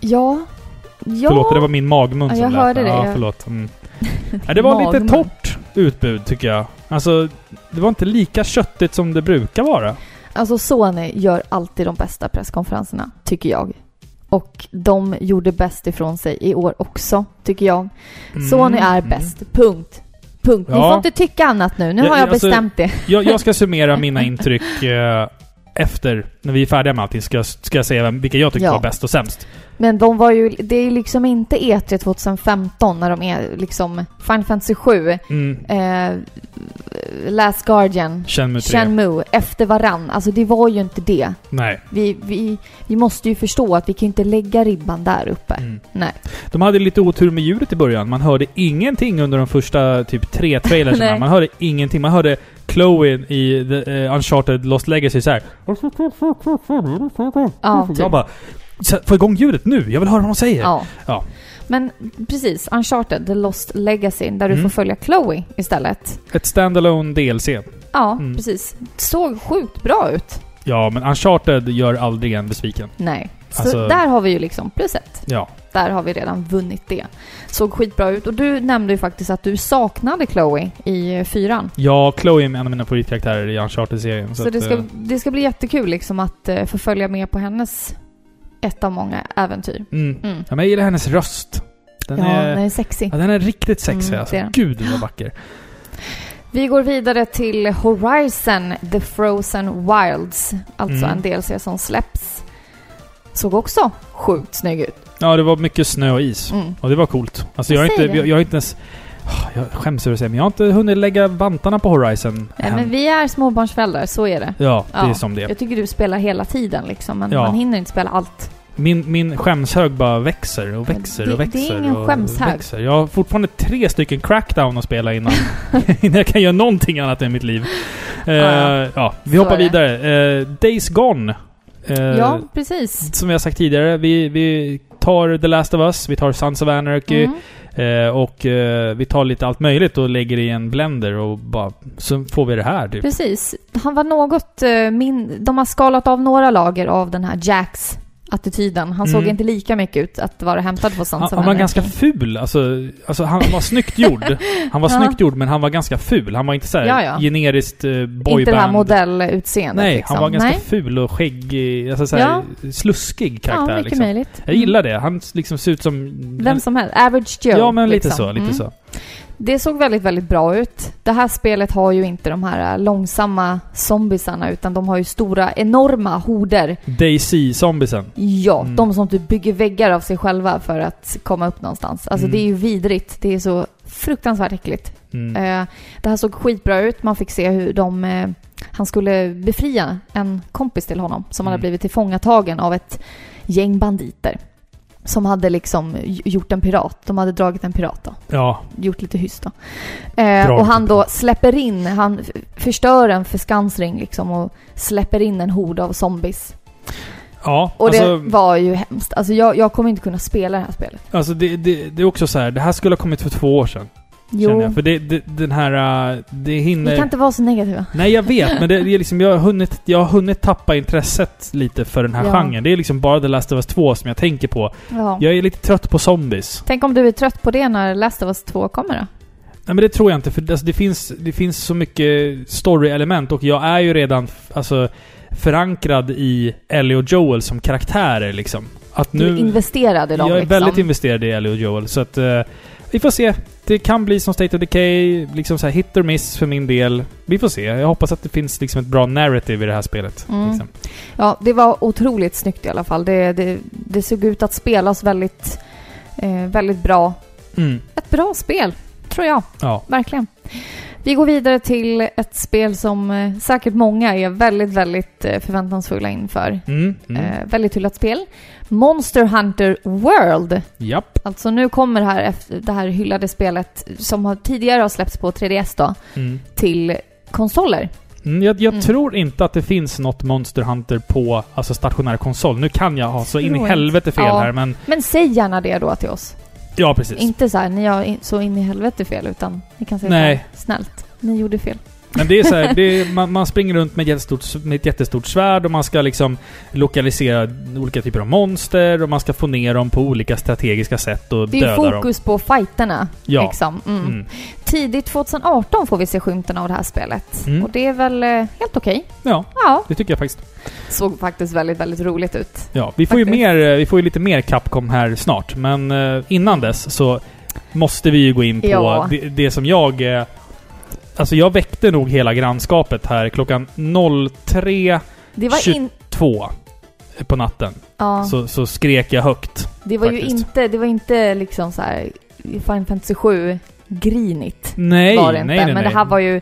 Ja. Ja.
Förlåt, det var min magmun
Ja,
som
jag
lät.
hörde det.
Ja,
Jag-
förlåt. Mm. Ja, det var lite
Magmun.
torrt utbud tycker jag. Alltså, det var inte lika köttigt som det brukar vara.
Alltså Sony gör alltid de bästa presskonferenserna, tycker jag. Och de gjorde bäst ifrån sig i år också, tycker jag.
Mm.
Sony är
Mm.
bäst. Punkt. Punkt. Ni
Ja.
får inte tycka annat nu. Nu
Ja,
har jag
alltså-
bestämt det.
jag, jag ska summera mina intryck eh, efter när vi är färdiga med allting, ska jag, ska jag säga vem, vilka jag tyckte
Ja.
var bäst och sämst.
Men de var ju, det är ju liksom inte E3 2015 när de är liksom Final Fantasy 7,
Mm.
eh, Last Guardian,
Shenmue 3.
Shenmue, efter varann. Alltså det var ju inte det.
Nej.
Vi, vi, vi måste ju förstå att vi kan inte lägga ribban där uppe.
Mm.
Nej.
De hade lite otur med ljudet i början. Man hörde ingenting under de första typ tre trailersarna.
Nej.
man hörde ingenting. Man hörde Chloe i The, eh, Uncharted Lost Legacy så här.
Ja, typ.
Jag bara... "Så- Få igång ljudet nu! Jag vill höra vad de säger!
Ja.
Ja.
Men precis, Uncharted, The Lost Legacy, där du
Mm.
får följa Chloe istället.
Ett standalone DLC.
Ja,
Mm.
precis. Såg sjukt bra ut.
Ja, men Uncharted gör aldrig en besviken.
Nej. Så
Alltså-
där har vi ju liksom pluset.
Ja.
Där har vi redan vunnit det. Såg skitbra ut. Och du nämnde ju faktiskt att du saknade Chloe i eh, fyran.
Ja, Chloe är en av mina favoritkaraktärer i Uncharted-serien.
Så,
att,
det,
eh,
ska, det ska bli jättekul liksom att eh, få följa med på hennes ett av många äventyr.
Mm.
Mm.
Ja, men jag gillar hennes röst. Den,
ja,
är,
den är sexig.
ja, den är riktigt sexig
Mm,
alltså.
det är den.
Gud vad vacker.
Vi går vidare till Horizon The Frozen Wilds. Alltså
Mm.
en DLC som släpps. Såg också sjukt snygg ut.
Ja, det var mycket snö och is.
Mm.
Och det var coolt. Alltså jag
Jag
har inte,
säger
jag,
det.
jag har inte ens... Ah, Jag skäms över att säga, men jag har inte hunnit lägga vantarna på Horizon
Nej,
än.
men vi är småbarnsföräldrar, så är det.
Ja, det är
Ja.
som det är.
Jag tycker du spelar hela tiden liksom, men
Ja.
man hinner inte spela allt.
Min, min skämshög bara växer och växer
Det-
och
det är
växer.
ingen
och
skämshög.
Växer. Jag har fortfarande tre stycken crackdown att spela innan, innan jag kan göra någonting annat i mitt liv. Eh,
ja.
ja, vi
Så
hoppar
är det.
vidare. Eh, Days Gone. Eh,
ja, precis.
Som vi har sagt tidigare, vi, vi tar The Last of Us, vi tar Sons of Anarchy
Mm.
eh, och eh, vi tar lite allt möjligt och lägger i en blender och bara... Så får vi det här typ.
Precis. Han var något eh, min... De har skalat av några lager av den här Jacks attityden. Han såg
Mm.
inte lika mycket ut att vara hämtad från
Han,
Sons of
han var
Anarchy.
ganska ful. Alltså, alltså han var snyggt gjord. Han var
Ja.
snyggt gjord, men han var ganska ful. Han var inte såhär
Ja, ja.
generiskt eh, boyband.
Inte det här modellutseendet
Nej,
liksom.
han var ganska
Nej.
ful och skäggig. Alltså såhär sluskig
Ja,
karaktär
mycket
liksom.
möjligt.
Jag gillar det. Han liksom ser ut som...
Vem som helst. Average Joe.
ja, men lite
liksom.
så. Lite
Mm.
så.
Det såg väldigt, väldigt bra ut. Det här spelet har ju inte de här äh, långsamma zombisarna utan de har ju stora, enorma horder.
Daisy-zombisen.
Ja,
Mm.
de som typ bygger väggar av sig själva för att komma upp någonstans. Alltså
Mm.
det är ju vidrigt. Det är så fruktansvärt äckligt.
Mm.
Eh, Det här såg skitbra ut. Man fick se hur de... eh, Han skulle befria en kompis till honom som
Mm.
hade blivit tillfångatagen av ett gäng banditer. Som hade liksom gj- gjort en pirat. De hade dragit en pirat då.
Ja,
Gjort lite hyss då. Eh, och han då släpper in, han f- förstör en förskansring liksom och släpper in en hord av zombies.
ja.
Och
alltså,
det var ju hemskt. Alltså jag, jag kommer inte kunna spela det här spelet.
alltså det, det, det är också så här. det här skulle ha kommit för två år sedan. Känner jag.
Jo,
För det, det, den här, äh, det
vi
hinner...
kan inte vara så negativa.
Nej, jag vet, men det, det är liksom, jag, har hunnit, jag har hunnit tappa intresset lite för den här
Ja.
genren. Det är liksom bara The Last of Us 2 som jag tänker på.
Ja.
Jag är lite trött på zombies.
Tänk om du är trött på det när Last of Us 2 kommer då?
Nej, men det tror jag inte, för det, alltså, det, finns, det finns så mycket story-element och jag är ju redan f- alltså, förankrad i Ellie och Joel som karaktärer liksom. Att
Du
nu...
investerade dem
jag är
liksom.
väldigt investerad i Ellie och Joel, så att... eh, vi får se. Det kan bli som State of Decay, liksom så här hit or miss för min del. Vi får se. Jag hoppas att det finns liksom ett bra narrative i det här spelet.
Mm.
Liksom.
Ja, det var otroligt snyggt i alla fall. Det, det, det såg ut att spelas väldigt, eh, väldigt bra.
Mm.
Ett bra spel, tror jag.
Ja.
Verkligen. Vi går vidare till ett spel som eh, säkert många är väldigt, väldigt eh, förväntansfulla inför.
Mm. Mm.
Eh, väldigt hyllat spel. Monster Hunter World.
Japp.
Alltså nu kommer här efter det här hyllade spelet som har, tidigare har släppts på 3DS då,
Mm.
till konsoler.
Mm. Jag, jag
Mm.
tror inte att det finns något Monster Hunter på alltså, stationär konsol. Nu kan jag ha så in i
Tror
helvete fel
Ja.
här, men...
Men säg gärna det då till oss.
Ja, precis.
Inte så här, ni har in, så in i helvete fel, utan ni kan säga
Nej.
så här, snällt, ni gjorde fel.
Men det är så här, det är, man, man springer runt med, jättestort, med ett jättestort svärd och man ska liksom lokalisera olika typer av monster och man ska få ner dem på olika strategiska sätt och
Det är ju
döda dem.
fokus på fighterna.
Ja.
Liksom. Mm.
Mm.
Tidigt 2018 får vi se skymten av det här spelet.
Mm.
Och det är väl eh, helt okej.
Ja,
Ja,
det tycker jag faktiskt.
såg faktiskt väldigt, väldigt roligt ut.
Ja, vi får ju
Faktiskt.
mer, eh, vi får ju lite mer Capcom här snart, men eh, innan dess så måste vi ju gå in på
Ja.
det, det som jag... eh, Alltså jag väckte nog hela grannskapet här klockan 03.22
Det var in,
två på natten
Ja,
så, så skrek jag högt.
det var ju
faktiskt.
inte, det var inte liksom så här Final Fantasy 7 grinigt.
Nej,
var det inte.
nej, nej, nej.
Men det här var ju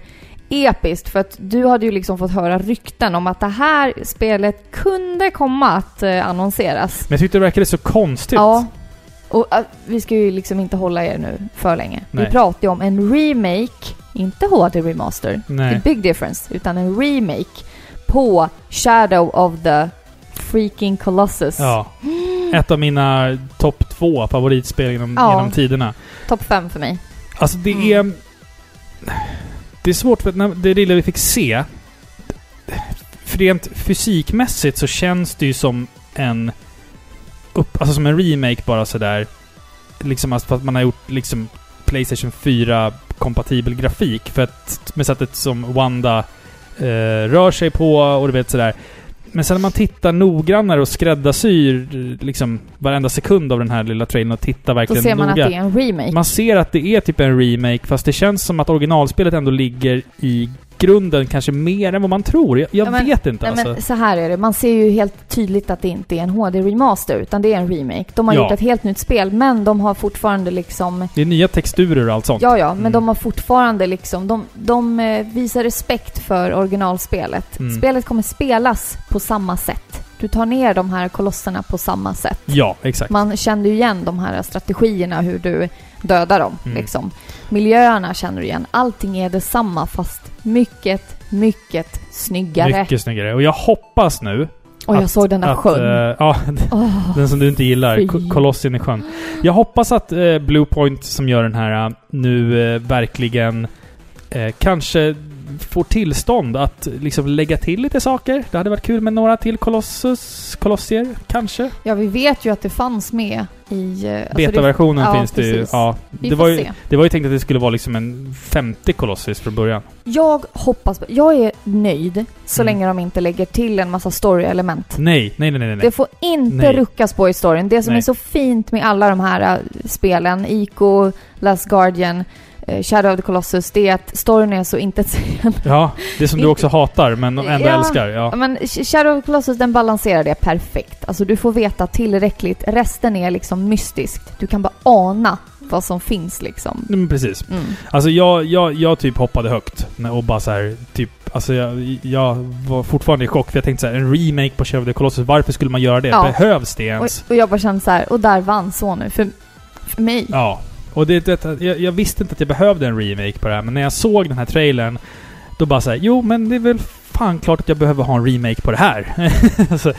episkt för att du hade ju liksom fått höra rykten om att det här spelet kunde komma att eh, annonseras.
Men jag tyckte det verkade så konstigt.
Ja. Och eh, vi ska ju liksom inte hålla er nu för länge.
Nej.
Vi pratar ju om en remake, inte HD Remaster. Det är
Nej.
big difference. Utan en remake på Shadow of the freaking Colossus.
Ja. Ett av mina topp två favoritspel genom,
Ja.
genom tiderna.
Topp 5 för mig.
Alltså det
Mm.
är... Det är svårt för att när, det lilla vi fick se... För rent fysikmässigt så känns det ju som en... Upp, alltså som en remake bara sådär. Liksom alltså för att man har gjort liksom Playstation 4-kompatibel grafik. För att med sättet som Wanda eh, rör sig på och du vet sådär. Men sen när man tittar noggrannare och skräddarsyr eh, liksom varenda sekund av den här lilla trailern och tittar
Då
verkligen
ser man
noga.
att det är en remake.
Man ser att det är typ en remake, fast det känns som att originalspelet ändå ligger i grunden kanske mer än vad man tror. Jag, jag
Ja, men-
vet inte
Nej,
alltså.
men så här är det. Man ser ju helt tydligt att det inte är en HD-remaster, utan det är en remake. De har
Ja.
gjort ett helt nytt spel, men de har fortfarande liksom...
Det är nya texturer och allt sånt.
Ja, ja, men
Mm.
de har fortfarande liksom... De, de eh, visar respekt för originalspelet.
Mm.
Spelet kommer spelas på samma sätt. Du tar ner de här kolosserna på samma sätt.
Ja, exakt.
Man kände ju igen de här strategierna, hur du dödar dem.
Mm.
Liksom. Miljöerna känner du igen. Allting är detsamma, fast mycket, mycket snyggare.
Mycket snyggare. Och jag hoppas nu...
Och jag
att-
såg den där
att,
sjön.
eh, ja,
Åh.
den som du inte gillar.
Fy.
Ko- Kolossen i sjön. Jag hoppas att eh, Bluepoint som gör den här eh, nu eh, verkligen eh, kanske får tillstånd att eh, liksom lägga till lite saker. Det hade varit kul med några till Kolossus, Kolossier, kanske?
Ja, vi vet ju att det fanns med i... eh, alltså det,
Betaversionen
ja,
finns det ju.
precis.
Ja,
vi
det,
får
var ju
se.
det var ju tänkt att det skulle vara liksom en 50 Colossus från början.
Jag hoppas... Jag är nöjd så
Mm.
länge de inte lägger till en massa story-element.
Nej, nej, nej, nej. nej.
Det får inte
Nej.
ruckas på i storyn. Det som
Nej.
är så fint med alla de här eh, spelen, Ico, Last Guardian, eh, Shadow of the Colossus, det är att storyn är så intetsägande.
Ja, det som du
Inte-
också hatar men ändå
Ja.
älskar. Ja.
Men Sh- Shadow of the Colossus, den balanserar det perfekt. Alltså du får veta tillräckligt. Resten är liksom mystiskt. Du kan bara ana vad som finns liksom.
Nej, Men precis.
Mm.
Alltså jag, jag, jag typ hoppade högt när- och bara så här, typ, alltså jag, jag var fortfarande i chock för jag tänkte så här, en remake på Shadow of the Colossus, varför skulle man göra det?
Ja.
Behövs det
Och,
ens?
och jag bara kände så här, och där vann så nu. För, för mig.
Ja. Och det, det, jag, jag visste inte att jag behövde en remake på det här, men när jag såg den här trailern, då bara såhär, jo men det är väl fan klart att jag behöver ha en remake på det här. alltså,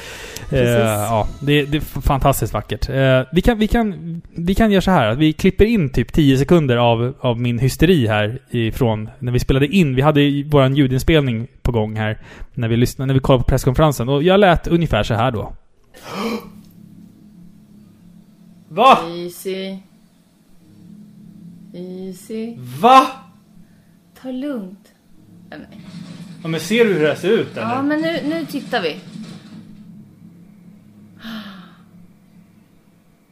eh, ja, det, det är f- fantastiskt vackert. Eh, vi, kan, vi, kan, vi kan göra så här, att vi klipper in typ 10 sekunder av, av min hysteri här ifrån när vi spelade in. Vi hade ju vår ljudinspelning på gång här när vi, lyssnade, när vi kollade på presskonferensen och jag lät ungefär så här då. Va?
Easy. Easy.
Va?
Ta lugnt.
Ja, men ser du hur det här ser ut eller?
Ja, men nu, nu tittar vi.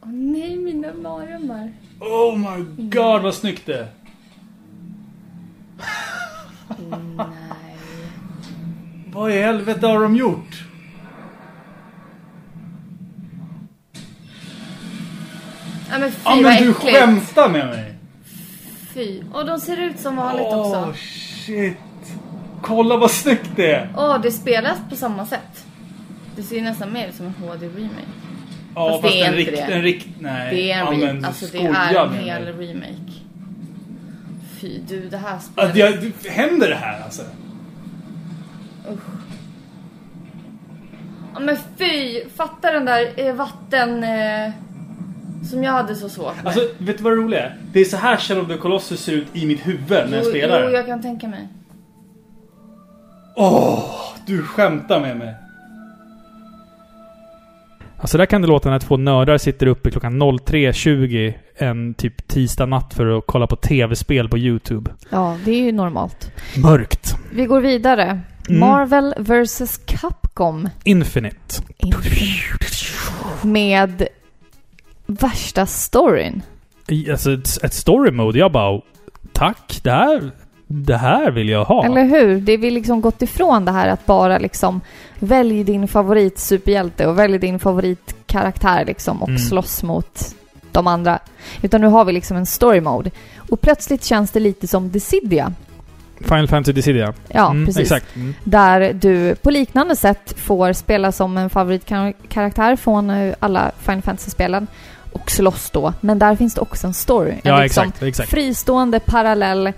Åh nej, mina mardrömmar.
Oh my god vad snyggt det är.
Nej.
Vad i helvete har de gjort?
Ja, men fy vad äckligt.
med mig.
Fy. Och de ser ut som vanligt också.
shit. Kolla vad snyggt det är.
Åh, det spelas på samma sätt. Det ser ju nästan mer ut som en HD-remake.
Ja,
Fast det fast är en inte rikt- det. en
nej.
Det är en, re- alltså, det är en hel remake. Fy, du, det här spelet.
händer det här alltså?
Ja men fy! Fatta den där eh, vatten... Eh, som jag hade så svårt med.
Alltså, vet du vad det roliga är? Det är så här Shadow of the Colossus ser ut i mitt huvud
Jo, Jo, jag kan tänka mig.
Åh, du skämtar med mig. Alltså där kan det låta när två nördar sitter uppe klockan 03.20 en typ tisdag natt för att kolla på tv-spel på YouTube.
Ja, det är ju normalt.
Mörkt.
Vi går vidare.
Mm.
Marvel vs Capcom.
Infinite.
Med värsta storyn.
I- Alltså ett, ett story mode. Jag bara... Tack, det här det här vill jag ha.
Eller hur? Det vi liksom gått ifrån det här att bara liksom välj din favorit superhjälte och välj din favoritkaraktär liksom och
Mm.
slåss mot de andra. Utan nu har vi liksom en story mode. Och plötsligt känns det lite som Dissidia.
Final Fantasy Dissidia.
Ja,
Mm,
precis.
Exakt. Mm.
Där du på liknande sätt får spela som en favoritkaraktär från eh, alla Final Fantasy-spelen och slåss då. Men där finns det också en story. En
Ja,
liksom
exakt. exakt.
fristående parallell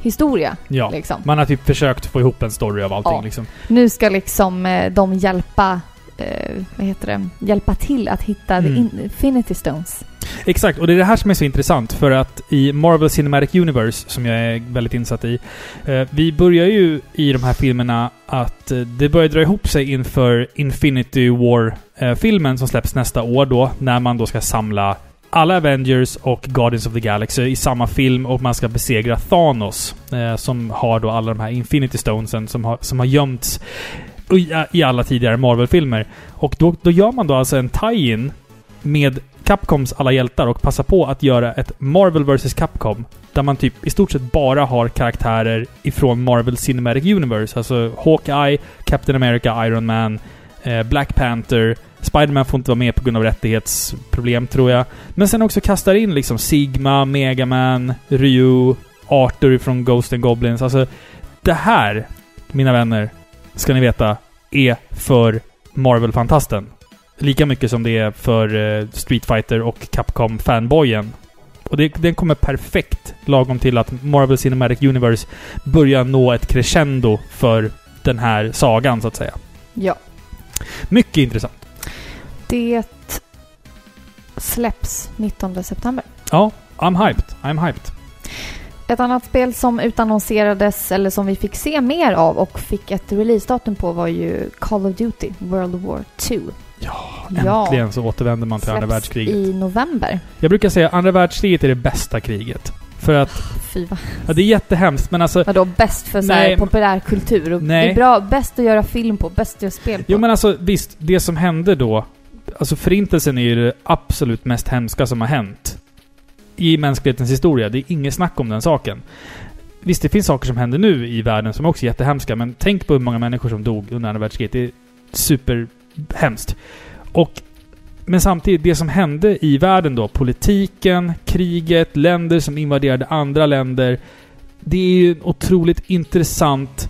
historia.
Ja.
Liksom.
Man har typ försökt få ihop en story av allting
Ja.
liksom.
Nu ska liksom eh, de hjälpa eh, vad heter det? Hjälpa till att hitta
Mm.
the Infinity Stones.
Exakt, och det är det här som är så intressant för att i Marvel Cinematic Universe, som jag är väldigt insatt i, eh, vi börjar ju i de här filmerna att eh, det börjar dra ihop sig inför Infinity War-filmen som släpps nästa år då, när man då ska samla alla Avengers och Guardians of the Galaxy i samma film och man ska besegra Thanos eh, som har då alla de här Infinity Stonesen som har, som har gömts i, i alla tidigare Marvel-filmer. Och då, då gör man då alltså en tie-in med Capcoms alla hjältar och passa på att göra ett Marvel vs Capcom. Där man typ i stort sett bara har karaktärer ifrån Marvel Cinematic Universe. Alltså Hawkeye, Captain America, Iron Man, eh, Black Panther. Spider-Man får inte vara med på grund av rättighetsproblem tror jag. Men sen också kastar in liksom Sigma, Mega Man, Ryu, Arthur från Ghost and Goblins. Alltså det här, mina vänner, ska ni veta, är för Marvel-fantasten. Lika mycket som det är för eh, Street Fighter och Capcom-fanboyen. Och det, den kommer perfekt lagom till att Marvel Cinematic Universe börjar nå ett crescendo för den här sagan, så att säga.
Ja.
Mycket intressant.
Det släpps 19 september.
Ja, I'm hyped. I'm hyped.
Ett annat spel som utannonserades, eller som vi fick se mer av och fick ett releasedatum på var ju Call of Duty World War 2. Ja,
Äntligen så återvänder man till andra
släpps
världskriget.
i november.
Jag brukar säga andra världskriget är det bästa kriget. För att,
Fy vad
ja, det är jättehemskt, men alltså
Vadå bäst för så
Nej.
här populärkultur? Och
Nej.
Det är bra, bäst att göra film på, bäst att göra spel på.
Jo men alltså visst, det som hände då... Alltså förintelsen är ju det absolut mest hemska som har hänt. I mänsklighetens historia. Det är inget snack om den saken. Visst, det finns saker som händer nu i världen som också är jättehemska, men tänk på hur många människor som dog under andra världskriget. Det är superhemskt. Och... Men samtidigt, det som hände i världen då, politiken, kriget, länder som invaderade andra länder. Det är ju en otroligt intressant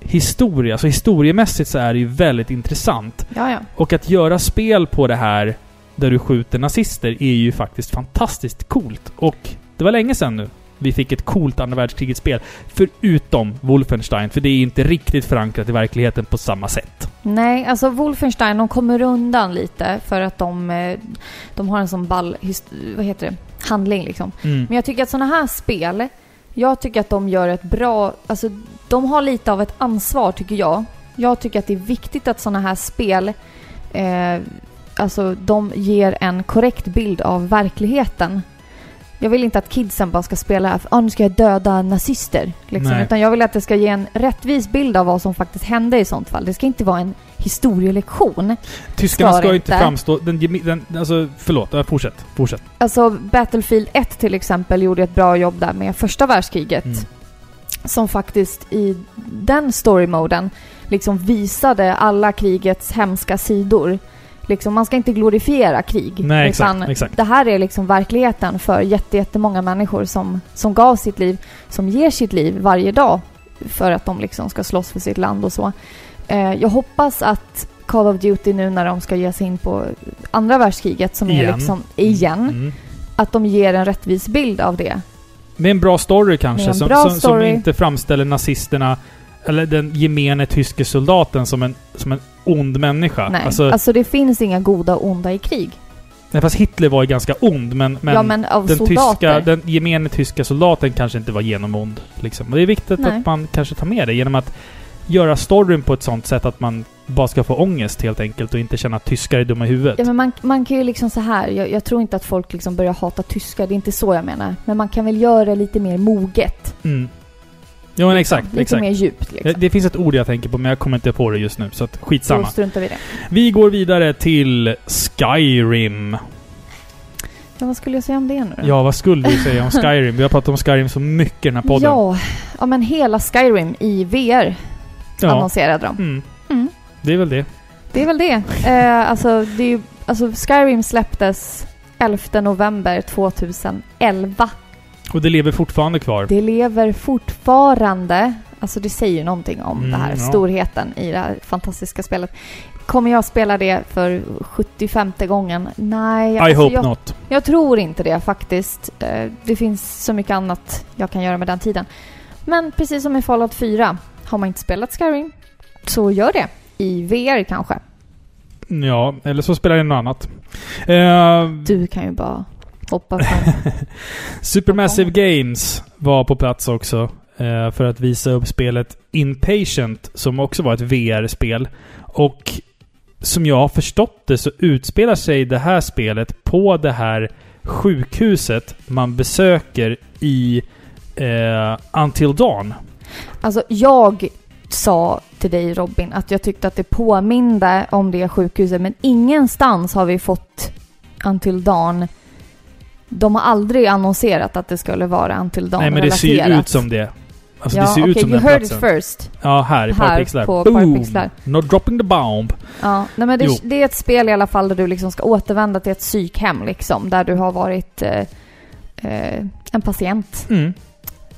historia. Så historiemässigt så är det ju väldigt intressant.
ja, ja.
Och att göra spel på det här där du skjuter nazister är ju faktiskt fantastiskt coolt. Och det var länge sedan nu vi fick ett coolt andra världskrigets spel. Förutom Wolfenstein, för det är inte riktigt förankrat i verkligheten på samma sätt.
Nej, alltså Wolfenstein, de kommer undan lite för att de, eh, de har en sån ball, hist- vad heter det, handling liksom.
Mm.
Men jag tycker att sådana här spel, jag tycker att de gör ett bra, alltså de har lite av ett ansvar tycker jag. Jag tycker att det är viktigt att sådana här spel, eh, alltså de ger en korrekt bild av verkligheten. Jag vill inte att kidsen bara ska spela, ah, nu ska jag döda nazister. Liksom.
Nej.
Utan jag vill att det ska ge en rättvis bild av vad som faktiskt hände i sånt fall. Det ska inte vara en historielektion.
Tyskarna
Ska
ska ju
det
inte
inte.
framstå... Den, gemi- den, alltså, förlåt. Ja, Fortsätt. Fortsätt.
Alltså Battlefield 1 till exempel gjorde ett bra jobb där med första världskriget.
Mm.
Som faktiskt i den storymoden liksom visade alla krigets hemska sidor. Liksom, man ska inte glorifiera krig.
Nej,
utan
exakt. exakt.
det här är liksom verkligheten för jätte- jättemånga människor som, som gav sitt liv, som ger sitt liv varje dag för att de liksom ska slåss för sitt land och så. Eh, jag hoppas att Call of Duty nu när de ska ge sig in på andra världskriget som
Igen.
är liksom igen,
Mm.
att de ger en rättvis bild av det.
Med en bra story kanske.
Med en
Som,
bra
som, som
story.
inte framställer nazisterna, eller den gemene tyske soldaten, som en, som en ond människa.
Nej.
Alltså,
Alltså, det finns inga goda och onda i krig.
nej, fast Hitler var ju ganska ond, men, men,
ja, men av
den, tyska,
soldater.
den gemene tyska soldaten kanske inte var genomond. Liksom. Och det är viktigt
Nej.
att man kanske tar med det genom att göra storyn på ett sånt sätt att man bara ska få ångest helt enkelt och inte känna att tyskar är dumma i huvudet.
Ja, men man, man kan ju liksom så här, jag, jag tror inte att folk liksom börjar hata tyskar, det är inte så jag menar. Men man kan väl göra det lite mer moget.
Mm. Jo, men exakt.
Liksom, Lite
exakt.
mer djupt liksom.
Det finns ett ord jag tänker på, men jag kommer inte på det just nu. Så att skitsamma.
Då struntar vi i det.
Vi går vidare till Skyrim.
Ja, vad skulle jag säga om det nu då?
Ja, vad skulle du säga om Skyrim? Vi har pratat om Skyrim så mycket i den här podden.
ja ja, men hela Skyrim i VR
Ja.
annonserade de.
Mm.
Mm.
Det är väl det.
Det är väl det. Eh, alltså, det är ju, alltså, Skyrim släpptes 11 november 2011.
Och det lever fortfarande kvar.
Det lever fortfarande. Alltså det säger ju någonting om
Mm,
det här,
ja.
storheten i det här fantastiska spelet. Kommer jag spela det för 75 gången? Nej,
I
alltså
hope
jag,
not.
jag tror inte det faktiskt. Eh, Det finns så mycket annat jag kan göra med den tiden. Men precis som i Fallout 4, har man inte spelat Skyrim så gör det. I VR kanske.
Ja, eller så spelar det något annat. Eh,
Du kan ju bara hoppa från...
Supermassive Games var på plats också eh, för att visa upp spelet Inpatient som också var ett VR-spel. Och som jag har förstått det så utspelar sig det här spelet på det här sjukhuset man besöker i eh, Until Dawn.
Alltså jag sa till dig Robin att jag tyckte att det påminde om det sjukhuset men ingenstans har vi fått Until Dawn. De har aldrig annonserat att det skulle vara Until Dawn
Nej men det ser ju
relaterat.
ut som det. Alltså det
ja,
ser ju ut
okej,
som
you
den
heard
platsen.
it first.
Ja, här i
Här
Parpixlar.
på
Boom!
Parpixlar.
Not dropping the bomb.
Ja, nej, men
Jo.
det, det är ett spel i alla fall där du liksom ska återvända till ett psykhem liksom, där du har varit eh, eh, en patient.
Mm,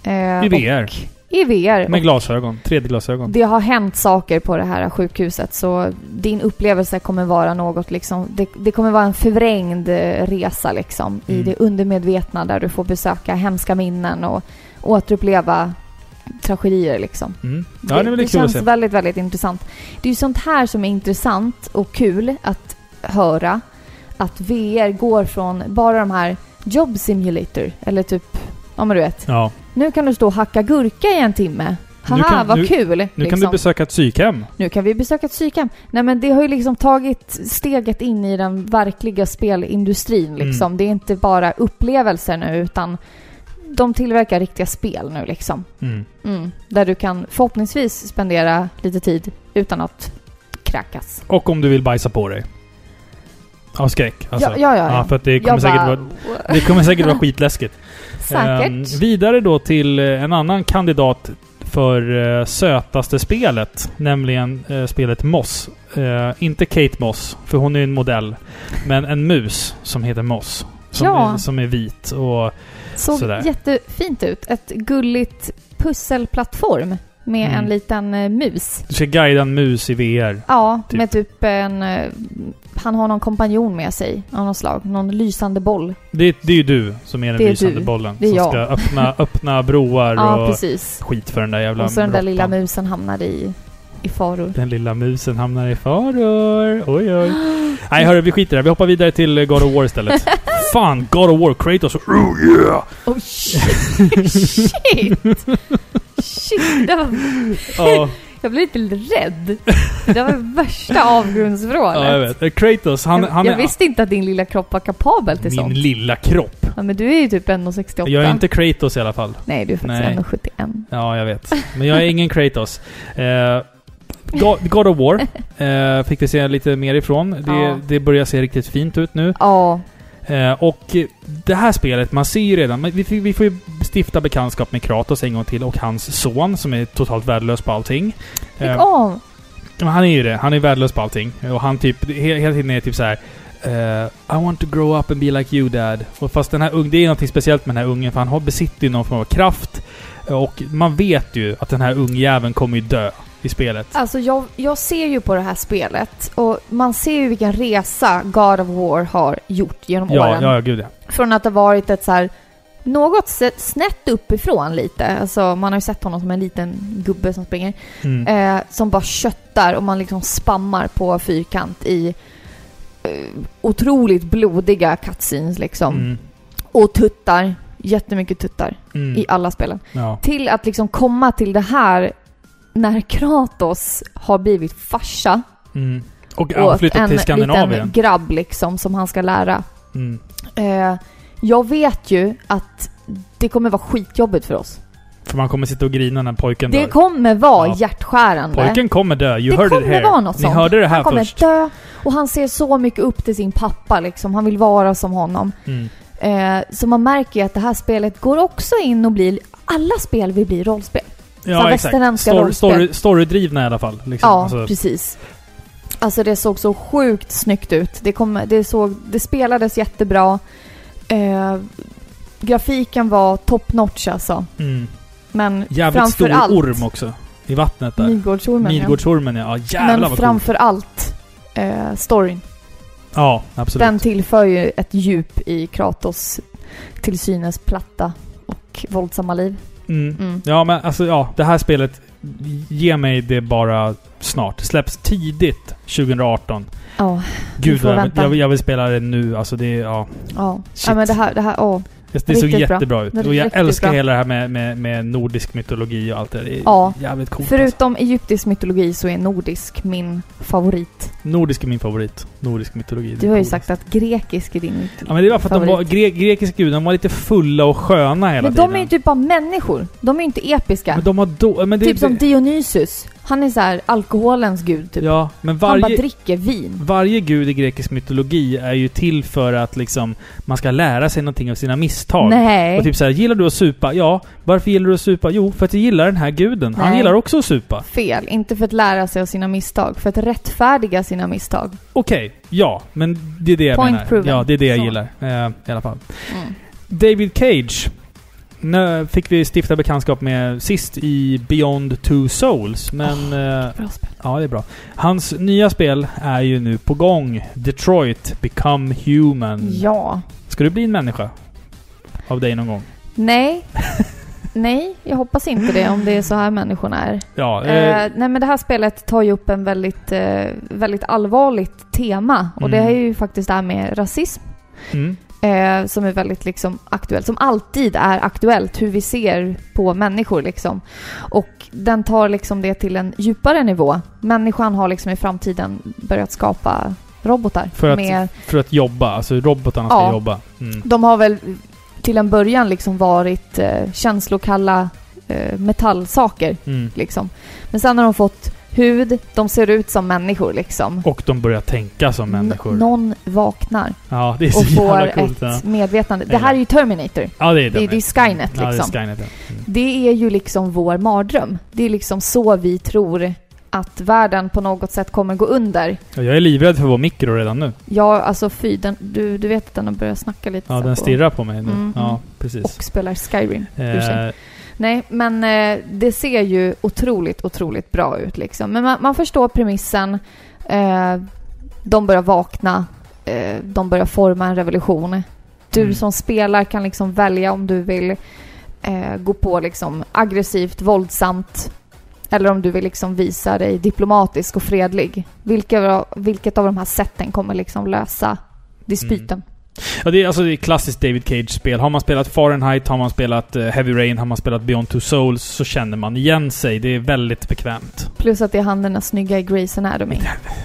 Eh,
I E.
och-
VR.
I E VR.
Med glasögon. 3D-glasögon.
Det har hänt saker på det här sjukhuset så din upplevelse kommer vara något liksom, det, det kommer vara en förvrängd eh, resa liksom i
Mm.
det undermedvetna där du får besöka hemska minnen och återuppleva tragedier liksom.
Mm. Ja, det, är väl
det
kul att
känns
se.
väldigt, väldigt intressant. Det är ju sånt här som är intressant och kul att höra. Att VR går från bara de här job simulator eller typ, ja men du vet,
Ja.
nu kan du stå och hacka gurka i en timme.
Nu
Haha,
kan-
vad
nu-
kul! liksom.
Nu kan du besöka ett psykhem.
Nu kan vi besöka ett psykhem. Nej men det har ju liksom tagit steget in i den verkliga spelindustrin liksom.
Mm.
Det är inte bara upplevelser nu utan de tillverkar riktiga spel nu liksom.
Mm.
Mm. Där du kan förhoppningsvis spendera lite tid utan att kräkas.
Och om du vill bajsa på dig. Av skräck. Alltså.
ja, ja, ja.
Ja, för att det kommer,
Jag
säkert
bara,
vara, det kommer säkert vara skitläskigt. Ehm,
Säkert.
vidare då till eh, en annan kandidat för eh, sötaste spelet. Nämligen eh, spelet Moss. Eh, inte Kate Moss, för hon är ju en modell. Men en mus som heter Moss. Som,
Ja.
är, som är vit och...
Såg
sådär.
jättefint ut. Ett gulligt pusselplattform med
Mm.
en liten eh, mus.
Du ska guida en mus i VR.
Ja,
Typ.
med typ en... eh, Han har någon kompanjon med sig av något slag. Någon lysande boll.
Det, det är ju du som är den
Det är
lysande
du.
bollen.
Det är
som
jag.
ska öppna, öppna broar
Ja,
och
precis.
skit för den där jävla
Och så den där
råttan.
lilla musen hamnade i, i faror.
Den lilla musen hamnar i faror. Oj, oj. Nej, hörru, vi skiter i det. Vi hoppar vidare till eh, God of War istället. Fan, God of War, Kratos och... Oh, yeah!
Oh shit! shit! Shit! Det var,
Ja,
jag blev lite rädd. Det var värsta avgrundsvrålet.
ja, jag vet. Eh, Kratos, han,
Jag-
han
jag
är...
visste inte att din lilla kropp var kapabel till
min
sånt.
lilla kropp.
Ja, men du är ju typ 1,68.
Jag är inte Kratos i alla fall.
Nej, du är faktiskt
Nej.
1,71.
Ja, jag vet. Men jag är ingen Kratos. Eh, God, God of War eh, fick vi se lite mer ifrån. Det,
Ja.
det börjar se riktigt fint ut nu.
Ja,
Eh, och eh, det här spelet, man ser ju redan... men Vi, får- vi får ju stifta bekantskap med Kratos en gång till och hans son som är totalt värdelös på allting.
lägg
Eh,
av!
men han är ju det. Han är värdelös på allting. Och han typ... he- Hela tiden är typ så här. eh, I want to grow up and be like you dad. Och fast den här ungen... Det är någonting speciellt med den här ungen för han har, besitter ju någon form av kraft. Och man vet ju att den här ungjäveln kommer ju dö i spelet.
Alltså jag, jag ser ju på det här spelet och man ser ju vilken resa God of War har gjort genom
Ja,
åren.
ja, ja, gud ja.
Från att ha varit ett så här något se- snett uppifrån lite. Alltså man har ju sett honom som en liten gubbe som springer.
Mm.
Eh, som bara köttar och man liksom spammar på fyrkant i eh, otroligt blodiga cutscenes liksom.
Mm.
Och tuttar. Jättemycket tuttar
Mm.
i alla spelen.
Ja.
Till att liksom komma till det här när Kratos har blivit farsa
Mm. Och han
åt
flyttat
en
till Skandinavien.
liten grabb liksom som han ska lära.
Mm.
Eh, jag vet ju att det kommer vara skitjobbigt för oss.
För man kommer sitta och grina när pojken
Det
dör.
kommer vara
Ja.
hjärtskärande.
Pojken kommer dö. You
Det
heard it
kommer
here.
vara något
Ni
sånt.
hörde det här
han kommer
först.
dö och han ser så mycket upp till sin pappa liksom. Han vill vara som honom.
Mm.
Eh, så man märker ju att det här spelet går också in och blir... Alla spel vill bli rollspel. Så här västerländska
Stor-
rollspel.
story, storydrivna i alla fall. Liksom.
Ja,
Alltså,
precis. Alltså det såg så sjukt snyggt ut. Det, kom, det, såg, det spelades jättebra. Eh, grafiken var top notch alltså.
mm.
Men
Jävligt stor
framförallt...
orm också. I vattnet där.
Midgårdsormen, ja.
Midgårdsormen ja. ja jävlar
Men
vad framför...
framför allt eh, storyn.
Ja, absolut.
Den tillför ju ett djup i Kratos till synes platta och våldsamma liv.
Mm.
Mm.
Ja, men alltså ja. Det här spelet, ge mig det bara snart. Släpps tidigt 2018.
Ja,
Gud,
får
vad jag, vill-
vänta.
jag, vill- jag vill spela det nu. Alltså det, är- ja.
ja.
Shit.
ja men det här, det här, åh.
Det, det såg
Riktigt bra.
jättebra ut.
Det är
Och jag
riktigt
älskar
bra.
hela det här med, med, med nordisk mytologi och allt det där. Det är
Ja.
jävligt coolt. Alltså.
Förutom egyptisk mytologi så är nordisk min favorit.
Nordisk är min favorit. Nordisk mytologi. det
Du
är
har ju
coolast.
sagt att grekisk är din mytologi.
Ja men det var för att de var,
favorit.
gre grekiska gudar, de var lite fulla och sköna hela
Men
tiden.
de är ju typ bara människor. De är ju inte episka.
Men de har då, men det,
typ som
det,
Dionysus. Han är så här alkoholens gud typ.
Ja, men
Han bara
varje,
dricker vin.
varje gud i grekisk mytologi är ju till för att liksom man ska lära sig någonting av sina misstag.
Nej.
Och typ såhär, gillar du att supa? Ja. Varför gillar du att supa? Jo, för att jag gillar den här guden. Han
Nej.
gillar också att supa.
Fel. Inte för att lära sig av sina misstag. För att rättfärdiga sina misstag.
Okej, ja. Men det är det jag
Point
menar.
proven.
Ja, det är det jag
Så.
gillar. Eh, I alla fall.
Mm.
David Cage. Nu fick vi stifta bekantskap med sist i Beyond Two Souls.
Ah.
Men... eh,
Bra spel.
Ja, det är bra. Hans nya spel är ju nu på gång. Detroit Become Human.
Mm. Ja.
Ska du bli en människa? Av dig någon gång?
Nej. Nej, jag hoppas inte det om det är så här människorna är.
Ja. eh,
Eh, nej men det här spelet tar ju upp en väldigt, eh, väldigt allvarligt tema. Och det
Mm.
är ju faktiskt det här med rasism.
mm.
Eh, som är väldigt liksom, aktuellt, som alltid är aktuellt, hur vi ser på människor. Liksom. Och den tar liksom det till en djupare nivå. Människan har liksom i framtiden börjat skapa robotar.
För att-
med,
För att jobba. Alltså robotarna ska
Ja.
jobba. Mm.
de har väl till en början liksom varit eh, känslokalla eh, metallsaker.
Mm.
Liksom. Men sen har de fått hud, de ser ut som människor. Liksom.
Och de börjar tänka som människor.
N- någon vaknar
ja, det är så
och får
jävla coolt. Ja.
ett medvetande. Det här är ju Terminator.
ja, det är
det är ju Skynet,
Ja, det är
liksom.
Skynet, ja. Mm.
Det är ju liksom vår mardröm. Det är liksom så vi tror att världen på något sätt kommer gå under.
Ja, Jag är livrädd för vår mikro redan nu.
Ja, alltså fy, den, du, du vet att den har börjat snacka lite
Ja,
så
den
på-
stirrar på mig nu.
Mhm.
Ja, precis.
Och spelar Skyrim. ursäkta.
Eh,
Nej, men eh, det ser ju otroligt, otroligt bra ut liksom. Men man, man förstår premissen. Eh, de börjar vakna. Eh, de börjar forma en revolution. Du
Mm.
som spelar kan liksom välja om du vill eh, gå på liksom aggressivt, våldsamt. Eller om du vill liksom visa dig diplomatisk och fredlig. Vilka, vilket av de här sätten kommer liksom lösa dispyten?
Ja, det är alltså det är klassiskt David Cage-spel. Har man spelat Fahrenheit, har man spelat eh, Heavy Rain, har man spelat Beyond Two Souls så känner man igen sig. Det är väldigt bekvämt.
Plus att det är han den där snygga i Grey's Anatomy.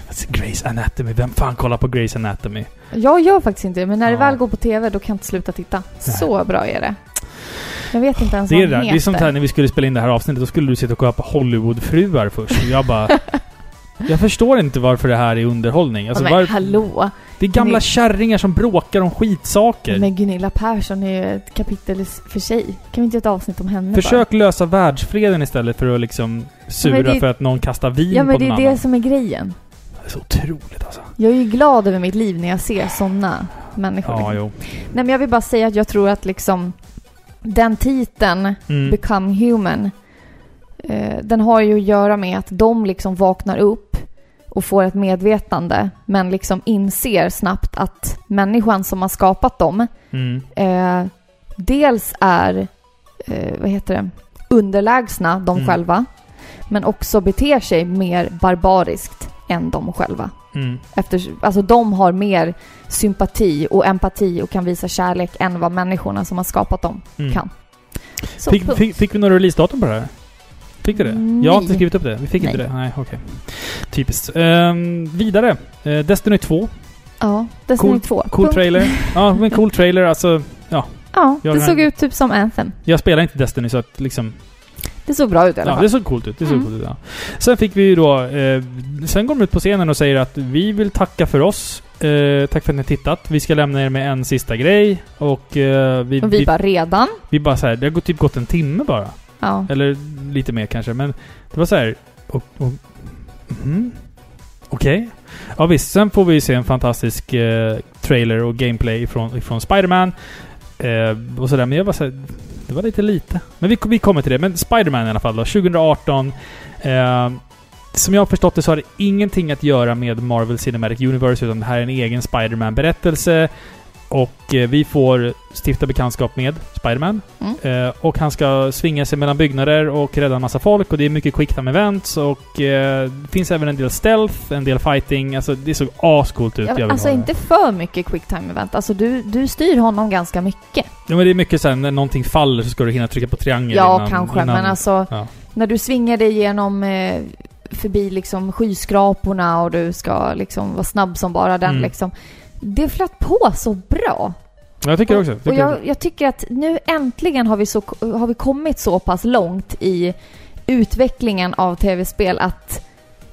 Alltså, Grey's Anatomy, vem fan kollar på Grey's Anatomy?
Jag gör faktiskt inte det, men när
Ja.
det väl går på TV då kan jag inte sluta titta. Så bra är det. Jag vet inte ens
Det
vad
är,
han
det, där.
heter.
det är som här när vi skulle spela in det här avsnittet, då skulle du sitta och kolla på Hollywoodfruar först. Och jag bara... Jag förstår inte varför det här är underhållning. Alltså,
ja, men
var,
hallå!
det är gamla
ni-
kärringar som bråkar om skitsaker.
Men Gunilla Persson är ju ett kapitel i s- för sig. Kan vi inte göra ett avsnitt om henne bara?
Försök lösa världsfreden istället för att liksom sura
Ja, men det-
för att någon kastar vin
Ja men
på
det
någon
är
annan.
det som är grejen.
Det är så otroligt alltså.
Jag är ju glad över mitt liv när jag ser sådana människor.
Ja, jo.
Nej men jag vill bara säga att jag tror att liksom den titeln
Mm.
Become Human. Eh, den har ju att göra med att de liksom vaknar upp och får ett medvetande men liksom inser snabbt att människan som har skapat dem
Mm.
eh, dels är, eh, vad heter det, underlägsna de
Mm.
själva men också beter sig mer barbariskt än de själva.
Mm.
Efter, alltså de har mer sympati och empati och kan visa kärlek än vad människorna som har skapat dem
Mm.
kan. Så,
Fick,
punkt.
fick, fick vi några releasedatum på det här? Fick du det?
Nej.
Jag har inte skrivit upp det. Vi fick inte
Nej.
det. Nej, okej. Typiskt. Ehm, vidare. Eh, Destiny 2.
Ja, Destiny
Cool-
2.
Cool
Punkt.
trailer. Ja, men cool trailer. Alltså,
Ja,
Jag
det
kan-
såg ut typ som Anthem.
jag spelar inte Destiny så att liksom...
Det såg bra ut i alla
Ja,
fall.
det såg coolt ut. Det såg
Mm.
coolt ut ja. Sen fick vi ju då... Eh, sen går de ut på scenen och säger att vi vill tacka för oss. Eh, tack för att ni har tittat. Vi ska lämna er med en sista grej. Och eh, vi,
Och vi bara redan.
vi bara så här, det har gått- typ gått en timme bara.
Ja.
Eller lite mer kanske. Men det var så här... Och, och, mhm. Okej. Ja visst, sen får vi se en fantastisk eh, trailer och gameplay från, från Spider-Man. Eh, och sådär, men jag var såhär... Det var lite lite. Men vi, vi kommer till det. Men Spider-Man i alla fall då, 2018. Eh, som jag har förstått det så har det ingenting att göra med Marvel Cinematic Universe, utan det här är en egen Spider-Man-berättelse. Och eh, vi får stifta bekantskap med Spider-Man.
Mm.
Eh, och han ska svinga sig mellan byggnader och rädda en massa folk och det är mycket quick time events och eh, det finns även en del stealth, en del fighting. Alltså det såg ascoolt ut.
Ja,
Jag vill
men alltså
ha det.
inte för mycket quick time event. Alltså du, du styr honom ganska mycket.
Ja, men det är mycket såhär, när någonting faller så ska du hinna trycka på triangel
Ja,
innan,
kanske.
innan,
Men alltså,
ja.
när du svingar dig genom eh, förbi liksom skyskraporna och du ska liksom vara snabb som bara den
Mm.
liksom. Det flöt på så bra.
Jag tycker också.
Och
Tycker jag...
jag, jag tycker att nu äntligen har vi, så, har vi kommit så pass långt i utvecklingen av tv-spel att,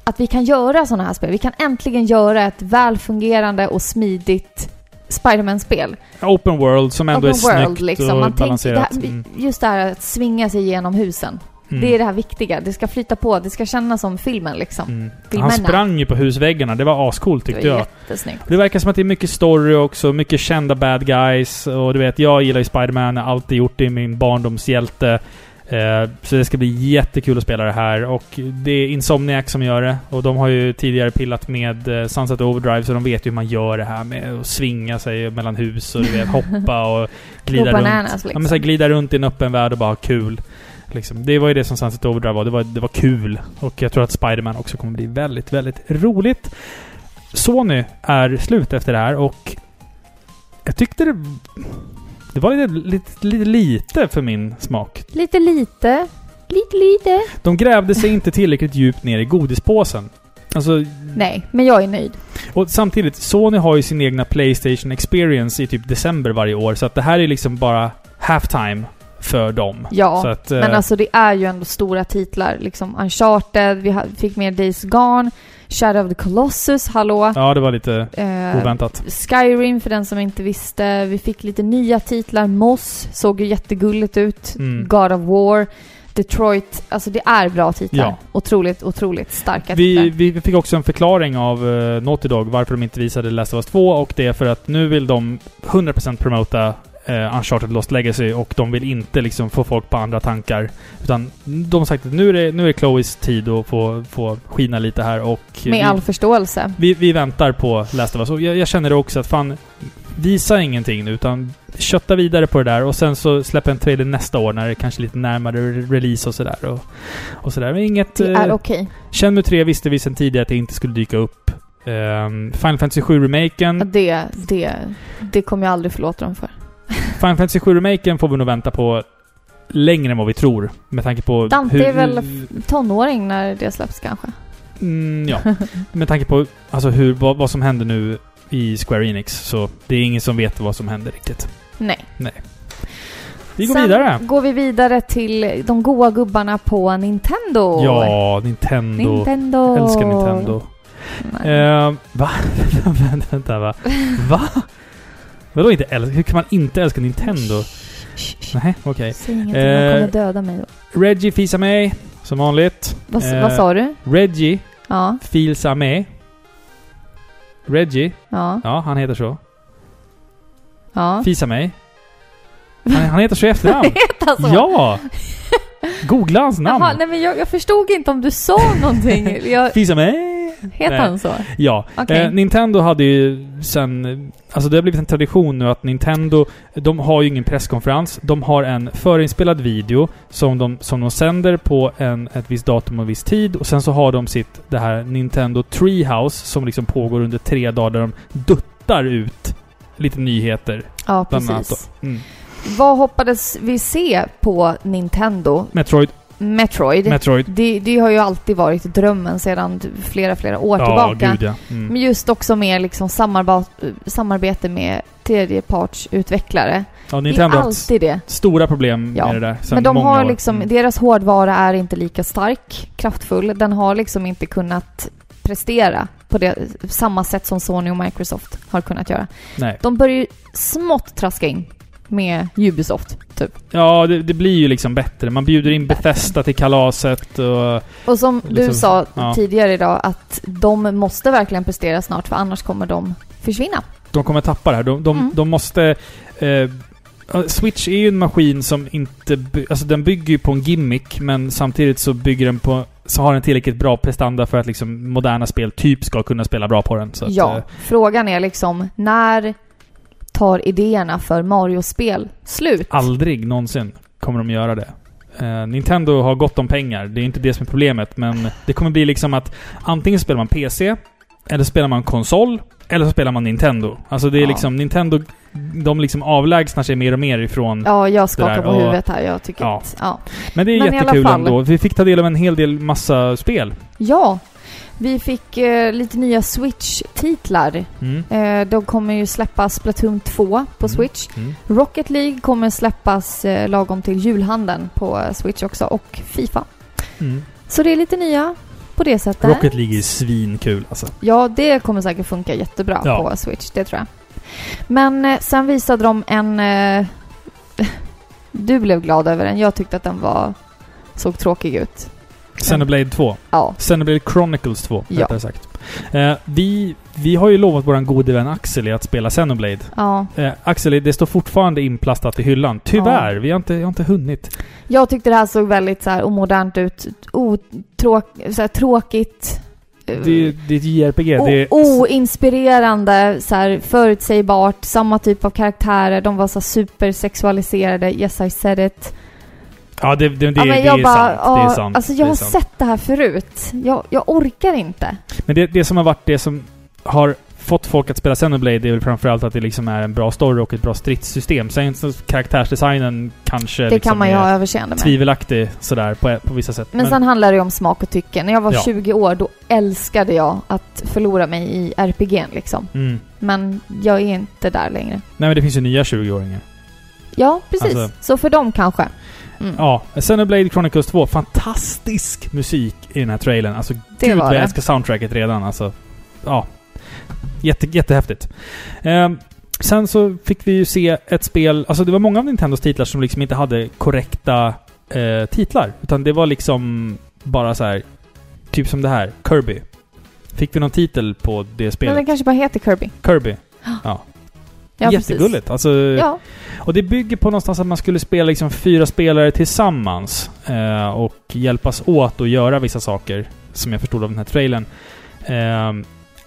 att vi kan göra sådana här spel. Vi kan äntligen göra ett välfungerande och smidigt Spider-Man-spel.
Open world som ändå
Open
är snyggt
world, liksom.
och
Man tänker, det
balanserat.
här,
Mm,
Just det här att svinga sig genom husen.
mm,
Det är det här viktiga. Det ska flyta på. Det ska kännas som filmen liksom.
mm. Han
filmerna.
sprang ju på husväggarna. Det var ascoolt
Det
tyckte
var
jag.
jättesnyggt.
Det verkar som att det är mycket story också, mycket kända bad guys. Och du vet, jag gillar ju Spiderman, har alltid gjort det, är min barndomshjälte. Eh, så det ska bli jättekul att spela det här. Och det är Insomniac som gör det. Och de har ju tidigare pillat med eh, Sunset Overdrive, så de vet ju hur man gör det här med att svinga sig mellan hus och du vet, hoppa och glida
Gå
runt.
bananas,
Ja,
liksom.
men så här, glida runt i en öppen värld och bara ha kul. Liksom. Det var ju det som Sunset Overdrive var. Det, var. det var kul. Och jag tror att Spider-Man också kommer bli väldigt, väldigt roligt. Sony är slut efter det här och jag tyckte det... Det var lite, lite, lite, lite för min smak.
Lite lite. Lite lite.
De grävde sig inte tillräckligt djupt ner i godispåsen. Alltså,
Nej, men jag är nöjd.
och samtidigt, Sony har ju sin egna Playstation Experience i typ december varje år, så att det här är liksom bara halftime för dem.
Ja.
så att,
Men
eh,
alltså det är ju ändå stora titlar. Liksom Uncharted, vi ha- fick med Days Gone, Shadow of the Colossus, hallå.
Ja, det var lite
Eh,
oväntat.
Skyrim för den som inte visste. Vi fick lite nya titlar. Moss såg ju jättegulligt ut.
Mm.
God of War. Detroit. Alltså det är bra titlar.
Ja.
Otroligt, otroligt starka
Vi,
titlar.
vi fick också en förklaring av uh, Naughty Dog varför de inte visade Last of Us 2 och det är för att nu vill de 100% promota eh, Uncharted Lost Legacy och de vill inte liksom få folk på andra tankar. Utan de har sagt att nu är det, nu är det Chloes tid att få, få skina lite här och... vi,
Med all förståelse.
vi, vi väntar på Last of Us. Och jag, jag känner det också att fan, visa ingenting nu utan kötta vidare på det där och sen så släpp en trailer nästa år när det kanske är lite närmare release och sådär. Och, och sådär. Men inget...
Det är
eh,
okej.
Shenmue 3 visste vi sedan tidigare att det inte skulle dyka upp. Ehm, Final Fantasy 7-remaken.
Det, det, det kommer jag aldrig förlåta dem för.
Final Fantasy 7-remaken får vi nog vänta på längre än vad vi tror. Med tanke på
Dante
hur...
är väl- Tonåring när det släpps kanske.
Mm, ja. Med tanke på alltså, hur, vad, vad som händer nu i Square Enix. Så det är ingen som vet vad som händer riktigt.
Nej.
Vi går
Sen
vidare.
går vi vidare till de goa gubbarna på Nintendo.
Ja, Nintendo.
Nintendo.
Älskar Nintendo.
Nej.
Ehm, va? Vänta, vänta, va? Va? Vadå inte älska? Hur kan man inte älska Nintendo?
Shh, shh, shh.
Nej, okej.
Säg ingenting, han
Eh,
kommer döda mig.
Reggie fisa mig, som vanligt.
Vad,
eh,
vad sa du?
Reggie
Ja,
filsa mig. Reggie,
ja,
ja han heter så.
ja.
Fisa mig. Han, han heter så i efternamn.
Alltså,
Ja! Googla hans namn.
Jaha, nej men jag, jag förstod inte om du sa någonting. Jag,
Fisa mig.
heter
Nej.
han så?
Ja.
Okej.
Eh, Nintendo hade ju sen... Alltså det har blivit en tradition nu att Nintendo, de har ju ingen presskonferens. De har en förinspelad video som de, som de sänder på en, ett visst datum och viss tid. Och sen så har de sitt, det här Nintendo Treehouse som liksom pågår under tre dagar där de duttar ut lite nyheter.
Ja,
Bland annat
precis.
då. Mm.
Vad hoppades vi se på Nintendo?
Metroid,
Metroid.
Metroid.
det, det har ju alltid varit drömmen sedan flera, flera år tillbaka.
gud ja. Mm.
Men just också med liksom samarba- samarbete med tredjepartsutvecklare.
ja
Det är
Nintendo har haft
alltid det.
stora problem
Ja.
med det där sen
Men de
många
har
år.
liksom,
Mm.
deras hårdvara är inte lika stark, kraftfull. Den har liksom inte kunnat prestera på det, samma sätt som Sony och Microsoft har kunnat göra.
Nej.
De börjar ju smått traska in med Ubisoft, typ.
Ja, det, det blir ju liksom bättre. Man bjuder in Bethesda till kalaset och...
Och som du
Liksom,
sa
ja.
tidigare idag, att de måste verkligen prestera snart för annars kommer de försvinna.
De kommer tappa det här. De, de,
Mm.
de måste... Eh, Switch är ju en maskin som inte... by- Alltså den bygger ju på en gimmick, men samtidigt så bygger den på... Så har den tillräckligt bra prestanda för att liksom moderna spel typ ska kunna spela bra på den. Så att,
ja,
eh,
frågan är liksom när tar idéerna för Mario-spel slut?
aldrig någonsin kommer de göra det. Eh, Nintendo har gott om pengar, det är inte det som är problemet, men det kommer bli liksom att antingen spelar man PC, eller spelar man konsol, eller så spelar man Nintendo. Alltså det är
Ja.
liksom Nintendo, de liksom avlägsnar sig mer och mer ifrån...
Ja, jag skakar
där,
på
och-
huvudet här. Jag tycker
Ja.
att... Ja.
Men det är
Men i alla
jättekul
fall.
ändå. Vi fick ta del av en hel del massa spel.
ja, vi fick eh, lite nya Switch-titlar.
Mm.
Eh, de kommer ju släppas Splatoon 2 på
Mm.
Switch.
Mm.
Rocket League kommer släppas eh, lagom till julhandeln på eh, Switch också och Fifa.
Mm.
Så det är lite nya på det sättet.
Rocket League är svinkul alltså.
Ja, det kommer säkert funka jättebra
Ja.
på Switch, det tror jag. Men eh, sen visade de en... Eh, du blev glad över den, jag tyckte att den var... Såg tråkig ut.
Xenoblade 2.
Ja.
Xenoblade Chronicles 2,
Ja.
rättare sagt. Eh, vi, vi har ju lovat våran gode vän Axel att spela Xenoblade.
ja.
Eh, Axel, det står fortfarande inplastat i hyllan. Tyvärr, vi har inte, jag har inte hunnit.
Jag tyckte det här såg väldigt så här omodernt ut. Otråk, så här, tråkigt. eh,
Det, är- det är ett JRPG.
o-
det är,
Oinspirerande, så här, förutsägbart, samma typ av karaktärer. De var så här supersexualiserade. Yes, I said it.
ja, det, det, det,
men
det, är sant, det är
ja,
sant.
Alltså
det
jag
är
har
sant.
sett det här förut. Jag, jag orkar inte.
Men det, det som har varit det som har fått folk att spela Xenoblade är väl framförallt att det liksom är en bra story och ett bra stridssystem. Sen så karaktärsdesignen kanske
Det
liksom
kan man ju
är
ha överseende med.
tvivelaktig sådär på, på vissa sätt.
Men sen handlar det ju om smak och tycke. När jag var
Ja.
20 år då älskade jag att förlora mig i RPG'n liksom.
mm.
Men jag är inte där längre.
Nej men det finns ju nya 20-åringar.
Ja, precis.
Alltså-
Så för dem kanske. Mm.
Ja, Xenoblade Chronicles 2. Fantastisk musik i den här trailern. Alltså
Det
Gud
var
vad
det.
jag älskar soundtracket redan alltså. Ja. Jätte, jättehäftigt. Ehm, sen så fick vi ju se ett spel, alltså det var många av Nintendos titlar som liksom inte hade korrekta eh, titlar. Utan det var liksom bara så här. typ som det här, Kirby. Fick vi någon titel på det
Men
spelet?
den kanske bara heter Kirby.
Kirby.
Ja, precis.
Jättegulligt. Alltså,
Ja,
och det bygger på någonstans att man skulle spela liksom fyra spelare tillsammans eh, och hjälpas åt att göra vissa saker, som jag förstod av den här trailern. Eh,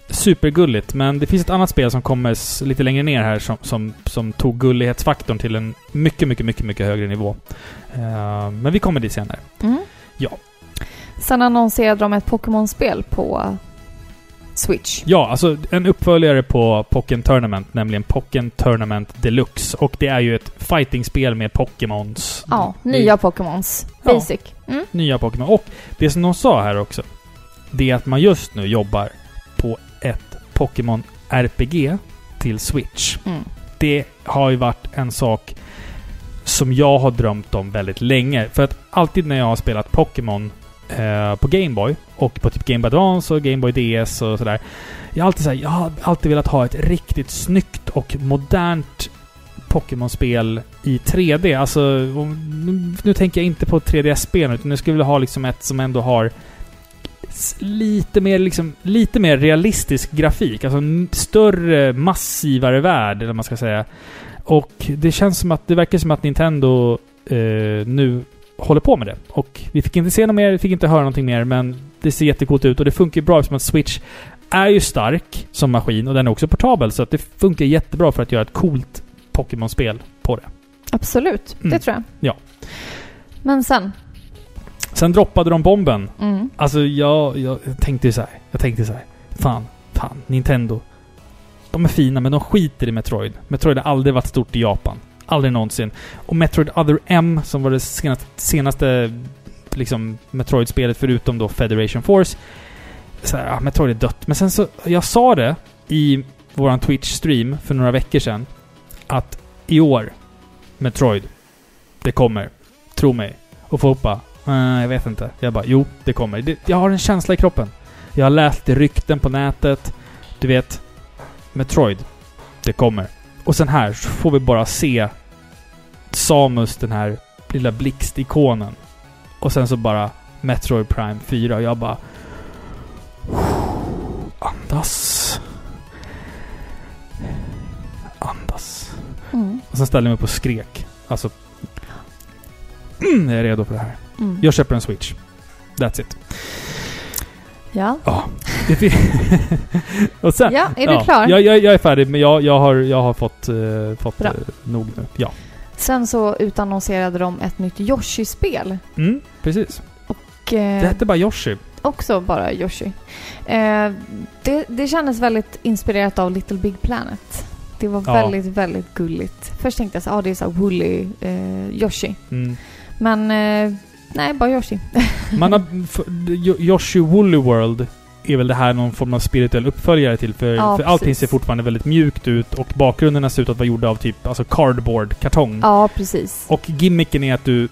supergulligt, men det finns ett annat spel som kommer s- lite längre ner här som, som, som tog gullighetsfaktorn till en mycket, mycket, mycket, mycket högre nivå. Eh, men vi kommer dit senare.
Mm.
Ja.
Sen annonserade de ett Pokémon-spel på Switch.
Ja, alltså en uppföljare på Pocken Tournament, nämligen Pocken Tournament Deluxe. Och det är ju ett fightingspel med Pokémons.
Ja,
Det-
nya Pokémons.
Ja.
Basic. Mm.
nya Pokémon. Och det som de sa här också, det är att man just nu jobbar på ett Pokémon RPG till Switch.
Mm.
Det har ju varit en sak som jag har drömt om väldigt länge. För att alltid när jag har spelat Pokémon eh, på Gameboy och på typ Game Boy Advance och Game Boy DS och sådär. Jag har alltid, så här, jag har alltid velat ha ett riktigt snyggt och modernt Pokémon-spel i 3D. Alltså, om- nu- nu tänker jag inte på 3DS-spel utan nu skulle jag vilja ha liksom ett som ändå har s- lite mer, liksom, lite mer realistisk grafik. Alltså en större, massivare värld, eller vad man ska säga. Och det känns som att, det verkar som att Nintendo eh, nu håller på med det. Och vi fick inte se något mer, vi fick inte höra någonting mer, men det ser jättecoolt ut och det funkar ju bra eftersom att Switch är ju stark som maskin och den är också portabel så att det funkar jättebra för att göra ett coolt Pokémon-spel på det.
Absolut, det
Mm.
tror jag.
Ja.
Men sen.
Sen droppade de bomben
Mm.
Alltså jag, jag tänkte ju så här. Jag tänkte så här. Fan, fan, Nintendo. De är fina men de skiter i Metroid. Metroid har aldrig varit stort i Japan. Aldrig någonsin. Och Metroid Other M, som var det senaste, senaste liksom, Metroid-spelet förutom då Federation Force. Så här, ah, Metroid är dött. Men sen så, jag sa det i våran Twitch-stream för några veckor sedan. Att i år, Metroid, det kommer. Tro mig. Och folk bara Nej, jag vet inte. Jag bara, jo, det kommer. Det, jag har en känsla i kroppen. Jag har läst rykten på nätet. Du vet, Metroid. Det kommer. Och sen här så får vi bara se Samus, den här lilla blixtikonen. Och sen så bara Metroid Prime 4. Jag bara... Andas. Andas.
Mm.
Och sen ställde jag mig upp och skrek. Alltså... jag är redo för det här.
Mm.
Jag köper en Switch. That's it.
Ja.
Ja. Det fin- och sen...
ja, är du
ja,
klar?
Jag, jag, jag är färdig, men jag, jag, har, jag har fått, eh, fått
Bra.
eh, nog nu. Ja.
Sen så utannonserade de ett nytt Yoshi-spel.
Mm, precis.
Och, eh,
Det hette bara Yoshi.
Också bara Yoshi. Eh, det, det kändes väldigt inspirerat av Little Big Planet. Det var
Ja.
väldigt, väldigt gulligt. Först tänkte jag så ah, det är så här woolly eh, Yoshi.
Mm.
Men eh, nej, bara Yoshi.
Man har, f- Jo- Yoshi Woolly World är väl det här någon form av spirituell uppföljare till för,
Ja,
för allting
precis.
ser fortfarande väldigt mjukt ut och bakgrunderna ser ut att vara gjorda av typ alltså cardboard, kartong.
ja, precis.
Och gimmicken är att du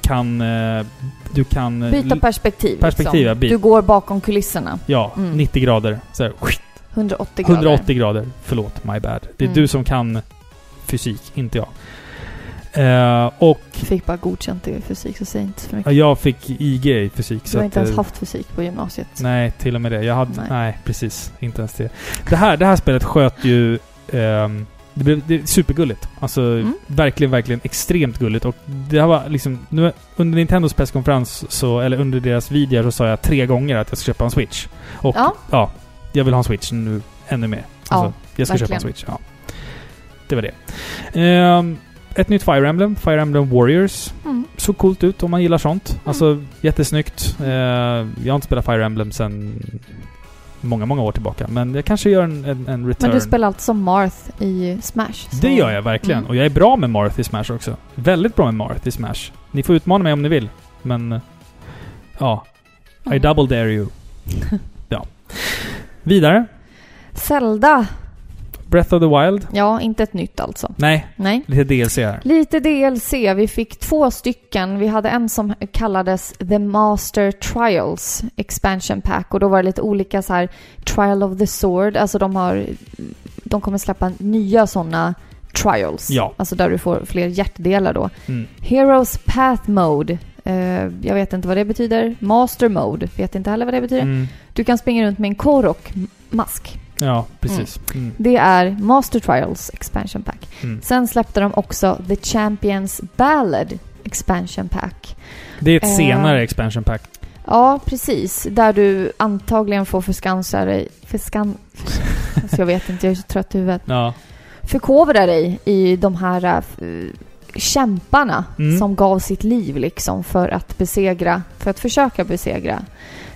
kan... eh, Du kan... eh,
Byta
l-
perspektiv. liksom.
perspektiv, ja, byt.
Du går bakom kulisserna.
Ja,
Mm.
90 grader. Så här,
180 grader.
180 grader. Förlåt, my bad. Det är
Mm.
du som kan fysik, inte jag. Eh, och
Fick bara godkänt i fysik, så säg inte så mycket.
ja, jag fick IG i fysik.
Du
så
har
att,
inte ens
eh,
haft fysik på gymnasiet.
Nej, till och med det. Jag hade, nej.
Nej.
precis. Inte ens det. Det här, det här spelet sköt ju... ehm, det blev det är supergulligt. Alltså,
Mm.
verkligen, verkligen extremt gulligt. Och det här var liksom... Nu, under Nintendos presskonferens, så, eller under deras video, så sa jag tre gånger att jag ska köpa en Switch. Och ja,
Ja.
jag vill ha en Switch nu ännu mer.
Ja,
Alltså, jag ska köpa en
verkligen.
Switch. Ja. Det var det. Ehm, ett nytt Fire Emblem, Fire Emblem Warriors
Mm.
såg coolt ut om man gillar sånt. Alltså jättesnyggt. Eh, jag har inte spelat Fire Emblem sedan många, många år tillbaka. Men jag kanske gör en, en, en return.
Men du spelar alltså som Marth i Smash? så-
Det gör jag verkligen.
Mm.
Och jag är bra med Marth i Smash också. Väldigt bra med Marth i Smash. Ni får utmana mig om ni vill. Men... eh, Ja. I
Mm.
double dare you. ja. Vidare.
Zelda!
Breath of the Wild.
Ja, inte ett nytt alltså.
Nej,
Nej.
lite DLC här.
Lite DLC. Vi fick två stycken. Vi hade en som kallades The Master Trials Expansion Pack och då var det lite olika så här Trial of the Sword. Alltså de har... De kommer släppa nya sådana trials.
Ja.
Alltså där du får fler hjärtdelar då.
Mm.
Heroes Path Mode. Eh, jag vet inte vad det betyder. Master Mode. Vet inte heller vad det betyder.
Mm.
Du kan springa runt med en Korok-mask.
Ja, precis. Mm.
Det är Master Trials Expansion Pack.
Mm.
Sen släppte de också The Champions Ballad Expansion Pack.
Det är ett
Eh.
senare expansion pack.
Ja, precis. Där du antagligen får förskansa dig... Förskan... alltså jag vet inte, jag är så trött i huvudet.
Ja.
Förkovra dig i de här eh, f- kämparna
Mm.
som gav sitt liv liksom för att besegra, för att försöka besegra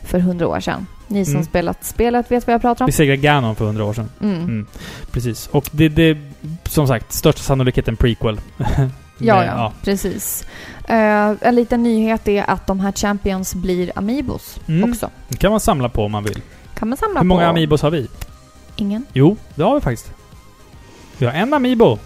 för hundra år sedan. Ni som
Mm.
spelat spelet vet vad jag pratar om.
Besegrade Ganon för hundra år sedan.
Mm.
Mm. Precis. Och det, det som sagt, största sannolikhet en prequel. Men,
Ja, ja, precis. Eh, en liten nyhet är att de här Champions blir Amiibos
Mm.
också.
Det kan man samla på om man vill.
Kan man samla
Hur många
på.
Amiibos har vi?
Ingen?
Jo, det har vi faktiskt. Vi har en Amiibo.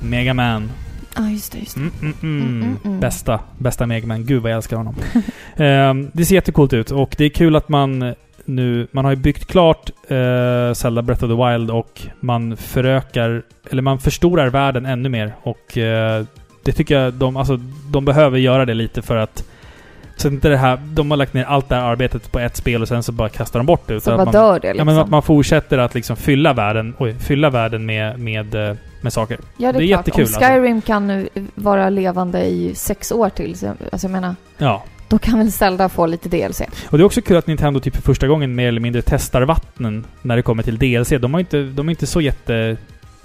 Mega Man.
Ja, ah, just det. Just det.
Mm, mm, mm.
Mm, mm, mm.
Bästa, bästa Mega Man. Gud vad jag älskar honom. Ehm, det ser jättecoolt ut och det är kul att man nu... Man har ju byggt klart uh, Zelda Breath of the Wild och man förökar... Eller man förstorar världen ännu mer och eh, det tycker jag de... Alltså, de behöver göra det lite för att... Så inte det här... De har lagt ner allt det här arbetet på ett spel och sen så bara kastar de bort det.
Så
utan
vad
man,
dör det
Ja,
liksom?
men att man fortsätter att liksom fylla världen, oj, fylla världen med, med, eh, med saker.
ja, det är,
det är
klart.
jättekul, alltså.
Om Skyrim kan nu vara levande i sex år till, så, alltså jag menar,
Ja.
då kan väl Zelda få lite DLC?
Och det är också kul att Nintendo typ för första gången mer eller mindre testar vattnen när det kommer till DLC. De, har inte, de är inte så jätte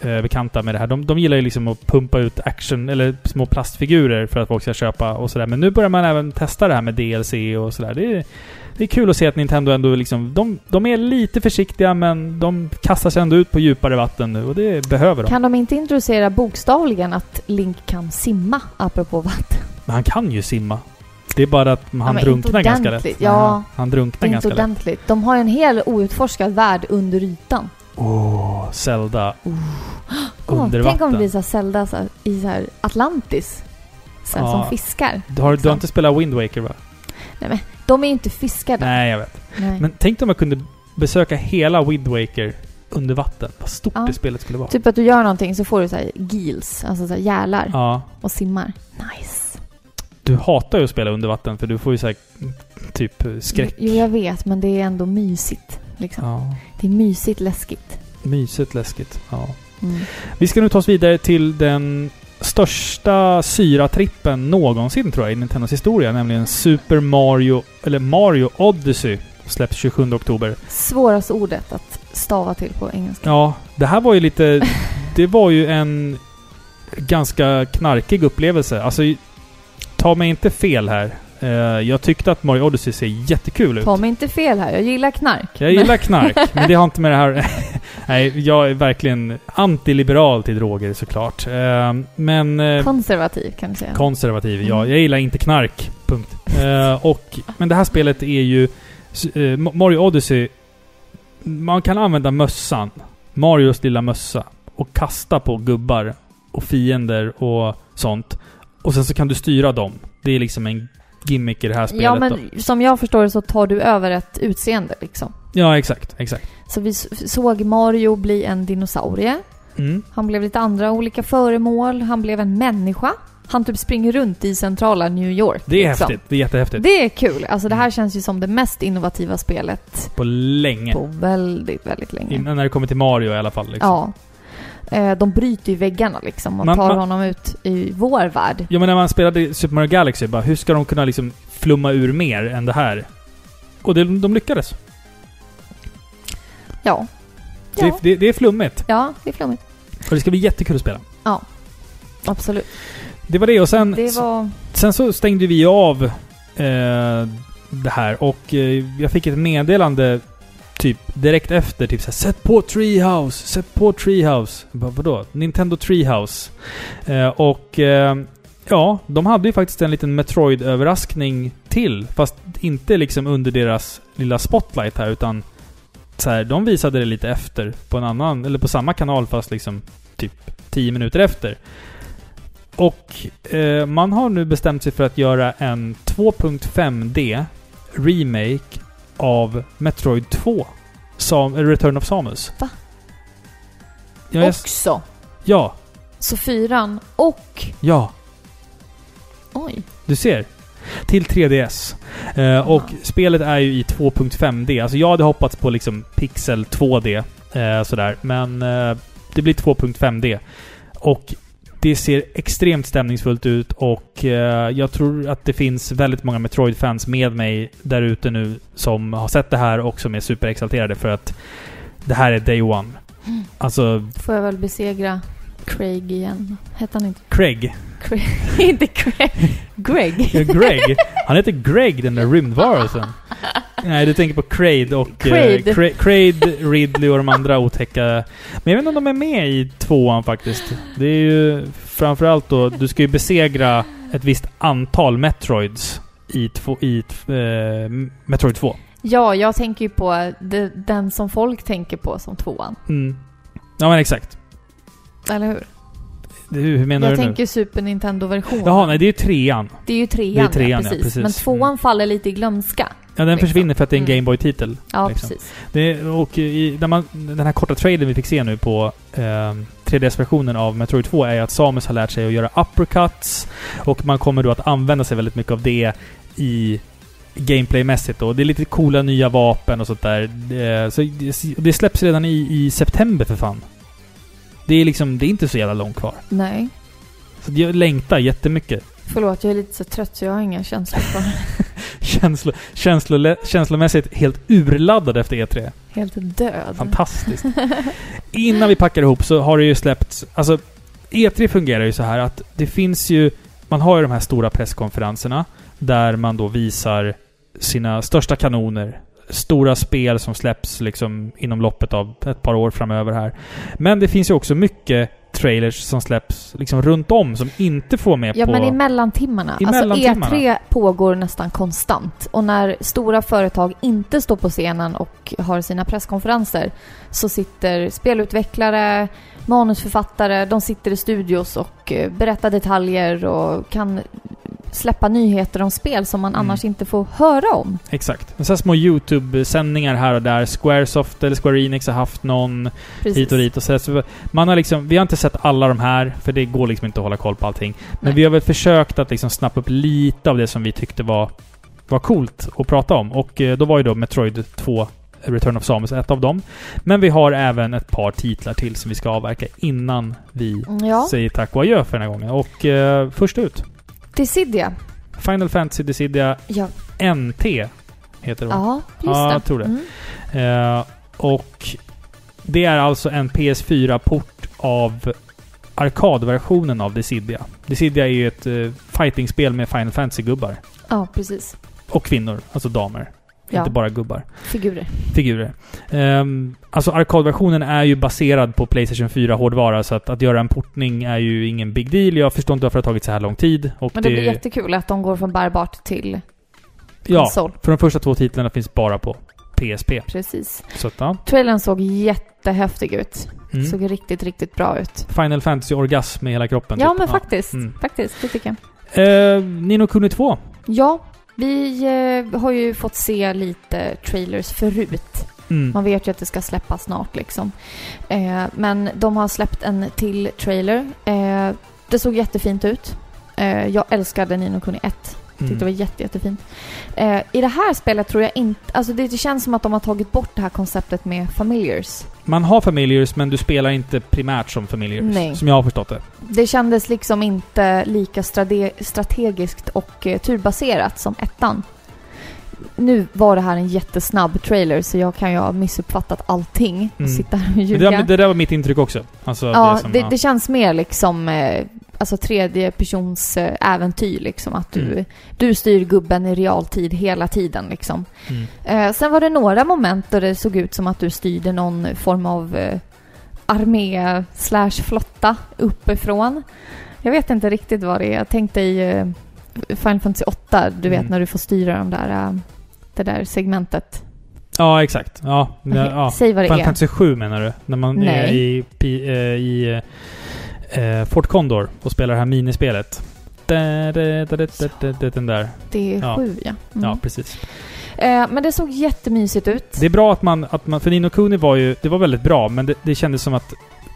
eh, bekanta med det här. De, de gillar ju liksom att pumpa ut action, eller små plastfigurer för att folk ska köpa och sådär. Men nu börjar man även testa det här med DLC och sådär. Det är, det är kul att se att Nintendo ändå liksom... De, de är lite försiktiga men de kastar sig ändå ut på djupare vatten nu och det behöver de.
Kan de inte introducera bokstavligen att Link kan simma, apropå vatten?
Men han kan ju simma. Det är bara att han
men
drunknar
inte
ganska lätt.
ordentligt. Ja.
Nej, han
Det
drunknar
är inte
ganska lätt.
ordentligt. De har ju en hel outforskad värld under ytan.
Åh, Zelda.
Åh,
Under
tänk om
vatten.
det blir så här Zelda så här, i så här Atlantis. Så här,
Ja.
Som fiskar.
Du har, du har
Liksom.
inte spelat Wind Waker va?
De är ju inte fiskar där.
Nej, jag vet.
Nej.
Men tänk om jag kunde besöka hela Wind Waker under vatten. Vad stort
Ja.
det spelet skulle vara.
Typ att du gör någonting så får du så här gills, alltså så här gälar
Ja.
och simmar. Nice.
Du hatar ju att spela under vatten för du får ju så här, typ skräck.
Jo, jag vet, men det är ändå mysigt. Liksom.
Ja.
Det är mysigt läskigt.
Mysigt läskigt. Ja.
Mm.
Vi ska nu ta oss vidare till den största syratrippen någonsin tror jag i Nintendos historia. Nämligen Super Mario, eller Mario Odyssey. Släpps 27 oktober.
Svåraste ordet att stava till på engelska.
Ja, det här var ju lite... Det var ju en ganska knarkig upplevelse. Alltså, ta mig inte fel här. Eh, Jag tyckte att Mario Odyssey ser jättekul ut.
Ta mig inte fel här, jag gillar knark.
Jag gillar knark, men det har inte med det här... Nej, jag är verkligen antiliberal till droger såklart. Eh, Men... eh,
Konservativ kan du säga.
Konservativ, ja.
Mm.
Jag gillar inte knark. Punkt. Eh, och, men det här spelet är ju... s- eh, Ma- Mario Odyssey... Man kan använda mössan. Marios lilla mössa. Och kasta på gubbar och fiender och sånt. Och sen så kan du styra dem. Det är liksom en gimmick i det här spelet.
ja,
då.
men som jag förstår det så tar du över ett utseende liksom.
ja exakt. exakt.
Så vi s- såg Mario bli en dinosaurie.
Mm.
Han blev lite andra olika föremål. Han blev en människa. Han typ springer runt i centrala New York.
Det är
liksom.
häftigt. Mm. Det är jättehäftigt.
Det är kul. Alltså det här känns ju som det mest innovativa spelet
På länge.
på väldigt, väldigt länge.
Innan när det kommer till Mario i alla fall. Liksom.
Ja. Eh, De bryter ju väggarna liksom och
Man-
tar
man-
honom ut i vår värld.
Ja men när man spelade Super Mario Galaxy, bara, hur ska de kunna liksom flumma ur mer än det här? Och det, de lyckades.
Ja.
Det,
Ja,
det, det är flummigt.
ja det är flummigt.
Och det ska bli jättekul att spela.
Absolut.
Det var det och sen,
Det var...
sen så stängde vi av eh, det här och eh, jag fick ett meddelande typ direkt efter. Typ såhär, sätt på Treehouse! Sätt på Treehouse! Jag Bara, vadå? Nintendo Treehouse. Eh, och eh, ja, de hade ju faktiskt en liten Metroid-överraskning till. Fast inte liksom under deras lilla spotlight här utan så här, de visade det lite efter på en annan, eller på samma kanal fast liksom typ 10 minuter efter. Och eh, man har nu bestämt sig för att göra en 2.5D remake av Metroid 2. Sam, eh, Return of Samus.
Va?
Ja, jag,
Också.
ja,
Så fyran och...
ja.
Oj.
Du ser. Till 3DS. Eh, och spelet är ju i 2.5D. Alltså jag hade hoppats på liksom pixel 2D. Eh, sådär. Men eh, det blir 2.5D. Och det ser extremt stämningsfullt ut och eh, jag tror att det finns väldigt många Metroid-fans med mig där ute nu som har sett det här och som är superexalterade för att det här är Day One. Alltså,
Får jag väl besegra Craig igen. Hette han inte...
Craig.
inte Craig. Greg.
Ja, Greg. Han heter Greg, den där rymdvarelsen. Nej, du tänker på Craid och... eh,
Craid.
Cra- Craid, Ridley och de andra otäcka... Men jag vet inte om de är med i tvåan faktiskt. Det är ju framförallt då, du ska ju besegra ett visst antal Metroids i, två, i eh, Metroid 2.
Ja, jag tänker ju på de, den som folk tänker på som tvåan.
Mm. Ja men exakt.
Eller hur?
Det- Hur menar
jag
du
tänker Super Nintendo-versionen.
nu? Jaha, nej det är ju trean.
Det är ju trean,
Det är trean, ja,
ja, precis.
precis. Mm.
Men tvåan faller lite i glömska.
Ja, den
Liksom.
försvinner för att det är en
Mm.
Gameboy-titel.
Ja,
Liksom.
precis.
Det, och i, när man, den här korta trailern vi fick se nu på eh, 3DS-versionen av Metroid 2 är ju att Samus har lärt sig att göra uppercuts och man kommer då att använda sig väldigt mycket av det i gameplaymässigt då. Det är lite coola nya vapen och sånt där. Eh, så det, det släpps redan i, i september för fan. Det är liksom, det är inte så jävla långt kvar.
Nej.
Så jag längtar jättemycket.
Förlåt, jag är lite så trött så jag har inga känslor för det.
Känslo, känslolä, känslomässigt helt urladdad efter E E3.
Helt död.
Fantastiskt. Innan vi packar ihop så har det ju släppts... Alltså, E3 fungerar ju så här att det finns ju... Man har ju de här stora presskonferenserna där man då visar sina största kanoner. Stora spel som släpps liksom inom loppet av ett par år framöver här. Men det finns ju också mycket trailers som släpps liksom runt om som inte får med
Ja,
på...
men i mellantimmarna.
I
alltså
mellantimmarna.
E3 pågår nästan konstant. Och när stora företag inte står på scenen och har sina presskonferenser så sitter spelutvecklare, manusförfattare, de sitter i studios och eh, berättar detaljer och kan släppa nyheter om spel som
Mm.
man annars inte får höra om.
Exakt. Men sen små YouTube-sändningar här och där. Squaresoft eller Square Enix har haft någon
Precis.
hit och dit. Och så, så man har liksom, vi har inte sett alla de här, för det går liksom inte att hålla koll på allting. Men
Nej.
vi har väl försökt att liksom snappa upp lite av det som vi tyckte var, var coolt att prata om. Och eh, då var ju då Metroid 2 Return of Samus ett av dem. Men vi har även ett par titlar till som vi ska avverka innan vi
Ja,
säger tack och adjö för den här gången. Och eh, först ut,
Dissidia.
Final Fantasy Dissidia
Ja,
NT heter hon.
ja just
Ja,
det.
jag tror det.
Mm.
Eh, och det är alltså en PS4-port av arkadversionen av Dissidia. Dissidia är ju ett eh, fightingspel med Final Fantasy-gubbar.
Ja, precis.
Och kvinnor, alltså damer.
Ja.
Inte bara gubbar.
Figurer.
Figurer. Ehm, alltså arkadversionen är ju baserad på Playstation 4-hårdvara, så att, att göra en portning är ju ingen big deal. Jag förstår inte varför det har tagit så här lång tid. Och
Men det blir jättekul att de går från bärbart till
Ja,
konsol.
för de första två titlarna finns bara på PSP.
Precis.
Så att, ja.
Trailern såg jättehäftig ut.
mm.
Såg riktigt, riktigt bra ut.
Final Fantasy-orgasm med hela kroppen.
Ja,
typ.
men faktiskt.
Mm.
Faktiskt, det tycker jag.
Eh, Nino Kuni 2.
Ja, vi eh, har ju fått se lite trailers förut.
Mm.
Man vet ju att det ska släppas snart liksom. Eh, men de har släppt en till trailer. Eh, det såg jättefint ut. Eh, jag älskade Nino Kuni 1.
Mm.
Tyckte det var jätte, jättefint. Eh, I det här spelet tror jag inte... Alltså det, det känns som att de har tagit bort det här konceptet med familiars.
Man har Familiars, men du spelar inte primärt som Familiars.
Nej.
Som jag har förstått det.
Det kändes liksom inte lika strade- strategiskt och eh, turbaserat som ettan. Nu var det här en jättesnabb trailer så jag kan ju ha missuppfattat allting och
Mm.
sitta här och
Det
ljuga.
där, det där var mitt intryck också. Alltså,
ja,
det som,
det,
ja.
det känns mer liksom eh, alltså tredje persons eh, äventyr liksom att du,
Mm.
du styr gubben i realtid hela tiden liksom.
Mm.
Eh, sen var det några moment där det såg ut som att du styrde någon form av eh, armé slash flotta uppifrån. Jag vet inte riktigt vad det är. Jag tänkte i eh, Final Fantasy 8, du
Mm.
vet när du får styra de där, eh, det där segmentet.
ja, exakt. Ja, ja, ja.
Säg vad det
Final
är.
Fantasy 7 menar du? När man är
Nej.
i, pi, eh, i eh, Fort Condor och spelar det här minispelet. Da, da, da, da, da, da, da, Den där.
Det är
Ja.
sju ja. Mm.
Ja, precis.
Eh, men det såg jättemysigt ut.
Det är bra att man... Att man för Nino Kuni var ju... Det var väldigt bra, men det, det kändes som att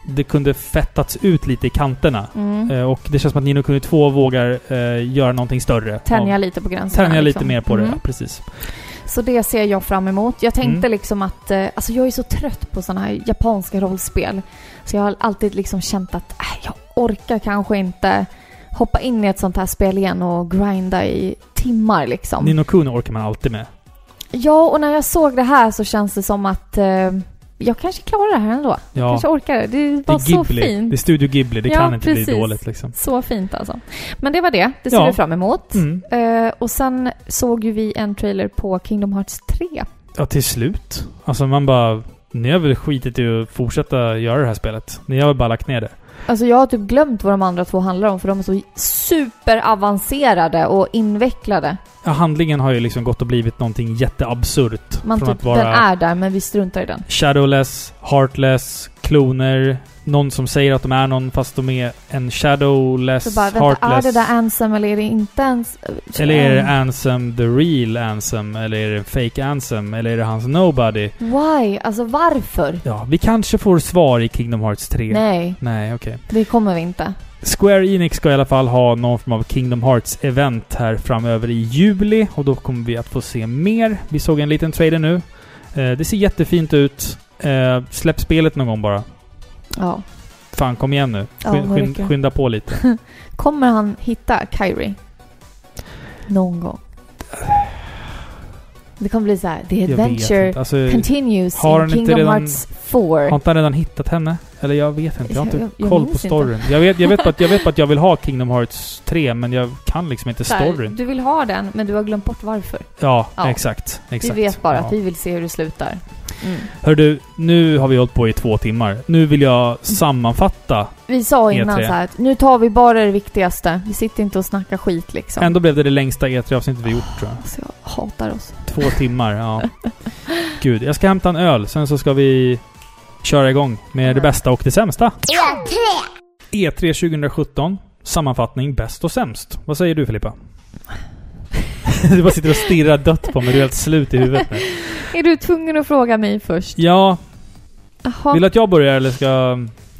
det kunde fettats ut lite i kanterna.
Mm.
Eh, Och det känns som att Nino Kuni 2 vågar eh, göra någonting större.
Tänja
Ja,
lite på gränserna.
tänja lite
liksom.
mer på det,
Mm.
ja, precis.
Så det ser jag fram emot. Jag tänkte
Mm.
liksom att, eh, alltså jag är så trött på sådana här japanska rollspel. Så jag har alltid liksom känt att äh, jag orkar kanske inte hoppa in i ett sånt här spel igen och grinda i timmar liksom.
Nino Kuni orkar man alltid med.
Ja, och när jag såg det här så känns det som att eh, jag kanske klarar det här ändå.
Ja,
Kanske orkar det. Det
det
var
är
så
Ghibli.
fint.
Det är Studio Ghibli, det
Ja,
kan inte bli
precis.
dåligt liksom.
Så fint alltså. Men det var det. Det ser
Ja.
vi fram emot.
Mm.
Eh, och sen såg ju vi en trailer på Kingdom Hearts 3.
Ja, till slut. Alltså man bara... Ni har väl skitit i att fortsätta göra det här spelet? Ni har väl bara lagt ner det?
Alltså jag har typ glömt vad de andra två handlar om för de är så superavancerade och invecklade.
Ja, handlingen har ju liksom gått och blivit någonting jätteabsurt.
Man
från
typ,
att vara
den är där men vi struntar i den.
shadowless, heartless, kloner. Någon som säger att de är någon fast de är en shadowless,
Så bara, vänta,
heartless.
är det där Ansem eller är det inte ens...
Eller är
Ehm.
det Ansem the real Ansem? Eller är det en fake Ansem? Eller är det hans Nobody?
Why? Alltså varför?
Ja, vi kanske får svar i Kingdom Hearts 3.
Nej,
Nej, okej.
det kommer vi inte.
Square Enix ska i alla fall ha någon form av Kingdom Hearts-event här framöver i juli. Och då kommer vi att få se mer. Vi såg en liten trailer nu. Eh, det ser jättefint ut. Eh, släpp spelet någon gång bara.
Ja.
Fan, kom igen nu.
Ja,
Skyn-
vad
skyn-
räcker.
skynda på lite.
Kommer han hitta Kyrie? Någon gång. Det kommer bli så här, the
Jag vet
adventure
inte. Alltså,
continues
Har han
in
inte
Kingdom
redan-
Hearts 4.
Har inte han redan hittat henne? Eller jag vet inte. Jag har inte
Jag- jag
koll på
minns
storyn. Jag vet, jag, vet bara att, jag vet bara att jag vill ha Kingdom Hearts 3, men jag kan liksom inte
Så här,
storyn.
Du vill ha den men du har glömt bort varför.
Ja,
Ja.
exakt. exakt.
Vi vet bara
ja.
att vi vill se hur det slutar.
Hör du, nu har vi hållit på i två timmar. Nu vill jag sammanfatta.
Vi sa innan
E3.
så här att nu tar vi bara det viktigaste. Vi sitter inte och snackar skit liksom.
Ändå blev det det längsta E3-avsnittet vi gjort, tror jag.
Alltså, jag hatar oss.
Två timmar, ja. Gud, jag ska hämta en öl, sen så ska vi köra igång med det bästa och det sämsta. E E3 2017. Sammanfattning bäst och sämst. Vad säger du Filippa? du bara sitter och stirrar dött på mig. Du är helt slut i huvudet nu.
Är du tvungen att fråga mig först?
Ja,
Jaha.
vill du att jag börjar eller ska...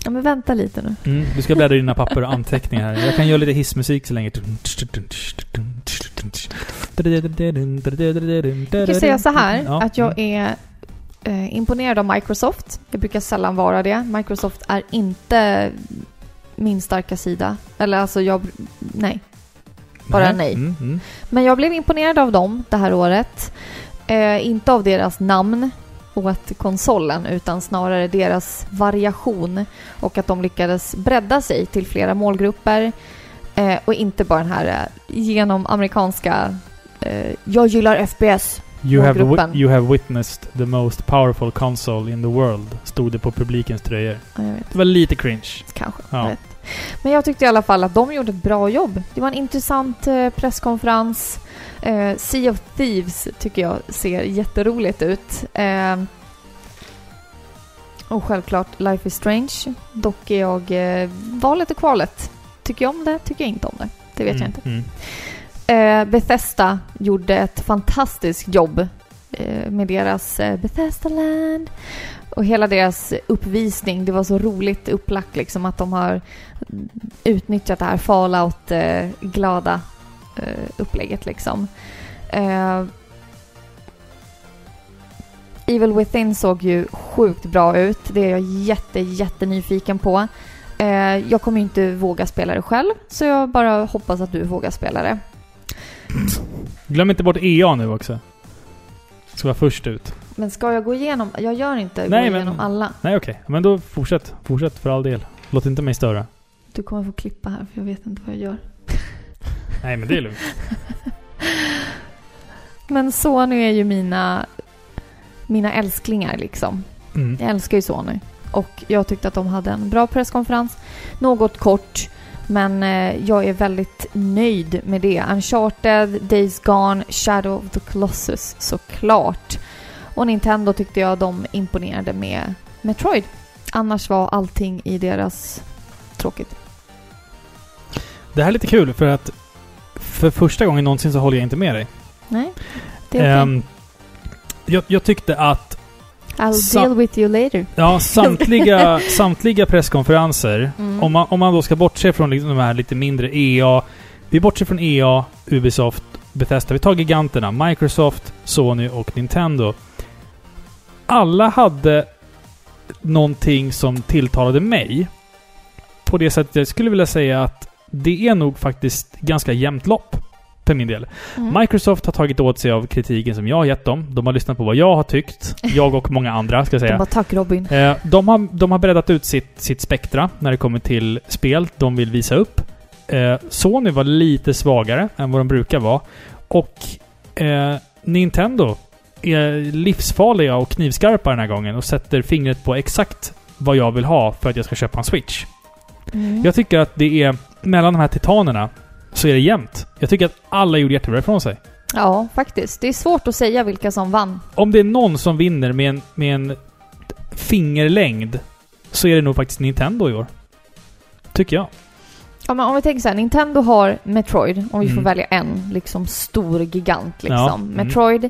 Ja, men vänta lite nu.
Mm, du ska bläddra i dina papper och anteckningar här. Jag kan göra lite hissmusik så länge.
Jag kan säga så här,
Ja. Mm.
att jag är eh, imponerad av Microsoft. Jag brukar sällan vara det. Microsoft är inte min starka sida. Eller alltså, jag... Nej. bara nej.
Mm, mm.
Men jag blev imponerad av dem det här året. Eh, inte av deras namn åt konsolen utan snarare deras variation och att de lyckades bredda sig till flera målgrupper eh, och inte bara den här eh, genom amerikanska eh, jag gillar FPS.
You have,
Målgruppen.
wi- you have witnessed the most powerful console in the world, stod det på publikens tröjor.
Ja, jag vet,
Det var lite cringe.
kanske.
Ja.
Jag vet. Men jag tyckte i alla fall att de gjorde ett bra jobb. Det var en intressant eh, presskonferens. Eh, sea of Thieves tycker jag ser jätteroligt ut. Eh, och självklart Life is Strange. Dock är jag eh, valet och kvalet. Tycker jag om det? Tycker jag inte om det? Det vet jag inte.
Mm.
Eh, Bethesda gjorde ett fantastiskt jobb eh, med deras eh, Bethesda Land. Och hela deras uppvisning, det var så roligt upplagt liksom att de har utnyttjat det här Fallout-glada eh, upplägget liksom. Eh, Evil Within såg ju sjukt bra ut. Det är jag jätte, jättenyfiken på. Eh, jag kommer ju inte våga spela det själv, så jag bara hoppas att du vågar spela det.
Glöm inte bort EA nu också. Ska vara först ut.
Men ska jag gå igenom? Jag gör inte
Nej,
gå
men-
igenom alla.
Nej okej, men då fortsätt. Fortsätt för all del. Låt inte mig störa.
Du kommer få klippa här för jag vet inte vad jag gör.
Nej men det är lugnt.
Men Sony är ju mina, mina älsklingar liksom.
Mm.
Jag älskar ju Sony. Och jag tyckte att de hade en bra presskonferens. Något kort, men eh, jag är väldigt nöjd med det. Uncharted, Days Gone, Shadow of the Colossus såklart. Och Nintendo tyckte jag de imponerade med Metroid. Annars var allting i deras tråkigt.
Det här är lite kul för att för första gången någonsin så håller jag inte med dig.
Nej, det är okej.
Ehm, jag, jag tyckte att
I'll
Sa-
deal with you later.
ja, samtliga, samtliga presskonferenser,
Mm.
om, man, om man då ska bortse från liksom de här lite mindre EA. Vi bortser från EA, Ubisoft, Bethesda. Vi tar giganterna. Microsoft, Sony och Nintendo. Alla hade någonting som tilltalade mig. På det sättet jag skulle vilja säga att det är nog faktiskt ganska jämnt lopp. För min del.
Mm.
Microsoft har tagit åt sig av kritiken som jag har gett dem. De har lyssnat på vad jag har tyckt. Jag och många andra, ska jag
De
säga.
bara tack Robin.
Eh, De har, de har breddat ut sitt, sitt spektra när det kommer till spel de vill visa upp. Eh, Sony var lite svagare än vad de brukar vara. Och eh, Nintendo är livsfarliga och knivskarpa den här gången och sätter fingret på exakt vad jag vill ha för att jag ska köpa en Switch.
Mm.
Jag tycker att det är, mellan de här titanerna, så är det jämnt. Jag tycker att alla gjorde jättebra ifrån sig.
Ja, faktiskt. Det är svårt att säga vilka som vann.
Om det är någon som vinner med en, med en fingerlängd så är det nog faktiskt Nintendo i år. Tycker jag.
Ja, men om vi tänker så här, Nintendo har Metroid, om vi får
Mm.
välja en liksom stor gigant liksom.
Ja, mm.
Metroid.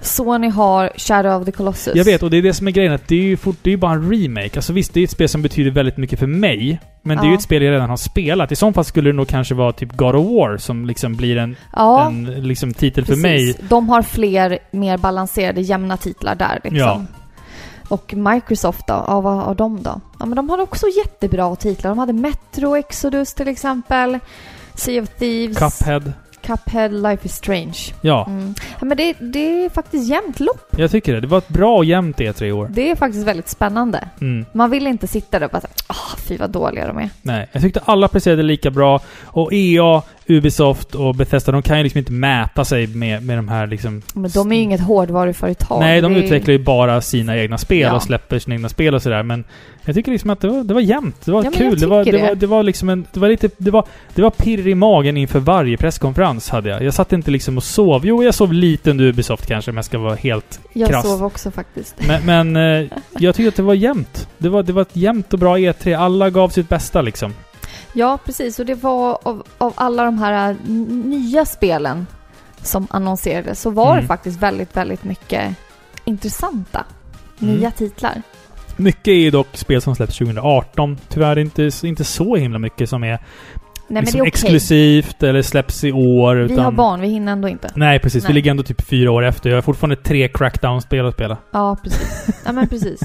Sony har Shadow of the Colossus.
Jag vet, och det är det som är grejen. Att det är ju fort, det är ju bara en remake. Alltså visst, det är ett spel som betyder väldigt mycket för mig. Men det är ju
Ja.
ett spel jag redan har spelat. I så fall skulle det nog kanske vara typ God of War som liksom blir en,
Ja,
en liksom titel
precis.
för mig.
De har fler mer balanserade, jämna titlar där liksom.
Ja.
Och Microsoft då? Ja, vad har de då? Ja, men de har också jättebra titlar. De hade Metro Exodus till exempel. Sea of Thieves.
Cuphead.
Cuphead, Life is Strange.
Ja,
Mm. Ja, men det, det är faktiskt jämnt lopp.
jag tycker det. Det var ett bra och jämnt E3 i år.
Det är faktiskt väldigt spännande.
Mm.
Man vill inte sitta där och bara såhär, ah, fy vad dåliga de är.
Nej, jag tyckte alla presterade lika bra. Och EA, Ubisoft och Bethesda, de kan ju liksom inte mäta sig med, med de här liksom...
Men de är ju inget hårdvaruföretag.
Nej, de
Det är ju-
utvecklar ju bara sina egna spel
Ja.
och släpper sina egna spel och sådär. Men jag tycker liksom att det var, det var jämnt. Det var
Ja, men jag
kul. Det var, det,
tycker
var,
det.
det var liksom en... Det var lite... Det var, det var pirr i magen inför varje presskonferens hade jag. Jag satt inte liksom och sov. Jo, jag sov lite under Ubisoft kanske, men jag ska vara helt...
Jag
krasst.
sov också faktiskt.
Men, men E eh, jag tycker att det var jämnt. Det var, det var ett jämnt och bra E3. Alla gav sitt bästa liksom.
Ja, precis. Och det var av, av alla de här äh, n- nya spelen som annonserades så var
Mm.
det faktiskt väldigt, väldigt mycket intressanta
Mm.
nya titlar.
Mycket är ju dock spel som släpps 2018. Tyvärr inte, inte så himla mycket som är,
Nej,
liksom
men det är okej.
exklusivt eller släpps i år.
Vi
utan,
har barn, vi hinner ändå inte.
Nej, precis. Vi
Nej.
ligger ändå typ fyra år efter. Jag har fortfarande tre Crackdown-spel att spela.
Ja, precis. ja, men precis.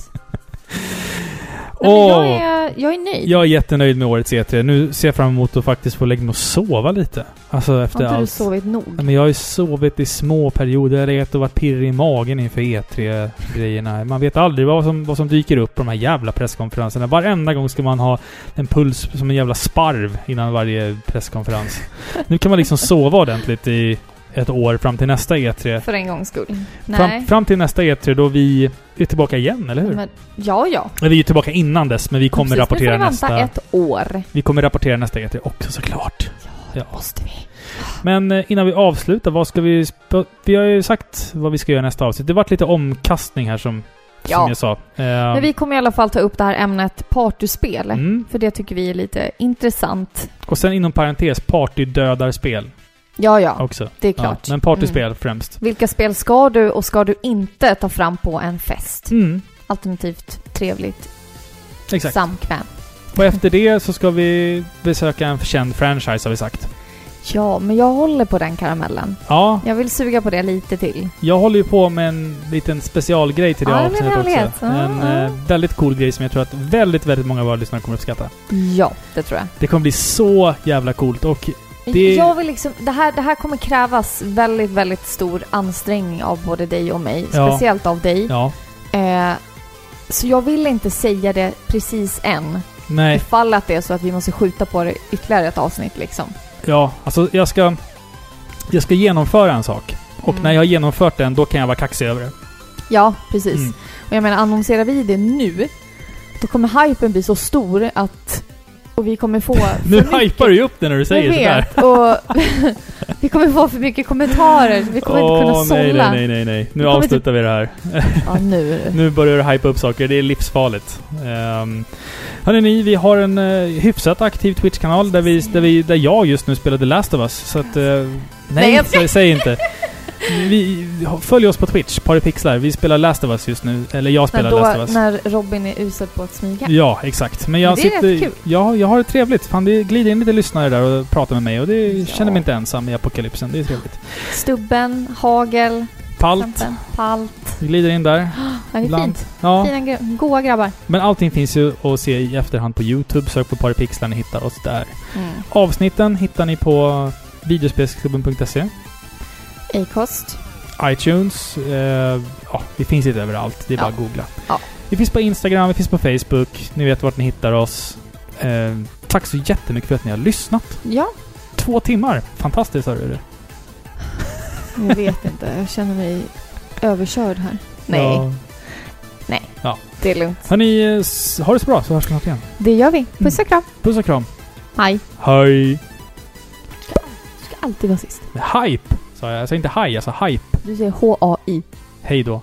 Nej, men
Åh!
jag, är, jag är nöjd.
Jag är jättenöjd med årets E3. Nu ser jag fram emot att faktiskt få lägga mig och sova lite. Alltså efter
har inte du
allt. Mm.
sovit nog?
Ja, Men jag har ju sovit i små perioder. Jag har legat och varit pirrig i magen inför E3-grejerna. Man vet aldrig vad som, vad som dyker upp på de här jävla presskonferenserna. Varenda gång ska man ha en puls som en jävla sparv innan varje presskonferens. nu kan man liksom sova ordentligt i ett år fram till nästa E E3.
För en gångs skull.
Fram,
Nej.
fram till nästa E3 då vi är tillbaka igen, eller hur?
Men, ja, ja.
Eller vi är tillbaka innan dess, men vi kommer
Precis,
rapportera
nu får
nästa...
vi vänta ett år.
Vi kommer rapportera nästa E3 också såklart.
Måste vi?
Men eh, innan vi avslutar, vad ska vi... sp- Vi har ju sagt vad vi ska göra i nästa avsnitt. Det vart lite omkastning här som, som
Ja.
jag sa. Eh,
Men vi kommer i alla fall ta upp det här ämnet partyspel.
mm.
För det tycker vi är lite intressant.
Och sen inom parentes, partydödarspel
Ja, ja.
också.
Det är
Ja,
klart.
men partyspel
Mm.
främst.
Vilka spel ska du och ska du inte ta fram på en fest?
Mm,
Alternativt trevligt
exakt.
samkväm.
Och efter det så ska vi besöka en känd franchise har vi sagt.
Ja, men jag håller på den karamellen.
Ja,
Jag vill suga på det lite till.
jag håller ju på med en liten specialgrej till det
Ja, det blir
avsnittet
roligt.
också.
Ja,
en
ja.
eh, väldigt cool grej som jag tror att väldigt, väldigt många av våra lyssnare kommer uppskatta.
Ja, det tror jag.
Det kommer bli så jävla coolt och Det-
Jag vill liksom, det, här, det här kommer krävas väldigt, väldigt stor ansträngning av både dig och mig.
Ja.
Speciellt av dig.
ja,
Eh, så jag vill inte säga det precis än.
nej.
Ifall att det är så att vi måste skjuta på det ytterligare ett avsnitt liksom.
Ja, alltså jag ska... Jag ska genomföra en sak. Och
Mm.
när jag har genomfört den, då kan jag vara kaxig över det.
Ja, precis.
Mm.
Och jag menar, annonserar vi det nu, då kommer hypen bli så stor att... Och vi kommer få... för
Nu
mycket-
hypar du ju upp det när du säger
jag
sådär.
vet, och Vi kommer få för mycket kommentarer, så vi kommer inte kunna
Åh, nej,
sålla.
nej, nej, nej. Nu
kommer
avslutar vi det här.
Ja, nu är det.
Nu börjar du hypa upp saker. Det är livsfarligt. Um, hörni, ni, vi har en eh, hyfsat aktiv Twitch-kanal där, vi, där, vi, där jag just nu spelade Last of Us. Så att... eh, nej,
jag
sä, säg inte. Vi, följ oss på Twitch, Paripixlar. Vi spelar Last of Us just nu. Eller jag
När,
spelar Last of
då,
Us.
när Robin är usel på att smyga.
Ja, exakt. Men jag
Men det är rätt
sitter...
kul.
Ja, jag har det trevligt. Fan, det glider in lite lyssnare där och pratar med mig och det
Ja.
känner mig inte ensam i apokalypsen. Det är trevligt.
Stubben, hagel,
Palt
kampen, palt.
det glider in där.
Ja, det är
Ibland.
fint.
Ja,
Fina gre- goa grabbar.
men allting finns ju att se i efterhand på YouTube. Sök på Paripixlar, ni hittar oss där.
Mm.
Avsnitten hittar ni på videospelsklubben.se,
Acast.
iTunes. Eh, ja, vi finns lite överallt. Det är bara
Ja.
att googla.
Ja.
Vi finns på Instagram, vi finns på Facebook. Ni vet vart ni hittar oss. Eh, tack så jättemycket för att ni har lyssnat.
Ja,
Två timmar! Fantastiskt, hörru du.
jag vet inte. Jag känner mig överkörd här. Nej,
Ja.
det är lugnt.
Hörni, eh, s- ha det så bra så hörs vi snart igen.
Det gör vi. Puss och kram.
Puss och kram.
Hej.
Hej!
Du ska alltid vara sist.
Men Hype! Sa jag. Jag sa inte haj, jag sa hype.
Du säger H-A-I.
Hej då.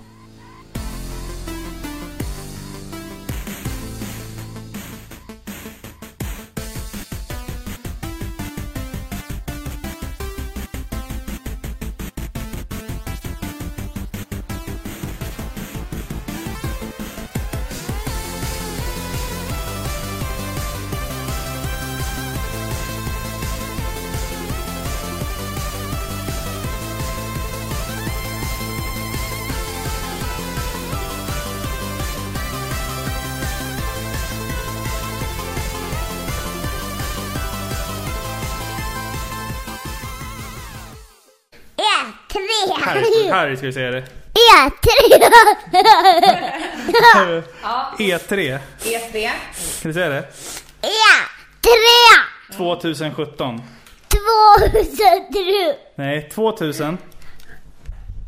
E3!
ska vi säga det.
E3!
E3.
E3.
Kan du säga det?
E3!
2017.
2000!
Nej, 2000.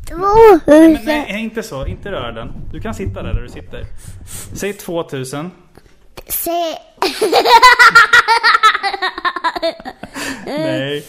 2000!
inte så. Inte rör den. Du kan sitta där, där du sitter. Säg 2000.
Säg
Nej.